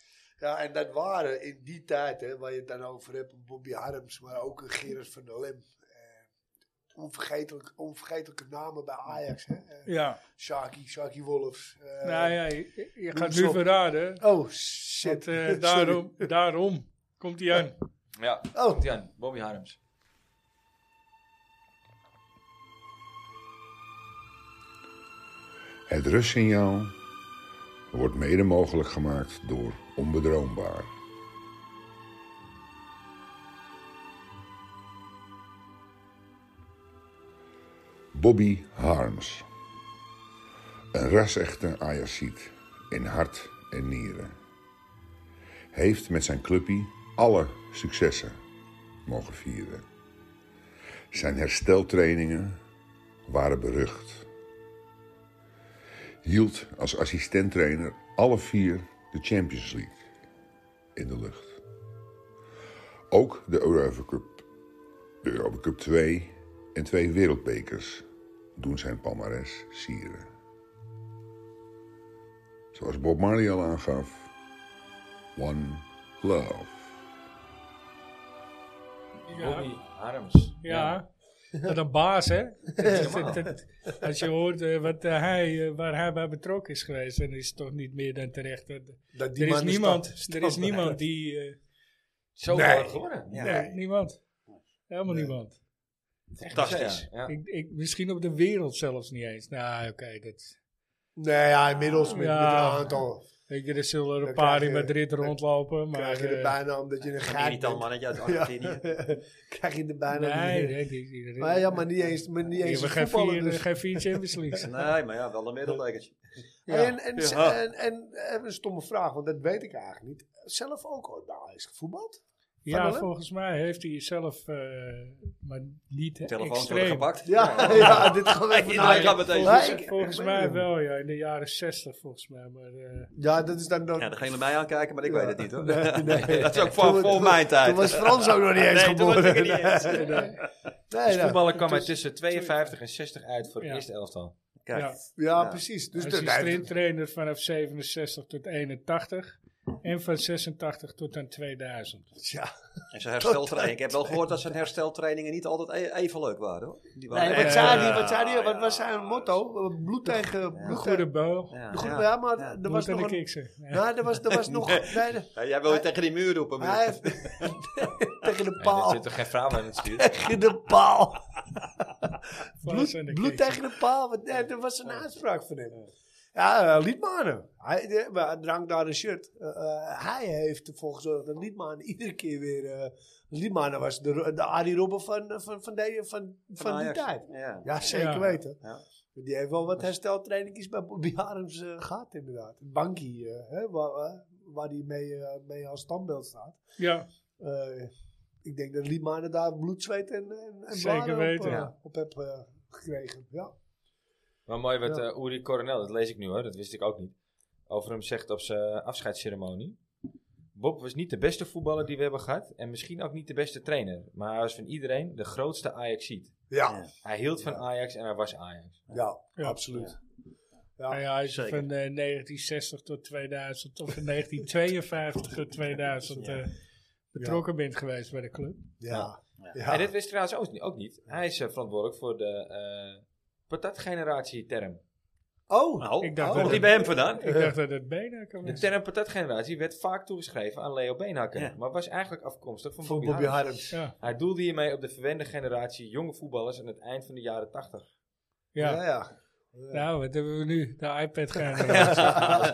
Speaker 4: en dat waren in die tijd, hè, waar je het dan over hebt, een Bobby Harms, maar ook een Gerard van der Lem. Eh, onvergetelijk, onvergetelijke namen bij Ajax. Hè? Eh,
Speaker 2: Ja.
Speaker 4: Sharky, Sharky Wolves. eh,
Speaker 2: nou ja, je, je gaat
Speaker 4: eens
Speaker 2: nu
Speaker 4: op.
Speaker 2: verraden.
Speaker 4: Oh, shit.
Speaker 2: Want, eh,
Speaker 4: Sorry.
Speaker 2: daarom, daarom komt hij aan.
Speaker 1: Ja,
Speaker 4: Oh.
Speaker 1: komt aan. Bobby Harms.
Speaker 8: Het rustsignaal wordt mede mogelijk gemaakt door onbedroombaar. Bobby Harms. Een rasechte Ajaxiet in hart en nieren. Heeft met zijn clubpie alle successen mogen vieren. Zijn hersteltrainingen waren berucht hield als assistenttrainer alle vier de Champions League in de lucht. Ook de Europa Cup, de Europa Cup 2 en twee wereldbekers doen zijn palmares sieren. Zoals Bob Marley al aangaf, One Love.
Speaker 1: Bobby Harms.
Speaker 2: Ja, wat een baas, hè? Als je hoort eh, wat, eh, hij, eh, waar hij bij betrokken is geweest, dan is het toch niet meer dan terecht. Dat,
Speaker 4: Dat die
Speaker 2: er is
Speaker 4: man
Speaker 2: niemand,
Speaker 4: stapt-
Speaker 2: er is
Speaker 4: stapt-
Speaker 2: niemand die... eh,
Speaker 1: Zo
Speaker 4: Nee.
Speaker 1: nee. geworden. Ja.
Speaker 2: nee, niemand. Helemaal
Speaker 4: Nee.
Speaker 2: niemand.
Speaker 3: Fantastisch.
Speaker 1: Ja.
Speaker 2: Ik, ik, misschien op de wereld zelfs niet eens. Nou, oké, dat...
Speaker 4: Nee, ja, inmiddels met, met
Speaker 2: Ja.
Speaker 4: een aantal.
Speaker 2: Weet je, er zullen er
Speaker 4: Dan
Speaker 2: een paar
Speaker 4: krijg
Speaker 2: in
Speaker 4: je-
Speaker 2: Madrid rondlopen, maar...
Speaker 4: Krijg je de
Speaker 2: eh,
Speaker 4: bijna omdat je een geit bent.
Speaker 3: Irritant mannetje uit
Speaker 4: Ja.
Speaker 3: Argentinië.
Speaker 4: Krijg je de bijna.
Speaker 2: Nee, nee, die, die, die-
Speaker 4: Maar ja, maar niet eens, maar niet
Speaker 2: die
Speaker 4: eens
Speaker 2: hebben
Speaker 4: een
Speaker 2: geen
Speaker 4: voetballer,
Speaker 2: vier,
Speaker 4: dus-
Speaker 2: geen vier Champions Leagues.
Speaker 3: Nee, maar ja, wel een middellekertje.
Speaker 2: Ja.
Speaker 4: En, en,
Speaker 3: Ja.
Speaker 4: oh, en, en, en een stomme vraag, want dat weet ik eigenlijk niet. Zelf ook ooit bij Ajax nou, gevoetbald?
Speaker 2: Ja,
Speaker 4: wel, hè?
Speaker 2: volgens mij heeft hij zelf, eh, maar niet
Speaker 5: Telefoons worden
Speaker 2: extreem.
Speaker 5: gepakt.
Speaker 4: Ja, ja, dit gaan we even
Speaker 5: Iedereen
Speaker 4: naar-
Speaker 5: gaat meteen.
Speaker 4: Ja,
Speaker 2: Volgens,
Speaker 4: ik-
Speaker 2: volgens
Speaker 4: ik weet
Speaker 2: mij
Speaker 4: het.
Speaker 2: wel, ja. In de jaren zestig volgens mij. Maar, eh,
Speaker 4: Ja, dat is dan nog...
Speaker 5: Ja, dan gaan jullie mij aankijken, maar ik
Speaker 4: Ja.
Speaker 5: weet het niet hoor.
Speaker 4: Nee, nee.
Speaker 5: Dat is ook
Speaker 4: Toen-
Speaker 5: voor, voor
Speaker 4: toen-
Speaker 5: mijn tijd.
Speaker 4: Toen was Frans ook nog niet eens
Speaker 5: Nee, toen was
Speaker 4: geboren.
Speaker 5: ik er niet eens.
Speaker 4: Nee, nee.
Speaker 1: Als
Speaker 4: Nee, nou, nee.
Speaker 1: voetballer kwam hij tussen 52 en 60 uit voor het
Speaker 2: Ja.
Speaker 1: eerste elftal.
Speaker 5: Kijk,
Speaker 2: ja.
Speaker 4: Ja, precies. Dus
Speaker 2: Hij
Speaker 4: dat-
Speaker 2: is
Speaker 4: nee,
Speaker 2: sprinttrainer vanaf 67 tot 81. En van 86 tot aan 2000.
Speaker 4: ja.
Speaker 5: en zijn hersteltraining. Ik heb wel gehoord dat zijn hersteltrainingen niet altijd e- even leuk waren hoor. Die waren
Speaker 4: Nee,
Speaker 5: echt-
Speaker 4: wat zei hij? Wat, zei die? wat was zijn motto? Bloed tegen...
Speaker 2: De
Speaker 4: Bloed
Speaker 2: goede
Speaker 4: tegen...
Speaker 2: bal.
Speaker 5: Ja.
Speaker 4: De goede,
Speaker 5: Ja.
Speaker 4: ja, maar er
Speaker 2: Dat
Speaker 4: was
Speaker 2: was en
Speaker 4: nog
Speaker 2: de
Speaker 4: een...
Speaker 2: kiksen. Ja.
Speaker 4: Nou, er was, er was nog... Nee, de-
Speaker 5: Ja, jij wil je tegen die muur roepen.
Speaker 4: hij
Speaker 5: Hij,
Speaker 4: heeft... tegen de
Speaker 1: En er
Speaker 4: paal.
Speaker 1: zit toch geen vrouw aan het stuur?
Speaker 4: Tegen de paal.
Speaker 2: Vlas en
Speaker 4: Bloed,
Speaker 2: de
Speaker 4: bloed
Speaker 2: kiksen.
Speaker 4: tegen de paal. want, eh, dat was een aanspraak van hem. Ja, eh, Liedmanen. Hij de- maar hij hangt daar een shirt. Eh, eh, hij heeft ervoor gezorgd dat Liedmanen iedere keer weer... eh Liedmanen was de, ro- de Arie Robben van, eh, van, van, die- van, van, die tijd.
Speaker 5: Ja.
Speaker 4: Ja, zeker
Speaker 2: Ja.
Speaker 4: weten.
Speaker 5: Ja.
Speaker 4: Die heeft wel wat hersteltrainingjes bij Bobby Harms eh, gehad inderdaad. Het bankje eh, hè, waar, eh, waar hij mee, eh, mee als standbeeld staat.
Speaker 2: Ja,
Speaker 4: Eh, ik denk dat Liedmanen daar bloed, zweet en, en, en
Speaker 2: Zeker
Speaker 4: blaren op,
Speaker 2: weten,
Speaker 4: eh,
Speaker 2: ja.
Speaker 4: op heb eh, gekregen. Ja.
Speaker 1: Maar mooi wat
Speaker 4: Ja.
Speaker 1: eh Uri Coronel, dat lees ik nu hoor, dat wist ik ook niet. Over hem zegt op zijn afscheidsceremonie. Bob was niet de beste voetballer die we hebben gehad en misschien ook niet de beste trainer. Maar hij was van iedereen de grootste Ajaxiet.
Speaker 4: Ja,
Speaker 1: Hij hield van Ajax en hij was Ajax.
Speaker 4: ja,
Speaker 2: Ja.
Speaker 4: absoluut.
Speaker 2: Nou ja, hij is
Speaker 5: Zeker.
Speaker 2: van eh, 1960 tot 2000 of van 1952 tot 2000 eh, betrokken bent geweest bij de club.
Speaker 4: Ja. ja.
Speaker 1: En dit wist ik trouwens ook niet. Ook niet. Hij is eh, verantwoordelijk voor de eh patatgeneratie-term.
Speaker 4: Oh,
Speaker 5: Nou,
Speaker 2: Ik dacht
Speaker 5: komt
Speaker 2: dat-
Speaker 5: die bij hem vandaan?
Speaker 2: Ik dacht dat het bijna kan
Speaker 1: De
Speaker 2: zijn.
Speaker 1: term patatgeneratie werd vaak toegeschreven aan Leo Beenhakker,
Speaker 5: Ja.
Speaker 1: maar was eigenlijk afkomstig van
Speaker 4: voor
Speaker 1: Bobby,
Speaker 4: Bobby
Speaker 1: Harms.
Speaker 4: Harms.
Speaker 2: Ja,
Speaker 1: Hij doelde hiermee op de verwende generatie jonge voetballers aan het eind van de jaren 80.
Speaker 2: ja.
Speaker 4: ja. ja.
Speaker 2: Nou, wat hebben we nu? De iPad gaan. eh,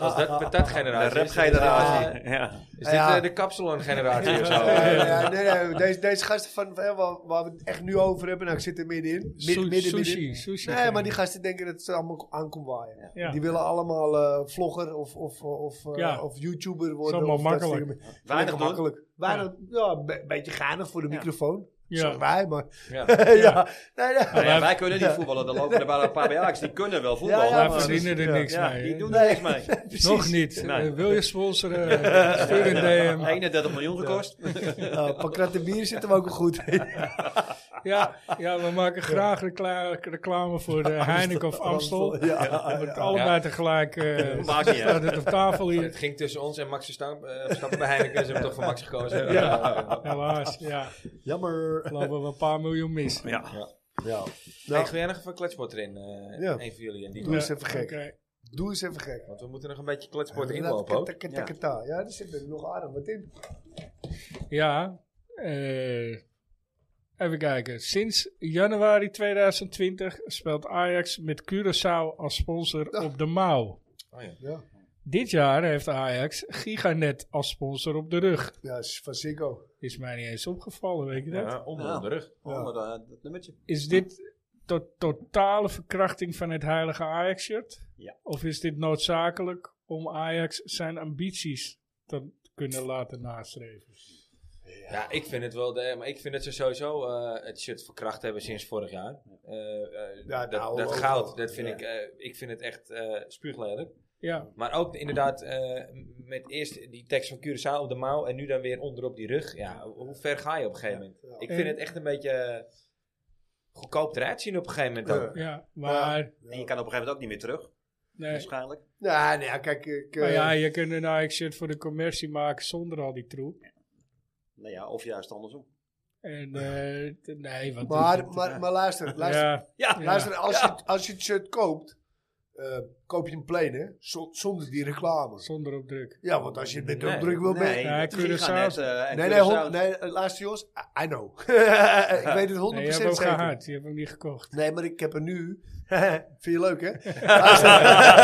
Speaker 1: Als dat
Speaker 5: De
Speaker 1: patatgeneratie is,
Speaker 5: rapgeneratie.
Speaker 1: eh,
Speaker 5: Ja.
Speaker 1: Is dit
Speaker 4: Ja.
Speaker 1: eh, de kapsalon-generatie of zo?
Speaker 4: Ja, ja, nee, nee, deze, deze gasten van, hè, waar, waar we het echt nu over hebben, nou, ik zit er middenin. Mid,
Speaker 2: Su-
Speaker 4: midden,
Speaker 2: sushi,
Speaker 4: middenin.
Speaker 2: sushi.
Speaker 4: Nee, maar die gasten denken dat het allemaal aankomt waaien.
Speaker 2: Ja.
Speaker 4: Die willen allemaal eh, vlogger of, of, of, eh,
Speaker 2: Ja.
Speaker 4: of YouTuber worden.
Speaker 2: allemaal
Speaker 4: of dat soort
Speaker 2: makkelijk.
Speaker 4: dingen.
Speaker 5: Weinig doen.
Speaker 4: makkelijk. Weinig, ja, een be- beetje geinig voor de microfoon.
Speaker 2: Ja.
Speaker 4: Zeg wij, maar.
Speaker 1: Ja.
Speaker 4: ja.
Speaker 2: Ja.
Speaker 4: Nee, nee.
Speaker 5: Nou ja, wij kunnen niet voetballen. Er lopen er maar een paar bij Ajax. Die kunnen wel voetballen.
Speaker 4: Ja,
Speaker 2: Wij
Speaker 4: maar-
Speaker 2: verdienen er
Speaker 4: ja,
Speaker 2: niks
Speaker 5: Ja,
Speaker 2: mee.
Speaker 5: die
Speaker 2: hè.
Speaker 5: doen er niks mee.
Speaker 2: Nog niet.
Speaker 5: Nee.
Speaker 2: Eh, wil je sponsoren? Stuur een DM.
Speaker 5: 31 miljoen gekost.
Speaker 4: Ja, een paar kratten bier Nou, zit hem ook wel goed in.
Speaker 2: Ja, ja, we maken graag recla- reclame voor eh, Heineken of Amstel.
Speaker 4: Ja,
Speaker 2: Met
Speaker 4: ja.
Speaker 2: allebei tegelijk eh,
Speaker 5: Maakt niet uit.
Speaker 2: staat het op tafel
Speaker 1: Het
Speaker 2: hier.
Speaker 1: ging tussen ons en Max Verstappen eh, Verstappen bij Heineken. Ze hebben toch voor Max gekozen.
Speaker 2: Ja, helaas. Ja,
Speaker 4: Jammer.
Speaker 2: lopen we een paar miljoen mis.
Speaker 5: Ja.
Speaker 4: Ja.
Speaker 1: Nou, ik
Speaker 4: Nou,
Speaker 1: wil jij nog even een kletsport erin? eh
Speaker 4: Ja.
Speaker 1: Een van jullie en die.
Speaker 4: doe eens even
Speaker 2: Oké.
Speaker 4: gek. Doe eens even gek.
Speaker 1: Want we moeten nog een beetje kletsport inlopen ook.
Speaker 4: Ja, ja daar zit er nog aardig wat in.
Speaker 2: Ja, eh, even kijken. Sinds januari 2020 speelt Ajax met Curaçao als sponsor op de mouw.
Speaker 1: Oh ja.
Speaker 4: Ja,
Speaker 2: Dit jaar heeft Ajax Giganet als sponsor op de rug.
Speaker 4: ja is van Ziggo.
Speaker 2: Is mij niet eens opgevallen, weet je dat?
Speaker 1: Ja, onder
Speaker 5: Ja.
Speaker 1: de rug.
Speaker 5: Onder eh, dat nummertje.
Speaker 2: Is dit tot totale verkrachting van het heilige Ajax-shirt?
Speaker 5: Ja.
Speaker 2: Of is dit noodzakelijk om Ajax zijn ambities te kunnen laten nastreven?
Speaker 1: Ja, ik vind het wel. De, maar ik vind dat ze sowieso eh, het shirt verkracht hebben sinds vorig jaar. Eh, eh,
Speaker 4: Ja,
Speaker 1: dat
Speaker 4: nou,
Speaker 1: dat
Speaker 4: ook wel.
Speaker 1: goud, dat vind
Speaker 4: Ja.
Speaker 1: ik. eh, ik vind het echt eh spuuglelijk.
Speaker 2: Ja,
Speaker 1: Maar ook inderdaad, eh, met eerst die tekst van Curaçao op de mouw en nu dan weer onderop die rug. Ja, hoe ver ga je op een gegeven moment?
Speaker 4: Ja.
Speaker 1: Ik vind het echt een beetje eh, goedkoop eruit zien op een gegeven moment ook.
Speaker 2: ja maar...
Speaker 5: En je kan op een gegeven moment ook niet meer terug.
Speaker 2: Nee.
Speaker 5: Waarschijnlijk.
Speaker 4: Nou, nee, ja, kijk, ik... eh,
Speaker 2: Maar ja, je kunt een Ajax-shirt voor de commercie maken zonder al die troep.
Speaker 5: Nou ja, of juist andersom.
Speaker 2: En eh, t- nee, want...
Speaker 4: maar,
Speaker 2: dit-
Speaker 4: maar, maar luister,
Speaker 2: ja,
Speaker 4: luister.
Speaker 5: Ja.
Speaker 4: luister als, je, als je het shirt koopt, eh, koop je een plane, hè? Zo- zonder die reclame.
Speaker 2: zonder opdruk.
Speaker 4: Ja, want als je het met
Speaker 1: Nee,
Speaker 4: de druk wil
Speaker 5: Nee,
Speaker 4: mee...
Speaker 2: Ja,
Speaker 5: dat
Speaker 2: Curaçao.
Speaker 5: is Giganet, eh, en
Speaker 4: Nee, nee, hon-
Speaker 5: Curaçao.
Speaker 4: nee, eh, luister Jos, I- I know. ik weet het 100%
Speaker 2: Nee, je hebt hem
Speaker 4: zeker.
Speaker 2: gehad, je hebt hem niet gekocht.
Speaker 4: Nee, maar ik heb er nu. Vind je leuk, hè? Luister, luister,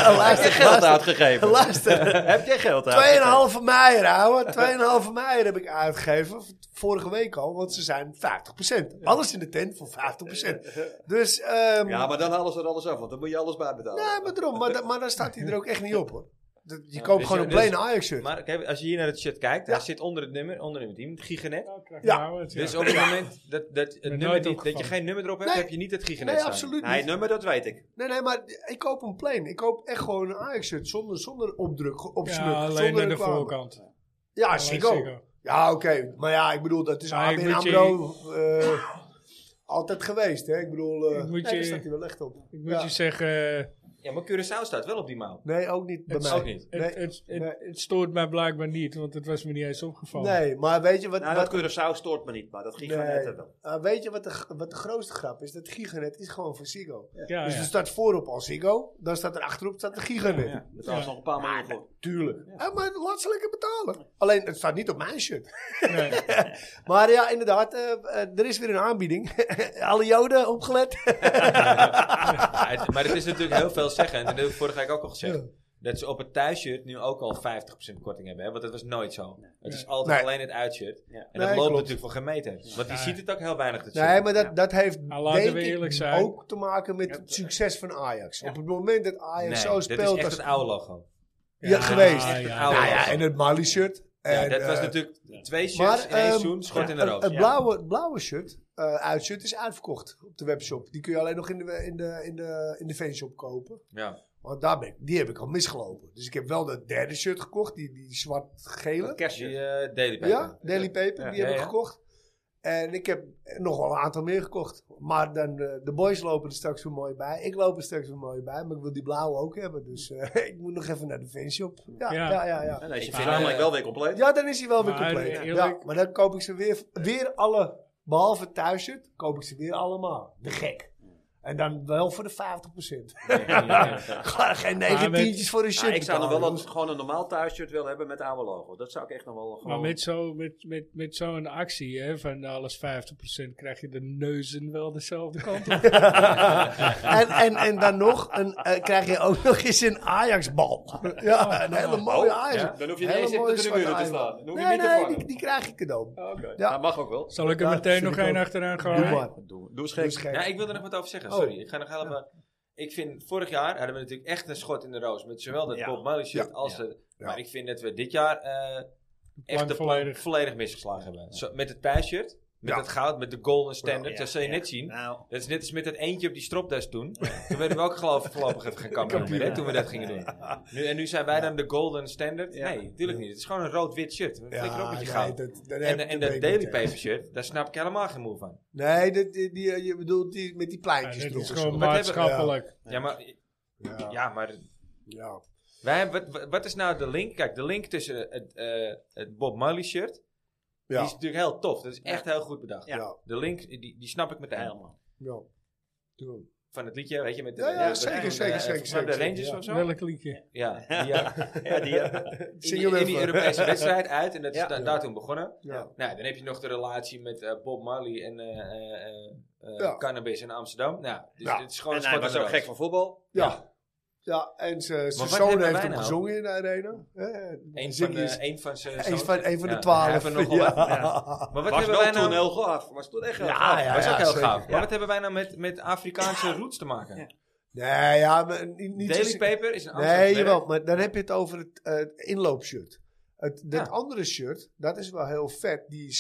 Speaker 5: Heb je
Speaker 4: luister,
Speaker 5: geld uitgegeven?
Speaker 4: luister.
Speaker 5: Heb jij geld uitgegeven?
Speaker 4: 2,5 meijer, ouwe. 2,5 meijer heb ik uitgegeven. v- Vorige week al, want ze zijn 50%. Alles in de tent voor 50%. Dus, ehm
Speaker 5: Ja, maar dan halen ze er alles af, want dan moet je alles bijbetalen.
Speaker 4: Nee, maar daarom. Maar, da- maar dan staat hij er ook echt niet op, hoor. dat- je
Speaker 1: Ja,
Speaker 4: koopt
Speaker 1: dus
Speaker 4: gewoon een
Speaker 1: ja, dus-
Speaker 4: plain Ajax shirt.
Speaker 1: Maar kijk, als je hier naar het shirt kijkt,
Speaker 4: Ja.
Speaker 1: hij zit onder het nummer, onder het team, het Giganet.
Speaker 2: Nou, krijg
Speaker 4: Ja,
Speaker 2: nou het, ja.
Speaker 1: Dus op het moment dat, dat, het nummer
Speaker 2: nooit
Speaker 1: die- dat je
Speaker 2: opgevallen.
Speaker 1: geen nummer erop hebt,
Speaker 4: Nee.
Speaker 1: heb je niet het Giganet
Speaker 4: nee,
Speaker 1: staan.
Speaker 4: absoluut
Speaker 3: Nee,
Speaker 4: niet.
Speaker 3: het nummer, dat weet ik.
Speaker 4: Nee, nee, maar ik koop een plain. Ik koop echt gewoon een Ajax shirt zonder, zonder opdruk, ge-
Speaker 2: Ja,
Speaker 4: opsmuk.
Speaker 2: alleen
Speaker 4: zonder
Speaker 2: aan de
Speaker 4: reclame.
Speaker 2: voorkant.
Speaker 4: Ah, Ja,
Speaker 2: Alleen
Speaker 4: Ziggo.
Speaker 2: Ziggo.
Speaker 4: Ja, oké. Maar ja, ik bedoel, dat is
Speaker 2: Maar ik
Speaker 4: ABN
Speaker 2: moet je-
Speaker 4: AMRO eh, altijd geweest. Hè? Ik bedoel, eh
Speaker 2: Ik moet
Speaker 4: nee, daar
Speaker 2: je-
Speaker 4: staat hij wel echt op.
Speaker 2: Ik moet
Speaker 4: Ja.
Speaker 2: je zeggen, eh,
Speaker 1: Ja, maar Curaçao staat wel op die mouw.
Speaker 4: Nee, ook niet bij
Speaker 2: Het
Speaker 4: mij.
Speaker 1: Ook niet.
Speaker 2: het,
Speaker 4: Nee,
Speaker 2: het, het,
Speaker 4: nee.
Speaker 2: het stoort mij blijkbaar niet, want het was me niet eens opgevallen.
Speaker 4: Nee, maar weet je wat...
Speaker 3: Nou,
Speaker 4: wat-
Speaker 3: dat Curaçao stoort me niet, maar dat ging
Speaker 4: Nee.
Speaker 3: gewoon net wel.
Speaker 4: Ah, weet je wat de, g- wat de grootste grap is? Dat Giganet is gewoon van Ziggo.
Speaker 2: Ja,
Speaker 4: dus
Speaker 2: ja.
Speaker 4: er staat voorop al Ziggo, dan staat er achterop staat de Giganet.
Speaker 3: Ja, dat was nog een paar maanden voor.
Speaker 4: Tuurlijk. Ah, maar laat ze lekker betalen. Alleen, het staat niet op mijn shirt.
Speaker 2: Nee.
Speaker 4: Maar ja, inderdaad, eh, eh, er is weer een aanbieding. Alle joden opgelet.
Speaker 1: Ja, het- maar het is natuurlijk heel veel zeggen. En dat heb ik vorige week ook al gezegd. Dat ze op het thuisshirt nu ook al 50% korting hebben. Hè? Want dat was nooit zo. Het is altijd
Speaker 4: Nee.
Speaker 1: alleen het uitshirt. En dat
Speaker 4: Nee,
Speaker 1: loopt
Speaker 4: klopt.
Speaker 1: natuurlijk voor geen meter. Want die
Speaker 2: Ja.
Speaker 1: ziet het ook heel weinig. Dat
Speaker 4: Nee,
Speaker 1: shirt.
Speaker 4: maar dat, dat heeft
Speaker 2: Maar Nou, laten
Speaker 4: denk
Speaker 2: we eerlijk
Speaker 4: ik
Speaker 2: zijn.
Speaker 4: ook te maken met het succes van Ajax. Op het moment dat Ajax
Speaker 1: Nee,
Speaker 4: zo
Speaker 1: dat is
Speaker 4: speelt
Speaker 1: echt
Speaker 4: als
Speaker 1: het oude logo.
Speaker 4: Ja, geweest.
Speaker 2: Ja,
Speaker 1: Het
Speaker 2: ja.
Speaker 1: oude
Speaker 4: Nou ja,
Speaker 1: logo.
Speaker 4: en het Mali shirt.
Speaker 1: Ja,
Speaker 4: En,
Speaker 1: dat was
Speaker 4: eh,
Speaker 1: natuurlijk twee shirts
Speaker 4: maar,
Speaker 1: in één
Speaker 4: ehm,
Speaker 1: seizoen, schot in de
Speaker 4: het,
Speaker 1: rood.
Speaker 4: het
Speaker 1: Ja.
Speaker 4: blauwe, het blauwe shirt, eh uitshirt, is uitverkocht op de webshop. Die kun je alleen nog in de, in de, in de, in de fanshop kopen.
Speaker 1: Ja.
Speaker 4: Want daar ben ik, die heb ik al misgelopen. Dus ik heb wel dat derde shirt gekocht, die, die zwart-gele.
Speaker 1: Die eh, Daily Paper.
Speaker 4: Ja, Daily Paper, die
Speaker 1: Ja,
Speaker 4: heb ik
Speaker 1: ja.
Speaker 4: gekocht. En ik heb nog wel een aantal meer gekocht. Maar dan, eh, de boys lopen er straks weer mooi bij. Ik loop er straks weer mooi bij. Maar ik wil die blauwe ook hebben. Dus eh, ik moet nog even naar de fanshop. Ja, ja,
Speaker 2: Ja.
Speaker 4: ja. ja, ja.
Speaker 3: En deze
Speaker 1: Ik
Speaker 3: vind
Speaker 1: vind,
Speaker 3: namelijk
Speaker 1: eh,
Speaker 3: wel weer compleet.
Speaker 4: dan is hij wel weer
Speaker 2: Maar
Speaker 4: compleet.
Speaker 2: eerlijk-
Speaker 4: Ja, maar dan koop ik ze weer, weer alle, behalve thuiszit, koop ik ze weer allemaal. De gek. En dan wel voor de 50%. Ga Geen
Speaker 2: Maar
Speaker 4: negen
Speaker 2: met-
Speaker 4: tientjes voor een shit.
Speaker 3: Nou, ik zou nog wel
Speaker 4: betalen,
Speaker 3: een,
Speaker 4: jongens.
Speaker 3: gewoon een normaal thuisshirt willen hebben met oude logo. Dat zou ik echt nog wel gewoon...
Speaker 2: Maar met zo'n met, met, met zo'n actie hè, van alles 50% krijg je de neuzen wel dezelfde kant op.
Speaker 4: En, en, en dan nog een, eh, krijg je ook nog eens een Ajax-bal. Ja, een hele mooie Ajax.
Speaker 3: Ja, dan hoef je niet
Speaker 4: Hele
Speaker 3: eens op de
Speaker 4: mooie
Speaker 3: tribune te
Speaker 4: zwarte
Speaker 3: staan.
Speaker 4: Ajax.
Speaker 3: Dan hoef je
Speaker 4: Nee,
Speaker 3: niet te Oh,
Speaker 4: nee,
Speaker 3: vangen.
Speaker 4: die, die krijg ik cadeau.
Speaker 3: Ja.
Speaker 4: Ja.
Speaker 3: Dat mag ook wel.
Speaker 2: Zal ik er
Speaker 4: Ja,
Speaker 2: meteen
Speaker 4: vind
Speaker 2: nog
Speaker 4: ik
Speaker 2: één
Speaker 4: ook.
Speaker 2: achteraan
Speaker 4: Doe
Speaker 2: gooien?
Speaker 4: maar.
Speaker 3: Doe, doe eens
Speaker 4: Dus
Speaker 3: gek.
Speaker 4: gek.
Speaker 1: Ja, ik wilde er nog wat over
Speaker 3: Oh.
Speaker 1: zeggen. Sorry, ik ga nog heel even. Ik vind, vorig jaar hadden we natuurlijk echt een schot in de roos. Met zowel dat
Speaker 3: Ja.
Speaker 1: Bob Marley shirt
Speaker 4: Ja.
Speaker 1: als
Speaker 3: Ja.
Speaker 1: de... Maar ik vind dat we dit jaar eh, echt de volledig.
Speaker 2: volledig.
Speaker 1: volledig misgeslagen hebben. Zo, met het thuisshirt, met
Speaker 4: Ja.
Speaker 1: het goud, met de golden standard.
Speaker 3: Ja,
Speaker 1: dat zul je
Speaker 3: ja.
Speaker 1: net zien.
Speaker 3: Nou,
Speaker 1: Dat is net als met dat eentje op die stropdas toen. toen werden we ook geloof ik voorlopig even geen kampioen meer, hè, toen we dat gingen doen. Nu, en nu zijn wij dan de golden standard.
Speaker 3: Ja.
Speaker 1: Nee, natuurlijk niet. Het is gewoon een rood-wit shirt. Flikker op met je
Speaker 4: nee,
Speaker 1: goud.
Speaker 4: dat- dan heb
Speaker 1: En,
Speaker 4: je
Speaker 1: en
Speaker 4: er
Speaker 1: dat
Speaker 4: een
Speaker 1: Daily
Speaker 4: keer.
Speaker 1: Paper shirt, daar snap ik helemaal geen moe van.
Speaker 4: Nee, dat- die, die, eh, je bedoelt die, met die
Speaker 2: Ja,
Speaker 4: pleintjes
Speaker 2: dit
Speaker 4: erop
Speaker 2: is
Speaker 4: en
Speaker 2: gewoon
Speaker 4: zo.
Speaker 1: Wat hebben-
Speaker 2: maatschappelijk.
Speaker 1: Ja, maar
Speaker 4: Ja,
Speaker 1: Ja, maar
Speaker 4: ja.
Speaker 1: wij hebben, wat, wat is nou de link? Kijk, de link tussen het, eh, het Bob Marley shirt,
Speaker 4: Ja.
Speaker 1: die is natuurlijk heel tof. Dat is echt heel goed bedacht.
Speaker 4: Ja. Ja.
Speaker 1: De link, die, die snap ik meteen.
Speaker 3: helemaal.
Speaker 4: Ja. Doe.
Speaker 1: Van het liedje, weet je, met de...
Speaker 4: Ja, ja,
Speaker 1: de- de-
Speaker 4: zeker,
Speaker 1: de-
Speaker 4: zeker,
Speaker 1: eh,
Speaker 4: zeker,
Speaker 1: volgens mij
Speaker 4: zeker,
Speaker 1: de Rangers
Speaker 4: ja.
Speaker 1: of zo?
Speaker 2: Welk liedje?
Speaker 1: Ja, die, eh,
Speaker 3: Ja, die, eh,
Speaker 1: in,
Speaker 4: Zing
Speaker 1: die,
Speaker 4: hem
Speaker 1: in die
Speaker 4: even.
Speaker 1: Europese wedstrijd uit en dat is
Speaker 3: Ja.
Speaker 1: da-
Speaker 4: Ja.
Speaker 1: daar toen begonnen.
Speaker 4: Ja.
Speaker 1: Nou, dan heb je nog de relatie met eh, Bob Marley en eh, eh, eh, eh,
Speaker 4: Ja.
Speaker 1: Cannabis in Amsterdam. Nou, dus
Speaker 4: Ja.
Speaker 1: dit is gewoon
Speaker 3: en hij
Speaker 1: een
Speaker 3: was ook gek van voetbal.
Speaker 4: Ja. Ja, en zijn
Speaker 1: wat
Speaker 4: zoon
Speaker 1: hebben
Speaker 4: heeft
Speaker 1: wij
Speaker 4: hem
Speaker 1: nou?
Speaker 4: gezongen in de arena. Eh,
Speaker 1: Een van,
Speaker 4: Ziggy
Speaker 1: de,
Speaker 4: is-
Speaker 1: een van zijn
Speaker 4: een
Speaker 1: zoons.
Speaker 4: van, een van
Speaker 1: Ja,
Speaker 4: de twaalf.
Speaker 1: hij heeft er nog wel
Speaker 4: ja.
Speaker 1: wat- Maar wat
Speaker 3: was
Speaker 1: hebben
Speaker 3: wel
Speaker 1: wij
Speaker 3: toen
Speaker 1: nou...
Speaker 3: heel gaaf. Was toen echt heel
Speaker 4: Ja,
Speaker 3: gaaf.
Speaker 4: ja,
Speaker 1: Dat is ook heel
Speaker 4: zeker.
Speaker 1: gaaf. Maar wat hebben wij nou met, met Afrikaanse roots te maken?
Speaker 4: Nee, ja, maar niet, niet
Speaker 1: Daily
Speaker 4: zozeer-
Speaker 1: Paper is een Amsterdam
Speaker 4: Nee,
Speaker 1: merk.
Speaker 4: jawel, maar dan heb je het over het eh, inloopshirt. Het, dat
Speaker 1: Ja.
Speaker 4: andere shirt, dat is wel heel vet. Die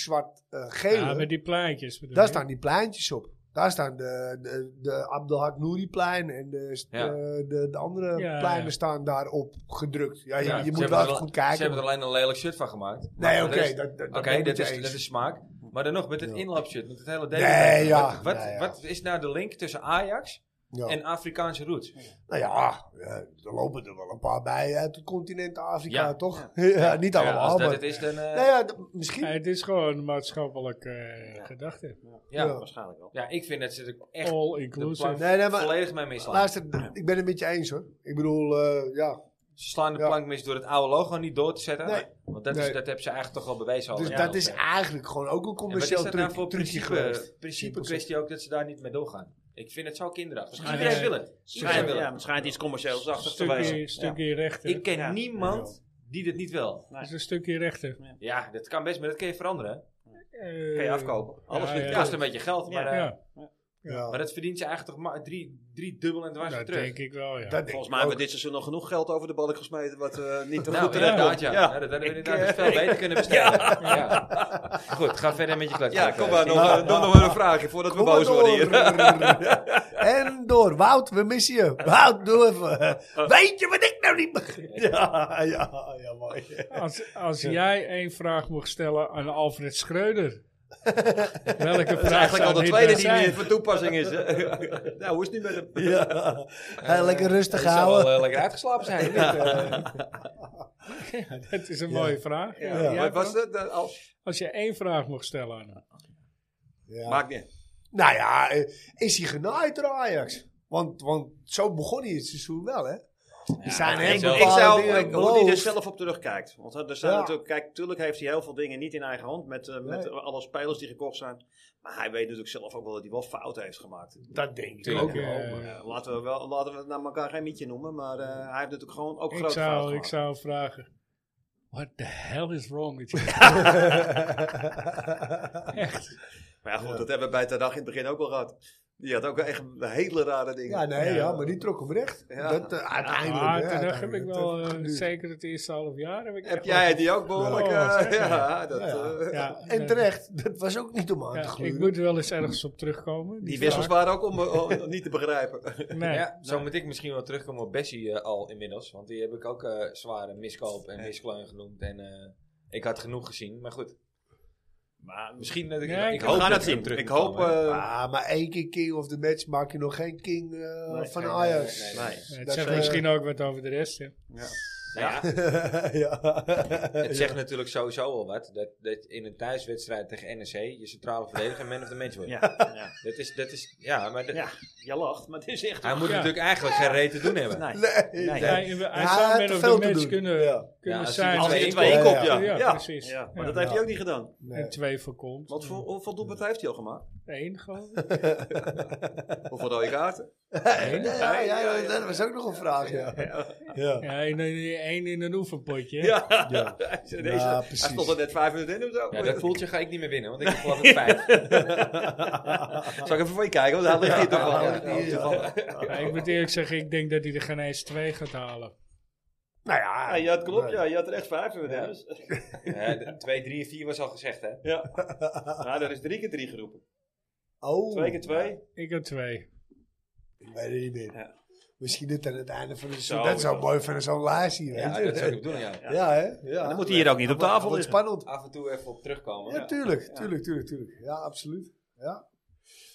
Speaker 4: zwart-gele,
Speaker 2: Ja, met die plaatjes. bedoel
Speaker 4: daar
Speaker 2: je?
Speaker 4: staan die pleintjes op. Daar staan de, de, de Abdelhak Nouri-plein en de,
Speaker 1: Ja.
Speaker 4: de, de, de andere
Speaker 2: Ja,
Speaker 4: pleinen
Speaker 2: ja.
Speaker 4: staan daarop gedrukt. Ja, je,
Speaker 1: Ja,
Speaker 4: je
Speaker 1: ze
Speaker 4: moet
Speaker 1: hebben
Speaker 4: wel
Speaker 1: er
Speaker 4: even goed kijken.
Speaker 1: Ze hebben er alleen een lelijk shirt van gemaakt.
Speaker 4: nee,
Speaker 1: Maar
Speaker 4: oké,
Speaker 1: dat is-
Speaker 4: dat, dat,
Speaker 1: Oké,
Speaker 4: ben ik
Speaker 1: dat,
Speaker 4: met
Speaker 1: is,
Speaker 4: je
Speaker 1: dat
Speaker 4: eens.
Speaker 1: is smaak. Maar dan nog, met het
Speaker 4: Ja.
Speaker 1: inloopshirt, met het hele Daily
Speaker 4: Nee,
Speaker 1: Paper.
Speaker 4: ja.
Speaker 1: Wat, wat,
Speaker 4: Nee, ja.
Speaker 1: wat is nou de link tussen Ajax
Speaker 4: Ja.
Speaker 1: en Afrikaanse roots?
Speaker 4: Nou ja, eh, er lopen er wel een paar bij uit het continent Afrika,
Speaker 1: Ja.
Speaker 4: toch? Ja. niet
Speaker 1: Ja,
Speaker 4: allemaal,
Speaker 1: als dat
Speaker 4: maar...
Speaker 1: het is, dan... eh,
Speaker 4: nou ja, d- misschien...
Speaker 2: Ja, het is gewoon een maatschappelijke eh, gedachte.
Speaker 1: ja.
Speaker 4: ja.
Speaker 1: Ja.
Speaker 3: Waarschijnlijk wel.
Speaker 1: ik vind dat ze er echt
Speaker 2: All
Speaker 1: de
Speaker 2: inclusive.
Speaker 1: plank
Speaker 4: Nee, nee, maar-
Speaker 1: volledig mee misslaan.
Speaker 4: Luister, d- ik ben het met je eens hoor. Ik bedoel, eh, ja.
Speaker 1: Ze slaan de
Speaker 4: Ja.
Speaker 1: plank mis door het oude logo niet door te zetten.
Speaker 4: Nee.
Speaker 1: Want dat, is,
Speaker 4: Nee.
Speaker 1: dat hebben ze eigenlijk toch al bewezen. al
Speaker 4: Dus
Speaker 1: een jaar
Speaker 4: dat is
Speaker 1: of zo.
Speaker 4: eigenlijk gewoon ook
Speaker 1: En wat is
Speaker 4: een commercieel
Speaker 1: dat nou
Speaker 4: truc,
Speaker 1: voor
Speaker 4: trucje
Speaker 1: principe,
Speaker 4: geweest.
Speaker 1: principe kwestie ook dat ze daar niet mee doorgaan? Ik vind het zo kinderachtig.
Speaker 2: Maar
Speaker 1: Iedereen
Speaker 2: nee.
Speaker 1: wil het. Iedereen
Speaker 3: Schijnt,
Speaker 1: wil
Speaker 3: ja,
Speaker 1: het.
Speaker 3: het schijnt iets commercieels achter te
Speaker 2: stukje,
Speaker 3: wezen.
Speaker 2: stukje rechter.
Speaker 1: Ik ken
Speaker 3: Ja.
Speaker 1: niemand die dit niet wil.
Speaker 2: Het is een stukje rechter.
Speaker 1: Ja, dat kan best, maar dat kun je veranderen.
Speaker 2: Eh,
Speaker 3: Kun je afkopen.
Speaker 2: Ja,
Speaker 3: Alles
Speaker 2: ja,
Speaker 1: Het
Speaker 2: ja.
Speaker 1: kost een beetje geld, maar eh,
Speaker 2: Ja.
Speaker 1: Maar dat verdient je eigenlijk toch maar drie, drie dubbel en dwars
Speaker 2: Nou, dat
Speaker 1: weer terug.
Speaker 2: denk ik wel, ja.
Speaker 4: Dat denk
Speaker 3: Volgens
Speaker 4: ik
Speaker 3: mij hebben
Speaker 4: ook.
Speaker 3: we dit seizoen nog genoeg geld over de balk gesmeten. Wat eh, niet te goed
Speaker 1: Nou,
Speaker 3: terecht
Speaker 1: inderdaad,
Speaker 3: komt.
Speaker 1: ja.
Speaker 3: Ja.
Speaker 1: Nou, dat hadden we inderdaad
Speaker 2: eh,
Speaker 1: dus veel beter kunnen bestellen. Ja. Goed, ga verder met je klets.
Speaker 3: Ja, kom maar, nog,
Speaker 1: Ja.
Speaker 3: eh, nog, nog wel een vraagje voordat we
Speaker 4: Kom maar
Speaker 3: boos worden hier.
Speaker 4: door. en door. Wout, we missen je. Wout, doe even.
Speaker 1: Oh.
Speaker 4: Weet je wat ik nou niet begrijp? Ja, ja, ja, mooi.
Speaker 2: Als, als jij één vraag mocht stellen aan Alfred Schreuder. welke
Speaker 3: Dat is
Speaker 2: vraag
Speaker 3: eigenlijk
Speaker 2: zou
Speaker 3: al de
Speaker 2: dit dan
Speaker 3: tweede die
Speaker 2: zijn?
Speaker 3: meer van toepassing is. hè. nou, hoe is het nu met hem?
Speaker 4: Ja. Hey, lekker rustig
Speaker 1: Je zou
Speaker 4: houden.
Speaker 1: Eh, wel eh, lekker uitgeslapen zijn. of niet?
Speaker 2: Dat is een mooie vraag. Ja.
Speaker 4: Ja.
Speaker 3: Wat was dat? eh, al?
Speaker 2: Als je één vraag mocht stellen aan hem.
Speaker 4: Ja.
Speaker 3: Maakt niet.
Speaker 4: Nou ja, eh, is hij genaaid door Ajax? Want, want zo begon hij het seizoen wel, hè? Er zijn
Speaker 1: ik
Speaker 4: heel
Speaker 1: zou-
Speaker 3: Ik
Speaker 4: bepaalde
Speaker 3: zou,
Speaker 4: dingen
Speaker 3: ik, hoe
Speaker 4: beloofd.
Speaker 3: hij er zelf op terugkijkt. Want er zijn
Speaker 4: Ja.
Speaker 3: natuurlijk, kijk, tuurlijk heeft hij heel veel dingen niet in eigen hand. Met, eh, met
Speaker 4: Nee.
Speaker 3: alle spelers die gekocht zijn. Maar hij weet natuurlijk zelf ook wel dat hij wel fouten heeft gemaakt.
Speaker 4: Dat denk ik
Speaker 1: Tuurlijk,
Speaker 4: ook
Speaker 2: eh,
Speaker 4: wel.
Speaker 3: Eh, laten, we wel, laten we het naar elkaar geen mietje noemen. Maar eh, hij heeft natuurlijk gewoon ook
Speaker 2: ik,
Speaker 3: grote fouten
Speaker 2: zou,
Speaker 3: gemaakt.
Speaker 2: ik zou vragen. What the hell is wrong with you? Echt.
Speaker 3: Maar ja, goed, dat hebben we bij Tadag in het begin ook wel gehad. Die had ook echt hele rare dingen.
Speaker 4: Ja, nee, ja, maar die trok hem recht.
Speaker 3: Ja.
Speaker 4: Dat, eh, uiteindelijk.
Speaker 2: Ah,
Speaker 4: hè,
Speaker 2: toen dacht heb ik
Speaker 4: uiteindelijk.
Speaker 2: wel,
Speaker 4: Dat heeft
Speaker 2: eh,
Speaker 4: geduurd.
Speaker 2: zeker het eerste half jaar. Heb, ik
Speaker 3: Heb
Speaker 2: echt
Speaker 3: jij die ook behoorlijk?
Speaker 2: Oh,
Speaker 3: eh,
Speaker 2: zeker.
Speaker 3: ja, dat,
Speaker 4: Ja.
Speaker 3: eh,
Speaker 2: Ja,
Speaker 4: En terecht, dat was ook niet om aan
Speaker 2: Ja,
Speaker 4: te gluren.
Speaker 2: ik moet er wel eens ergens op terugkomen.
Speaker 3: Die
Speaker 2: vraag.
Speaker 3: wissels waren ook om, eh, om niet te begrijpen.
Speaker 2: Nee.
Speaker 1: Ja, zo moet ik misschien wel terugkomen op Bessie eh, al inmiddels. Want die heb ik ook eh, zware miskoop en miskleun genoemd. En eh, ik had genoeg gezien, maar goed. Maar misschien dat ik...
Speaker 2: Nee,
Speaker 1: ik
Speaker 2: we
Speaker 1: hoop
Speaker 3: gaan
Speaker 1: dat
Speaker 3: het
Speaker 1: ik hem
Speaker 3: zien.
Speaker 1: terug
Speaker 3: Ik
Speaker 1: moet
Speaker 3: hoop...
Speaker 1: komen, hè.
Speaker 3: eh,
Speaker 4: Ah, maar één keer king of the match maak je nog geen king eh,
Speaker 3: Nee,
Speaker 4: van
Speaker 3: nee,
Speaker 4: Ajax.
Speaker 1: nee,
Speaker 3: nee.
Speaker 2: Het
Speaker 4: Dat
Speaker 2: zegt
Speaker 4: is, eh,
Speaker 2: misschien ook wat over de rest. Hè.
Speaker 1: Nou ja,
Speaker 4: ja.
Speaker 1: het zegt natuurlijk sowieso al wat. Dat, dat in een thuiswedstrijd tegen NEC je centrale verdediger man of the match wordt.
Speaker 3: Ja, ja.
Speaker 1: Dat is, dat is, ja, maar dat-
Speaker 3: ja, je lacht, maar het is echt...
Speaker 1: hij moet
Speaker 2: Ja.
Speaker 1: natuurlijk eigenlijk geen reet te doen hebben.
Speaker 3: Nee.
Speaker 4: Nee,
Speaker 3: Nee.
Speaker 4: nee.
Speaker 2: Hij, hij
Speaker 4: Ja,
Speaker 2: zou
Speaker 4: hij had
Speaker 2: man of
Speaker 4: te veel
Speaker 2: the
Speaker 4: te
Speaker 2: match
Speaker 4: doen.
Speaker 2: kunnen,
Speaker 4: Ja.
Speaker 2: kunnen
Speaker 1: Ja, als hij
Speaker 2: zijn.
Speaker 3: Als hij er
Speaker 1: Twee
Speaker 3: twee
Speaker 1: inkomt,
Speaker 3: inkomt, ja.
Speaker 4: ja.
Speaker 3: Ja,
Speaker 2: Ja, precies.
Speaker 3: Ja,
Speaker 2: Ja.
Speaker 3: maar dat heeft hij ook niet gedaan.
Speaker 4: Nee.
Speaker 2: En twee voorkomt.
Speaker 3: Wat voor, hoeveel doelpunten heeft hij al gemaakt?
Speaker 2: Eén geloof ik.
Speaker 3: Hoeveel rode kaarten?
Speaker 2: Eén.
Speaker 4: Ja, ja, ja, ja, dat was ook nog een vraag, ja. Ja,
Speaker 2: Ja, één, één- één in een oefenpotje. hè.
Speaker 3: Ja,
Speaker 4: ja.
Speaker 3: hij is ineens-
Speaker 4: ja
Speaker 3: hij stond er
Speaker 4: precies.
Speaker 3: net vijf minuten in of zo.
Speaker 1: Ja, dat voeltje ga ik niet meer winnen, want ik heb gewoon het feit.
Speaker 3: Zal ik even voor je kijken, want hij ligt hier toch wel.
Speaker 4: Ja, ja, ja.
Speaker 2: Ja, ik moet eerlijk zeggen, ik denk dat hij er geen eens twee gaat halen.
Speaker 4: Nou ja,
Speaker 3: Ja, ja, dat klopt. Ja, je had er echt vijf minuten in. dus-
Speaker 1: Ja, de- twee, drie, vier was al gezegd, hè?
Speaker 3: Ja. Nou, dat is drie keer drie geroepen.
Speaker 4: Oh,
Speaker 3: Twee keer twee.
Speaker 2: Ik heb twee.
Speaker 4: ik weet het niet meer.
Speaker 3: Ja.
Speaker 4: Misschien dit aan het einde van de
Speaker 3: Zo
Speaker 4: seizoen. Dat
Speaker 3: is
Speaker 4: zou
Speaker 3: dat.
Speaker 4: mooi van zo'n lijstje, weet
Speaker 1: Ja,
Speaker 4: je.
Speaker 1: dat zou ik bedoelen, ja.
Speaker 4: Ja, hè? Ja.
Speaker 3: Dan moet hij hier ook niet op tafel
Speaker 4: Wordt
Speaker 3: liggen.
Speaker 4: spannend.
Speaker 1: Af en toe even op terugkomen.
Speaker 4: Ja, tuurlijk, tuurlijk, tuurlijk, tuurlijk. Ja, absoluut. Ja.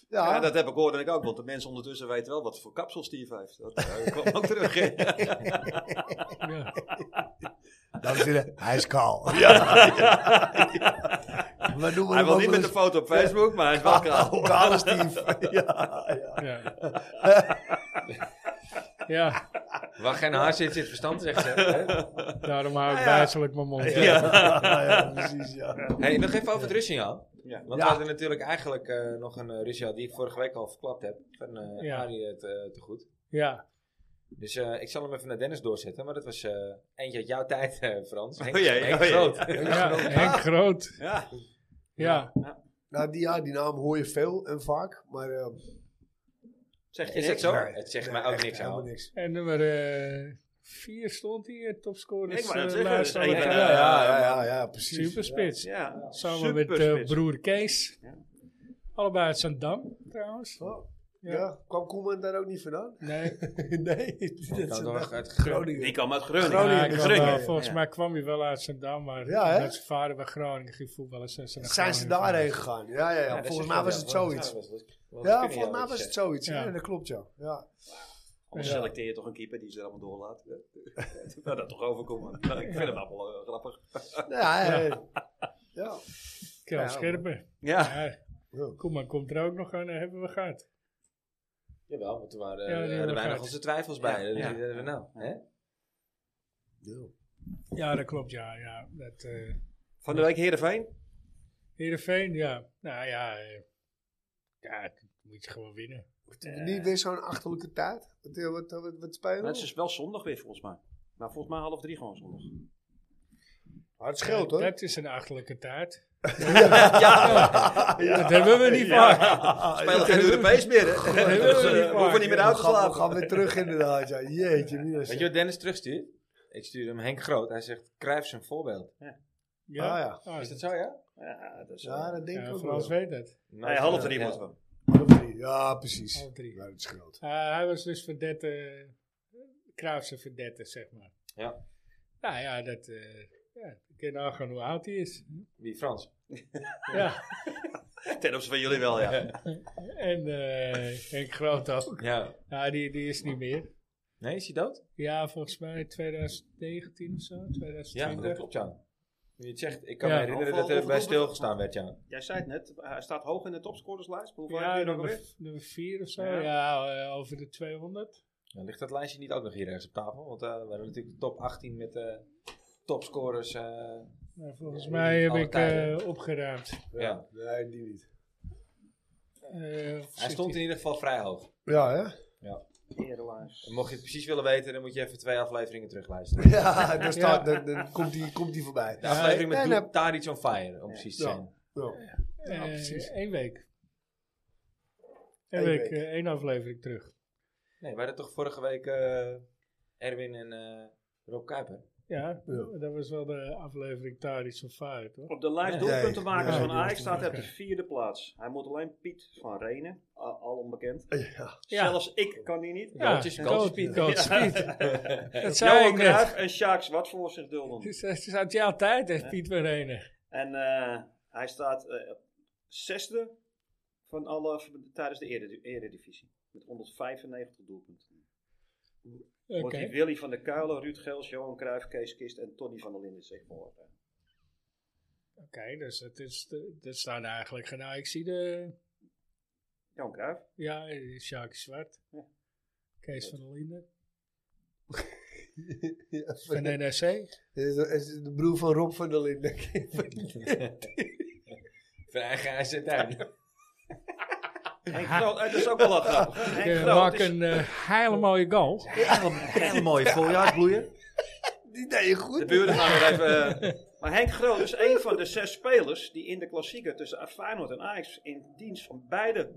Speaker 4: Ja,
Speaker 3: Ja, dat heb ik hoorde ik ook, want de mensen ondertussen weten wel wat voor kapsel Steve heeft. Dat eh, kwam ook terug.
Speaker 2: Ja.
Speaker 4: dames en heren, hij is kaal. We noemen
Speaker 3: Hij
Speaker 4: hem
Speaker 3: wil
Speaker 4: ook wel
Speaker 3: niet met een
Speaker 4: eens
Speaker 3: foto op Facebook, maar hij is wel klaar.
Speaker 4: kaal. Kale Steve. Ja, ja.
Speaker 2: Ja. ja,
Speaker 1: Waar geen haar zit, zit verstand, zegt ze. hè?
Speaker 2: daarom hou ik
Speaker 3: Ja, ja.
Speaker 2: wijselijk mijn mond. Ja.
Speaker 4: Ja, ja, precies, ja.
Speaker 1: Hey, nog even over het Russiaal.
Speaker 3: Ja.
Speaker 1: Want we
Speaker 4: Ja.
Speaker 1: hadden natuurlijk eigenlijk eh, nog een uh, die ik vorige week al verklapt heb. Van eh
Speaker 2: Ja.
Speaker 1: Arie het eh, te goed.
Speaker 2: Ja.
Speaker 1: Dus eh, ik zal hem even naar Dennis doorzetten. Maar dat was eh, eentje uit jouw tijd, eh, Frans. Henk,
Speaker 3: Oh jee,
Speaker 1: Henk
Speaker 3: oh jee.
Speaker 1: Groot.
Speaker 2: Ja, Henk Groot.
Speaker 3: Ja.
Speaker 2: Ja,
Speaker 4: Nou, die, ja, die naam hoor je veel en vaak, maar... eh,
Speaker 3: Zeg je
Speaker 1: Is
Speaker 3: niks?
Speaker 1: het zo?
Speaker 4: Nee.
Speaker 1: het zegt
Speaker 4: nee,
Speaker 1: mij ook
Speaker 4: echt
Speaker 1: niks
Speaker 4: helemaal
Speaker 1: aan.
Speaker 4: niks.
Speaker 2: en nummer eh, vier stond hier, topscorer.
Speaker 3: Ik wou net
Speaker 2: eh,
Speaker 3: zeggen,
Speaker 2: lijst
Speaker 3: dus
Speaker 2: alle
Speaker 3: één,
Speaker 2: tijden.
Speaker 4: Ja,
Speaker 3: eh,
Speaker 4: ja, ja, ja, ja, precies.
Speaker 2: Superspits.
Speaker 3: Ja.
Speaker 2: Samen met eh,
Speaker 3: Superspits.
Speaker 2: broer Kees.
Speaker 3: Ja.
Speaker 2: Allebei uit Zandam, trouwens.
Speaker 4: Ja. Oh, ja, kwam Koeman daar ook niet vandaan?
Speaker 2: Nee,
Speaker 4: nee,
Speaker 1: Dat
Speaker 4: dat is
Speaker 1: kan
Speaker 4: een
Speaker 1: toch uit
Speaker 3: Die
Speaker 4: Groningen.
Speaker 3: kwam uit Groningen.
Speaker 2: ja,
Speaker 4: Groningen.
Speaker 3: Ja,
Speaker 2: ik kwam
Speaker 3: Groningen.
Speaker 2: wel- volgens
Speaker 3: Ja.
Speaker 2: mij kwam hij wel uit Zandam, maar
Speaker 4: Ja, hè?
Speaker 2: dat zijn vader bij Groningen ging voetballen. Zijn ze, naar
Speaker 4: Zijn ze
Speaker 2: Groningen
Speaker 4: daarheen
Speaker 2: gegaan.
Speaker 4: gegaan? Ja, ja, ja.
Speaker 1: dat
Speaker 4: volgens
Speaker 1: zegt
Speaker 4: mij
Speaker 1: wel
Speaker 4: was
Speaker 1: wat.
Speaker 4: het zoiets.
Speaker 1: dat was- dat was-
Speaker 4: Ja,
Speaker 1: kun je
Speaker 4: volgens mij
Speaker 1: wel
Speaker 4: was het
Speaker 1: iets
Speaker 4: zoiets.
Speaker 2: Ja.
Speaker 4: Ja, dat klopt, ja. Ja,
Speaker 3: Anders
Speaker 2: Ja.
Speaker 3: selecteer je toch een keeper die ze er allemaal doorlaat. nou, dat toch overkomen. Nou, ik vind hem wel wel, eh, grappig.
Speaker 4: ja. ja, ja. ja.
Speaker 2: Kel
Speaker 4: Ja,
Speaker 2: Scherpen.
Speaker 3: Ja.
Speaker 2: Ja, kom maar, komt er ook nog aan, eh, hebben we gehad.
Speaker 1: Jawel, want er waren,
Speaker 2: Ja, die
Speaker 1: eh, er
Speaker 2: hebben we
Speaker 1: waren nog
Speaker 2: gehad.
Speaker 1: onze twijfels bij.
Speaker 3: Ja,
Speaker 1: Dat
Speaker 3: ja.
Speaker 1: deden we nou, hè?
Speaker 2: Ja, dat klopt, ja. ja. Dat, eh
Speaker 3: Van de week Heerenveen.
Speaker 2: Heerenveen, ja. Nou ja, eh, ja, dat moet je gewoon winnen.
Speaker 4: Niet weer zo'n achterlijke tijd. Wat, eh, wat, wat, wat spelen we?
Speaker 3: Dat is dus wel zondag weer volgens mij. Maar volgens mij half drie gewoon zondag.
Speaker 2: Eh,
Speaker 4: Maar het scheelt hoor.
Speaker 2: Dat is een achterlijke taart. Dat hebben we niet vaak.
Speaker 3: Spelen geen Europees meer, hè?
Speaker 2: hebben we
Speaker 3: Dus,
Speaker 2: niet
Speaker 3: eh, we hoeven
Speaker 2: vaak.
Speaker 3: niet
Speaker 4: We
Speaker 3: meer uit te
Speaker 4: gaan, we
Speaker 3: slapen.
Speaker 4: gaan weer terug inderdaad. Ja. Jeetje, minus.
Speaker 1: Weet je wat Dennis terugstuurt? Ik stuur hem Henk Groot. Hij zegt, Cruijff zijn voorbeeld.
Speaker 4: Ja, Ah, ja.
Speaker 2: Oh,
Speaker 1: Is dat zo, ja?
Speaker 3: Ja, dat is- eh,
Speaker 4: Ja, dat denk ik
Speaker 2: Ah, Ja, eh,
Speaker 4: ook
Speaker 2: Frans
Speaker 4: wel.
Speaker 2: weet het.
Speaker 3: Nee, half drie
Speaker 1: Ja.
Speaker 3: moeten we.
Speaker 4: Half drie. Ja, precies.
Speaker 2: Half drie.
Speaker 4: Ja, dat is groot.
Speaker 2: Eh, hij was dus verdette, Kruifse verdette, zeg maar.
Speaker 1: Ja.
Speaker 2: Nou ja, dat... eh ja, ik kan nagaan hoe oud hij is.
Speaker 1: Wie, Frans?
Speaker 2: Ja.
Speaker 3: Ten opzichte van jullie wel, ja.
Speaker 2: En eh Henk Groot ook.
Speaker 1: Ja.
Speaker 2: Nou, die, die is niet meer.
Speaker 1: Nee, is hij dood?
Speaker 2: Ja, volgens mij 2019 of zo, 2020.
Speaker 1: dat klopt, ja. Nu je het zegt, ik kan
Speaker 2: Ja.
Speaker 1: me herinneren dat er bij stilgestaan werd, ja.
Speaker 5: Jij zei het net, hij staat hoog in de topscorerslijst. Hoeveel
Speaker 2: Ja,
Speaker 5: heeft hij nog
Speaker 2: nummer,
Speaker 5: weer?
Speaker 2: nummer 4 of zo. Ja,
Speaker 5: Ja.
Speaker 2: eh, over de 200.
Speaker 1: Dan ligt dat lijstje niet ook nog hier ergens op tafel? Want eh, we hebben natuurlijk de top 18 met eh, topscorers. eh,
Speaker 2: Maar Nou, volgens
Speaker 1: Ja,
Speaker 2: mij heb
Speaker 1: alle
Speaker 2: ik
Speaker 1: tijden.
Speaker 2: eh, opgeruimd.
Speaker 1: ja.
Speaker 4: Nee, die niet.
Speaker 2: Eh,
Speaker 1: Hij
Speaker 2: zit
Speaker 1: stond in ieder geval vrij hoog.
Speaker 4: Ja, hè?
Speaker 1: En mocht je het precies willen weten, dan moet je even twee afleveringen terugluisteren.
Speaker 4: Ja, dan, staat, dan, dan komt, die, komt die voorbij.
Speaker 1: De aflevering met
Speaker 4: en,
Speaker 1: Doe
Speaker 4: eh,
Speaker 1: Tadic on Fire, om precies te
Speaker 4: Ja.
Speaker 1: zijn.
Speaker 4: Ja.
Speaker 2: eh,
Speaker 4: Ja, precies.
Speaker 2: één week. Eén
Speaker 4: Eén
Speaker 2: week,
Speaker 4: week.
Speaker 2: eh, één aflevering terug.
Speaker 1: Nee, we hadden toch vorige week eh, Erwin en eh, Rob Kuiper.
Speaker 2: Ja,
Speaker 4: Ja.
Speaker 2: dat was wel de aflevering Taris of Fire, toch?
Speaker 5: Op de lijst
Speaker 1: Nee.
Speaker 5: doelpuntenmakers
Speaker 4: Nee,
Speaker 5: van
Speaker 4: nee,
Speaker 5: Ajax staat hij op
Speaker 2: oké.
Speaker 5: de vierde plaats. Hij moet alleen Piet van Renen, a- al onbekend.
Speaker 2: eh.
Speaker 4: Ja.
Speaker 2: Ja.
Speaker 5: Zelfs ik kan die niet.
Speaker 2: Ja,
Speaker 1: Goaltjes, goaltjes, Piet.
Speaker 2: Goaltjes, Piet. Dat zei
Speaker 5: Johan
Speaker 2: ik net.
Speaker 5: Cruijff en Sjaak Zwartvoort zich dulden.
Speaker 2: Het is- Het is uit jouw tijd, hè, Piet Werene.
Speaker 5: En eh, hij staat eh, zesde van alle v- tijdens de eredi- eredivisie. Met 195 doelpunten.
Speaker 2: Oké.
Speaker 5: Wordt die Willy van der Kuilen, Ruud Geels, Johan Cruijff, Kees Kist en Tony van der Linden zich voor. eh,
Speaker 2: Oké, dus het is, de- dat staan eigenlijk geen nou, ik zie de,
Speaker 5: Johan Cruijff.
Speaker 2: ja, eh, Sjaak Zwart,
Speaker 5: Ja.
Speaker 2: Kees van der Linden,
Speaker 4: Ja,
Speaker 2: van
Speaker 4: van-
Speaker 2: de NRC.
Speaker 4: Dit is- dit is de broer van Rob van der Linden.
Speaker 1: Van eigen huis en tuin.
Speaker 5: Henk Groot, eh, dat is ook wel een grap. Henk
Speaker 2: Ik
Speaker 5: Groot
Speaker 2: maak
Speaker 3: dus-
Speaker 5: is,
Speaker 2: een eh, hele mooie goal.
Speaker 3: Hele mooie voorjaarsbloeien.
Speaker 4: Die deed je goed.
Speaker 5: de buren gaan weer even... eh, maar Henk Groot is een van de zes spelers die in de klassieker tussen Feyenoord en Ajax in dienst van beide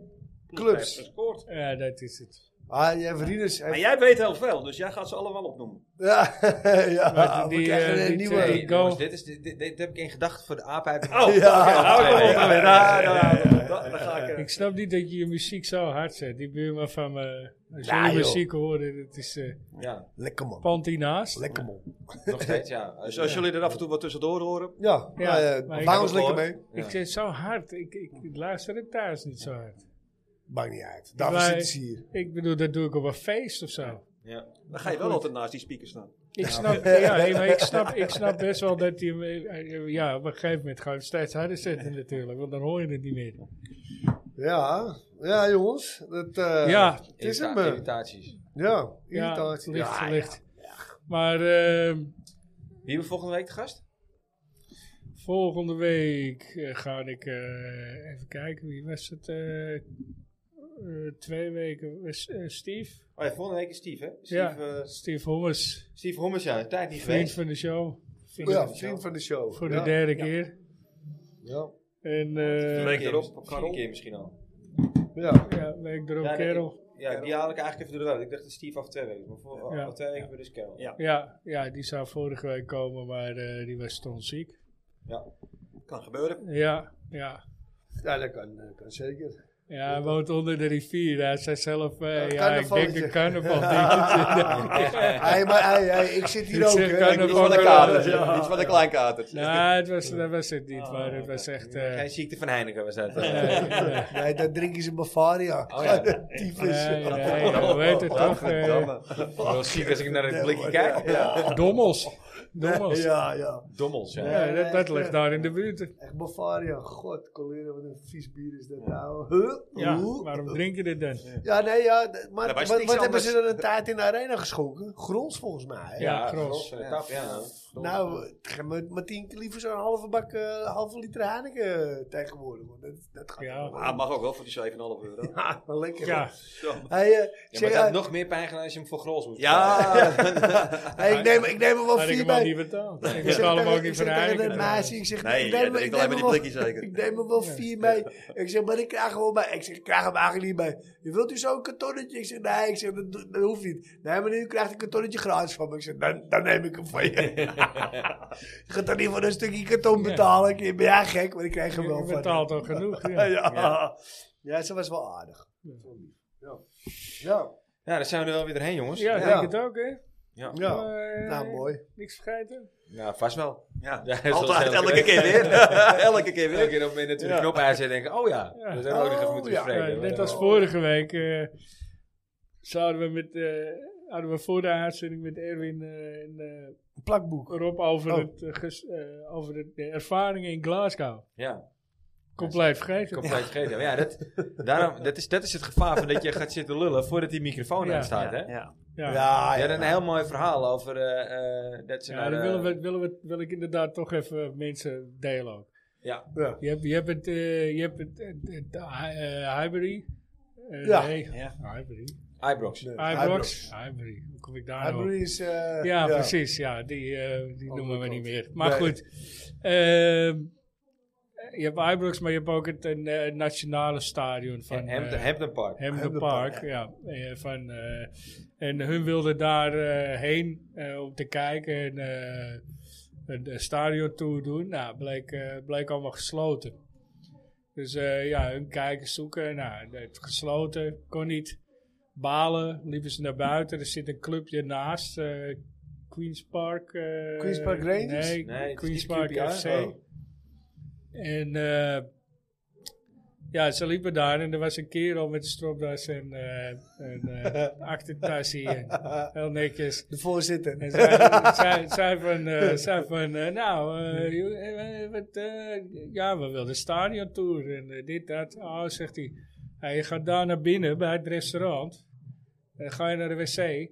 Speaker 5: ploegen heeft gescoord.
Speaker 2: Ja, dat is het.
Speaker 4: Ah, jij vrienders.
Speaker 5: Maar jij weet heel veel, dus jij gaat ze allemaal opnoemen.
Speaker 4: Ja, ja
Speaker 2: Maar
Speaker 4: we
Speaker 2: die,
Speaker 4: krijgen
Speaker 2: eh,
Speaker 4: een
Speaker 2: die
Speaker 4: nieuwe.
Speaker 2: twee-
Speaker 1: Nee,
Speaker 2: Go.
Speaker 1: jongens, dit, is, dit, dit- dit heb ik in gedachten voor de aap uit de
Speaker 5: Oh,
Speaker 4: Ja.
Speaker 5: oké, nou,
Speaker 1: Ja,
Speaker 5: kom op
Speaker 1: ja,
Speaker 5: dan weer.
Speaker 4: ja,
Speaker 5: Ah, nou,
Speaker 4: ja, ja, ja.
Speaker 5: dan- dan ga ik, eh,
Speaker 2: Ik snap niet dat je je muziek zo hard zet. Die buurman van me, als
Speaker 4: Ja,
Speaker 2: jullie
Speaker 4: joh.
Speaker 2: muziek horen, dat is eh
Speaker 1: Ja,
Speaker 4: Lekker man.
Speaker 2: Panty naast.
Speaker 4: Lekker man.
Speaker 1: nog steeds, ja.
Speaker 3: Dus als jullie er af en toe wat tussendoor horen.
Speaker 4: Ja,
Speaker 2: Ja,
Speaker 4: ja, ja,
Speaker 2: maar ik
Speaker 4: bouw
Speaker 2: heb
Speaker 4: ons
Speaker 3: het
Speaker 4: lekker
Speaker 3: gehoord.
Speaker 4: mee.
Speaker 2: Ik zit zo hard. Ik, ik, ik luister het thuis niet zo hard.
Speaker 4: Maakt niet uit. Daarvoor
Speaker 2: Wij-
Speaker 4: zitten ze hier.
Speaker 2: Ik bedoel, dat doe ik op een feest of zo.
Speaker 1: Ja.
Speaker 3: Dan ga je wel altijd naast die speaker staan.
Speaker 2: Ik snap, ja, nee, maar ik snap, ik snap best wel dat hij hem, eh, eh, ja, op een gegeven moment gewoon steeds harder zetten natuurlijk, want dan hoor je het niet meer.
Speaker 4: Ja, ja jongens. Dat, eh,
Speaker 2: Ja.
Speaker 4: Het is hem.
Speaker 1: Irrita-
Speaker 4: eh,
Speaker 1: Irritaties.
Speaker 4: Ja,
Speaker 2: Ja,
Speaker 4: irritatie.
Speaker 2: licht,
Speaker 4: Ja,
Speaker 2: licht. Maar ehm,
Speaker 1: Wie hebben we volgende week te gast?
Speaker 2: volgende week eh, ga ik eh, even kijken, wie was het? eh, eh, twee weken, was, eh, Steve?
Speaker 1: Oh ja, volgende week is Steve, hè? Steve,
Speaker 2: Ja.
Speaker 1: eh,
Speaker 2: Steve Hommers,
Speaker 1: Steve Hommers, ja. de Tijd niet
Speaker 2: vriend
Speaker 1: geweest.
Speaker 2: van de show,
Speaker 4: ja, ja, vriend van de show.
Speaker 2: voor
Speaker 4: ja.
Speaker 2: de derde keer.
Speaker 4: Ja,
Speaker 2: En
Speaker 1: Vierde
Speaker 2: eh
Speaker 3: week
Speaker 1: keer,
Speaker 3: erop,
Speaker 1: misschien-
Speaker 3: Karel.
Speaker 1: vierde keer misschien al.
Speaker 4: ja.
Speaker 2: ja, week erop
Speaker 1: Ja, nee,
Speaker 2: kerel.
Speaker 1: Ja, die haal ik eigenlijk even door de wel. Ik dacht dat Steve af twee weken. Maar voor
Speaker 2: Ja.
Speaker 1: af twee weken weer dus Carol.
Speaker 3: Ja.
Speaker 2: Ja, ja, die zou vorige week komen, maar eh, die was stonziek.
Speaker 1: eh,
Speaker 3: Kan gebeuren.
Speaker 2: Ja, ja.
Speaker 4: ja dat kan, eh, kan zeker.
Speaker 2: Ja, hij woont onder de rivier. Hij zei zelf, eh,
Speaker 4: Een
Speaker 2: ja, ik denk een
Speaker 4: carnavalletje.
Speaker 2: carnaval. denk ik.
Speaker 4: hey, maar hey, hey, ik zit
Speaker 2: Ik
Speaker 4: hier ook.
Speaker 2: zeg,
Speaker 4: hè.
Speaker 2: kan
Speaker 4: Ik
Speaker 2: er
Speaker 4: doe-
Speaker 2: van-
Speaker 3: Van de
Speaker 2: Ja.
Speaker 3: katers, ja. Iets van de kleinkater.
Speaker 2: nou, het was, dat was het niet, maar het was echt... eh,
Speaker 1: Geen ziekte van Heineken was dat. eh.
Speaker 2: nee, nee,
Speaker 4: Nee, dan drinken ze Bavaria.
Speaker 1: Oh ja.
Speaker 4: Tyfus.
Speaker 2: nee, nee, hoe heet het toch? eh,
Speaker 1: Oh, Wel ziek als ik naar het blikje
Speaker 4: Ja,
Speaker 1: kijk.
Speaker 4: ja.
Speaker 2: Oh, dommels. Dommels.
Speaker 4: Ja, ja.
Speaker 1: Dommels, ja.
Speaker 2: Ja, dat, dat ligt daar in de buurt.
Speaker 4: Echt Bavaria. God, collega, wat een vies bier is dat nou. Huh?
Speaker 2: Ja,
Speaker 4: Hoe?
Speaker 2: waarom drink je dit dan?
Speaker 4: Ja, nee, ja. d- Maar
Speaker 3: Ja, wij
Speaker 4: wat,
Speaker 3: stinken
Speaker 4: wat hebben
Speaker 3: anders.
Speaker 4: ze dan een taart in de arena geschonken? Grons volgens mij. hè?
Speaker 2: Ja,
Speaker 1: Ja,
Speaker 2: Gros.
Speaker 1: Gros van de tap, ja. verdorie.
Speaker 4: Nou, eh, maar, maar tien keer liever zo'n halve bak, eh, halve liter Heineken eh, tegenwoordig. Want dat, dat gaat
Speaker 2: Ja.
Speaker 4: wel.
Speaker 3: Ah, mag ook wel voor die 7,5 euro.
Speaker 4: Ja, Ah, wel lekker.
Speaker 2: Ja,
Speaker 4: Hey, eh,
Speaker 1: Ja, maar
Speaker 4: zeg,
Speaker 1: het had
Speaker 4: eh,
Speaker 1: nog meer pijn gedaan als je hem voor Grols moet
Speaker 3: Ja,
Speaker 4: hey, ik, neem, ik neem er wel
Speaker 2: had ik
Speaker 4: vier
Speaker 2: hem al
Speaker 4: bij.
Speaker 2: niet betaald. Ik
Speaker 4: Ik zeg
Speaker 2: betaal hem
Speaker 4: tegen-
Speaker 2: ook niet
Speaker 4: ik
Speaker 2: voor
Speaker 4: zeg eh,
Speaker 2: de
Speaker 4: tegen de
Speaker 2: eigen.
Speaker 4: meisje, ik zeg,
Speaker 3: Nee,
Speaker 4: ik
Speaker 3: jij
Speaker 4: neem,
Speaker 3: drinkt
Speaker 4: ik
Speaker 3: alleen
Speaker 4: neem
Speaker 3: maar
Speaker 4: er
Speaker 3: die
Speaker 4: wel,
Speaker 3: blikjes zeker.
Speaker 4: ik neem er wel vier mee. Ik zeg, maar ik krijg er wel bij. Ik zeg, ik krijg hem eigenlijk niet mee. Je wilt u zo'n kartonnetje? Ik zeg, nee, ik zeg, dat, dat hoeft niet. Nee, maar nu krijgt een kartonnetje gratis van me. Ik zeg, dan, dan neem ik hem van je. je gaat dan niet voor een stukje karton betalen. Ik zeg, ben jij gek, maar ik krijg hem wel
Speaker 2: Je
Speaker 4: van
Speaker 2: betaalt al genoeg.
Speaker 4: Ja.
Speaker 2: Ja.
Speaker 4: Ja. ja, ze was wel aardig. Ja. Ja.
Speaker 1: Ja, dan zijn we er wel weer doorheen, jongens.
Speaker 2: Ja, ik
Speaker 4: Ja.
Speaker 2: denk het ook, hè?
Speaker 1: Ja.
Speaker 4: ja.
Speaker 2: Eh,
Speaker 4: Nou, mooi.
Speaker 2: Niks vergeten?
Speaker 1: Nou, vast wel.
Speaker 3: ja.
Speaker 1: Ja, zoals
Speaker 3: altijd
Speaker 1: elke
Speaker 3: elke keer weer. elke keer
Speaker 1: Elke
Speaker 3: weer.
Speaker 1: keer op het moment dat we de knop aanzetten, denken oh ja,
Speaker 2: Ja.
Speaker 1: we zijn ook nog even
Speaker 4: Oh,
Speaker 1: moeten
Speaker 4: ja.
Speaker 1: bespreken. Oh.
Speaker 2: Ja, net als vorige week eh, zouden we met, eh, hadden we voor de uitzending met Erwin eh, een eh, plakboek Rob over,
Speaker 4: Oh.
Speaker 2: het, eh, ges- eh, over het- de ervaringen in Glasgow.
Speaker 1: Ja,
Speaker 2: Compleet vergeten.
Speaker 1: compleet vergeten. Maar Ja, dat, daarom, dat, is, dat is het gevaar van dat je gaat zitten lullen voordat die microfoon
Speaker 2: Ja.
Speaker 1: aan staat. Hè?
Speaker 3: Ja.
Speaker 2: Ja.
Speaker 1: Ja, ja, dan een heel mooi verhaal over eh, eh, dat ze
Speaker 2: Ja,
Speaker 1: naar...
Speaker 2: dat
Speaker 1: eh,
Speaker 2: willen we, willen we, wil ik inderdaad toch even mensen delen ook.
Speaker 1: Ja.
Speaker 4: Ja.
Speaker 2: Je hebt, je hebt het, eh, je hebt het, het, het, eh, eh, Highbury. Eh,
Speaker 4: Ja.
Speaker 2: Nee,
Speaker 3: Ja.
Speaker 2: Highbury.
Speaker 1: Ibrox.
Speaker 4: Nee,
Speaker 2: Ibrox. Highbury. Hoe kom ik daar nou op?
Speaker 4: Highbury is... eh,
Speaker 2: Ja, precies. Ja, die, eh, die
Speaker 4: Oh,
Speaker 2: noemen we
Speaker 4: klopt.
Speaker 2: niet meer. Maar
Speaker 4: Nee.
Speaker 2: goed. Ehm, je hebt Ibrox, maar je hebt ook het eh, het nationale stadion van
Speaker 1: Van Hampton,
Speaker 2: eh,
Speaker 1: Hampton Park.
Speaker 2: Hampden
Speaker 4: Hampden
Speaker 2: Park.
Speaker 4: Park,
Speaker 2: ja. Eh, van, eh, en hun wilden daar eh, heen eh, om te kijken en eh een, een stadiontour doen. Nou, bleek, eh, bleek allemaal gesloten. Dus eh, ja, hun kijken, zoeken. Nou, het gesloten, kon niet. Balen, liepen ze naar buiten. Er zit een clubje naast, eh, Queen's Park. eh,
Speaker 4: Queen's Park Rangers?
Speaker 2: Nee,
Speaker 1: Nee, het is
Speaker 2: Queen's
Speaker 1: niet
Speaker 2: Park
Speaker 1: QPR.
Speaker 2: FC.
Speaker 1: Oh.
Speaker 2: En eh, ja, ze liepen daar en er was een kerel met een stropdas en eh een eh, achtertasje. en heel netjes.
Speaker 4: De voorzitter.
Speaker 2: En zij, zij, zij van, eh, zij van eh, nou, eh, joh, eh, eh, wat, eh, ja, we wilden stadion tour en eh, dit, dat. Oh, zegt hij, "Ja, je gaat daar naar binnen bij het restaurant. Dan ga je naar de wc.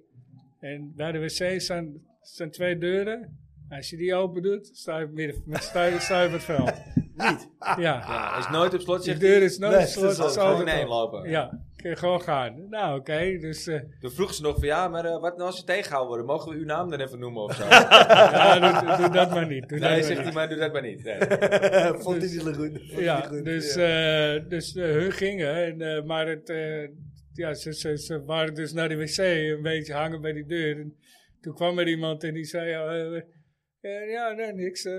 Speaker 2: En bij de wc staan, staan twee deuren. Als je die open doet, sta je, op het midden, sta je, sta je op het veld. Niet? Ja.
Speaker 1: Ja, is nooit op slot,
Speaker 2: Je
Speaker 1: zegt
Speaker 2: deur is nooit
Speaker 4: Nee,
Speaker 2: gesloten,
Speaker 4: dat
Speaker 2: het
Speaker 4: is
Speaker 2: is
Speaker 1: Gewoon
Speaker 2: altijd
Speaker 1: heen
Speaker 2: open.
Speaker 1: lopen.
Speaker 2: Ja, kun je gewoon gaan. Nou, oké. dus eh,
Speaker 1: Toen vroeg ze nog van, ja, maar eh, wat nou als ze tegenhouden worden? Mogen we uw naam dan even noemen of zo?
Speaker 2: ja, doe, doe dat maar niet. Doe
Speaker 1: nee,
Speaker 2: dat maar
Speaker 1: zegt
Speaker 2: niet.
Speaker 1: hij, maar doe dat maar niet. Nee.
Speaker 4: Vond hij het goed? Vond hij
Speaker 2: dus- Ja,
Speaker 4: het goed?
Speaker 2: dus,
Speaker 4: Ja.
Speaker 2: eh, dus eh, hun gingen. En, eh, maar het, eh, ja, ze, ze, ze waren dus naar de wc een beetje hangen bij die deur. En toen kwam er iemand en die zei... eh, eh, ja, nee, niks. Eh,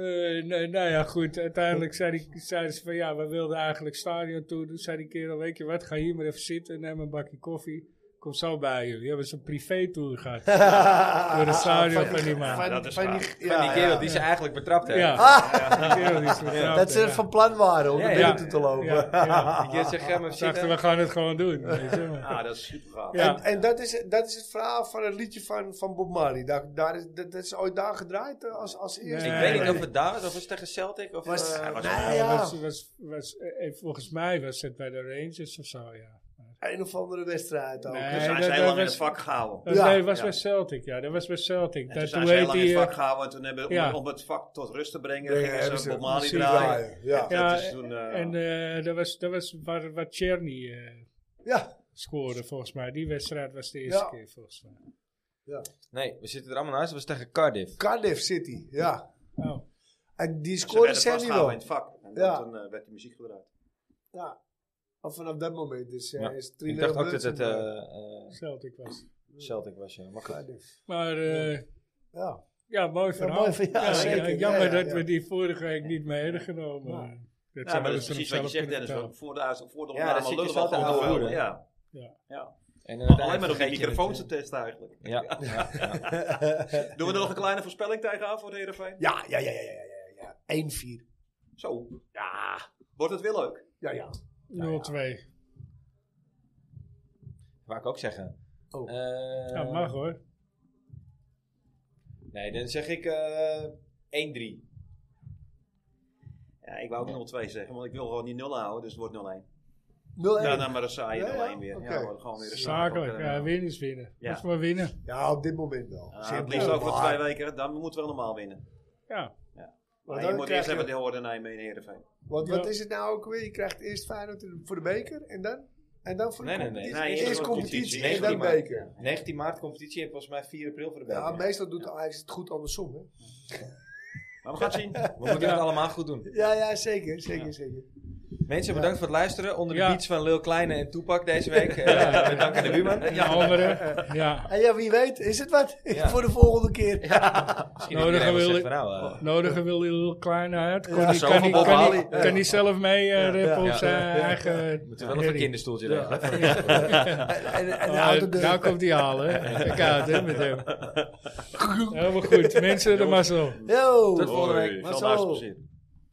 Speaker 2: nee, nou ja, goed. Uiteindelijk zei, die, zei ze van... Ja, we wilden eigenlijk stadion toe. Toen zei die kerel... Weet je wat, ga hier maar even zitten. Neem een bakje koffie. Kom zo bij jullie. Die hebben ze een privé-tour gehad. eh, door het stadion van die man.
Speaker 4: Van,
Speaker 3: dat is
Speaker 4: van
Speaker 3: waar.
Speaker 1: Van
Speaker 4: die, ja,
Speaker 1: die kerel
Speaker 4: ja.
Speaker 1: die ze eigenlijk betrapt heeft.
Speaker 2: Ja. Die kerel die ze vertrouwde,
Speaker 4: Dat ze
Speaker 2: ja.
Speaker 4: er van plan waren om
Speaker 1: Ja,
Speaker 4: naar
Speaker 1: ja.
Speaker 4: binnen toe te lopen.
Speaker 2: Ja, ja.
Speaker 1: Die keer zegt, ga maar
Speaker 2: Dachten, we
Speaker 1: zitten.
Speaker 2: gaan het gewoon doen. weet je wel.
Speaker 3: Ah, dat is super gaaf.
Speaker 2: Ja.
Speaker 4: En, en dat, is, dat is het verhaal van het liedje van, van Bob Marley. Daar, daar is, dat, dat is ooit daar gedraaid eh, als, als eerste.
Speaker 1: Ik
Speaker 2: Nee.
Speaker 1: weet niet of het daar was, of was het tegen Celtic? Of,
Speaker 4: Was-
Speaker 1: eh,
Speaker 4: hij was-
Speaker 1: ja,
Speaker 2: Ja,
Speaker 4: Ah, ja.
Speaker 2: was- was- was- eh, eh, volgens mij was het bij de Rangers of zo, ja.
Speaker 4: Een of andere wedstrijd ook.
Speaker 2: Nee.
Speaker 3: Dus hij
Speaker 2: dat-
Speaker 3: is heel
Speaker 2: dat
Speaker 3: lang in
Speaker 2: was-
Speaker 3: het vak gehouden.
Speaker 2: Dat
Speaker 4: Ja.
Speaker 2: Eh, nee, was
Speaker 3: Ja.
Speaker 2: bij Celtic, ja. Dat was bij Celtic.
Speaker 3: En toen
Speaker 2: Dat,
Speaker 3: zijn
Speaker 2: hoe
Speaker 3: ze heel
Speaker 2: heet
Speaker 3: lang in
Speaker 2: die...
Speaker 3: het
Speaker 2: eh,
Speaker 3: vak gehouden. En toen hebben om,
Speaker 2: ja.
Speaker 3: om het vak tot rust te brengen,
Speaker 4: Brengen,
Speaker 3: gingen
Speaker 4: hebben
Speaker 3: ze
Speaker 4: ze
Speaker 3: Bob Marley
Speaker 4: muziek
Speaker 3: draaien.
Speaker 4: draaien, ja.
Speaker 3: En
Speaker 2: Ja,
Speaker 3: dat is toen, eh,
Speaker 2: En eh, dat was, dat was waar, waar Czerny eh,
Speaker 4: Ja.
Speaker 2: scoorde, volgens mij. Die wedstrijd was de eerste
Speaker 4: Ja.
Speaker 2: keer, volgens mij.
Speaker 1: Nee, we zitten er allemaal naast. Dat was tegen Cardiff.
Speaker 4: Cardiff City, ja.
Speaker 2: Oh,
Speaker 4: En die
Speaker 3: ze
Speaker 4: scoorde
Speaker 3: werden
Speaker 4: Sammy
Speaker 3: vastgehouden in
Speaker 4: wel.
Speaker 3: het vak. En
Speaker 4: Ja.
Speaker 3: toen eh, werd die muziek gebruikt.
Speaker 4: Ja. Of vanaf dat moment is, eh
Speaker 1: Ja.
Speaker 4: is het 3-0
Speaker 1: Ik dacht ook dat
Speaker 4: Brunson
Speaker 1: het eh,
Speaker 4: geworden.
Speaker 1: eh,
Speaker 2: Celtic was. het.
Speaker 1: Celtic was, ja. Maar goed.
Speaker 4: Cardiff.
Speaker 2: Maar eh,
Speaker 4: Ja.
Speaker 2: ja, mooi verhaal.
Speaker 4: mooi verhaal, zeker.
Speaker 2: jammer
Speaker 4: Ja, ja,
Speaker 2: dat
Speaker 4: ja.
Speaker 2: we die vorige week niet mee hebben genomen.
Speaker 4: Ja.
Speaker 2: Dat
Speaker 3: Ja, maar
Speaker 2: zouden
Speaker 3: dat is
Speaker 2: ze
Speaker 3: precies
Speaker 2: hem
Speaker 3: wat je
Speaker 2: zelf
Speaker 3: zegt, Dennis.
Speaker 2: kunnen
Speaker 3: want Voor de, voor de
Speaker 1: Ja, dat
Speaker 3: opname
Speaker 1: zit je
Speaker 3: lullen we
Speaker 1: vast aan
Speaker 3: gewoon
Speaker 1: de
Speaker 3: veel.
Speaker 1: hoeren.
Speaker 3: Ja.
Speaker 2: Ja.
Speaker 3: Ja.
Speaker 1: En
Speaker 3: Alleen maar nog die
Speaker 1: vergeet je het,
Speaker 3: microfoons
Speaker 1: hè.
Speaker 3: te testen eigenlijk.
Speaker 1: Ja, ja, ja.
Speaker 3: Doen we er nog een kleine voorspelling tegenaan voor de Heerenveen?
Speaker 4: Ja, ja, ja, ja, ja, ja, ja. 1-4.
Speaker 3: Zo. Ja. Wordt het weer leuk?
Speaker 4: Ja, ja.
Speaker 2: betalen. 0-2.
Speaker 1: Wou ik ook zeggen.
Speaker 4: Oh.
Speaker 1: Eh,
Speaker 2: Ja, mag hoor.
Speaker 1: Nee, dan zeg ik eh 1-3.
Speaker 3: Ja, ik wou ook 0-2 zeggen, want ik wil gewoon die 0 houden, dus het wordt 0-1.
Speaker 4: 0-1.
Speaker 3: Daarna maar een saaie
Speaker 4: Ja, ja,
Speaker 3: 0-1 weer.
Speaker 4: oké.
Speaker 3: Ja, wordt gewoon
Speaker 1: Dus
Speaker 3: weer een saaie
Speaker 1: eh,
Speaker 2: Zakelijk. Ja,
Speaker 3: weer.
Speaker 2: win is winnen.
Speaker 3: Ja.
Speaker 2: Moet maar winnen.
Speaker 4: Ja, op dit moment wel.
Speaker 3: Ja,
Speaker 4: Simpel,
Speaker 3: het liefst ook voor
Speaker 4: maar-
Speaker 3: twee weken, dan moeten we normaal winnen.
Speaker 2: Ja.
Speaker 4: Want
Speaker 5: Maar je
Speaker 4: dan
Speaker 5: moet
Speaker 4: krijg
Speaker 5: eerst even
Speaker 4: je-
Speaker 5: de horen Nijmegen Heerenveen.
Speaker 4: Want wat
Speaker 2: Ja.
Speaker 4: is het nou ook weer? Je krijgt eerst Feyenoord voor de beker en dan? En dan voor de
Speaker 1: Nee, nee, nee.
Speaker 4: competitie.
Speaker 5: Nee,
Speaker 4: eerst
Speaker 5: eerst
Speaker 4: competitie en
Speaker 1: competitie.
Speaker 4: dan
Speaker 1: Nee,
Speaker 4: beker.
Speaker 1: 19 maart competitie en volgens mij 4 april voor de beker.
Speaker 4: Ja, meestal doet Ajax het goed andersom, hè?
Speaker 5: Maar we gaan het zien.
Speaker 1: We moeten het allemaal goed doen.
Speaker 4: Ja, ja, zeker, zeker, zeker.
Speaker 1: Mensen, bedankt voor het luisteren. Onder de
Speaker 2: Ja.
Speaker 1: beats van Lil Kleine en Toepak deze week. Eh, met dank aan de buurman.
Speaker 2: Ja, anderen. Ja.
Speaker 4: En ja, wie weet, is het wat
Speaker 1: Ja.
Speaker 4: voor de volgende keer.
Speaker 1: Misschien
Speaker 2: Nodigen
Speaker 1: is iedereen wel
Speaker 2: wil
Speaker 1: zegt
Speaker 2: ik-
Speaker 1: van nou, eh,
Speaker 2: Nodigen wil heel klein uit. Kon die-
Speaker 1: zo
Speaker 2: kan
Speaker 1: van
Speaker 2: die-
Speaker 1: Bob
Speaker 2: kan
Speaker 1: Marley.
Speaker 2: die- Kan hij zelf mee eh, rappen
Speaker 1: ja.
Speaker 2: op zijn eigen.
Speaker 1: moeten we wel even een kinderstoeltje regelen.
Speaker 4: En, en, en
Speaker 2: Ah,
Speaker 4: houdt hem
Speaker 2: nou
Speaker 4: er-
Speaker 2: komt hij halen. hè. Kijk uit, hè, met hem. Helemaal goed. Mensen, de mazzel.
Speaker 4: Yo!
Speaker 1: Tot volgende week.
Speaker 4: Maar
Speaker 5: Veel
Speaker 4: zo.
Speaker 5: plezier.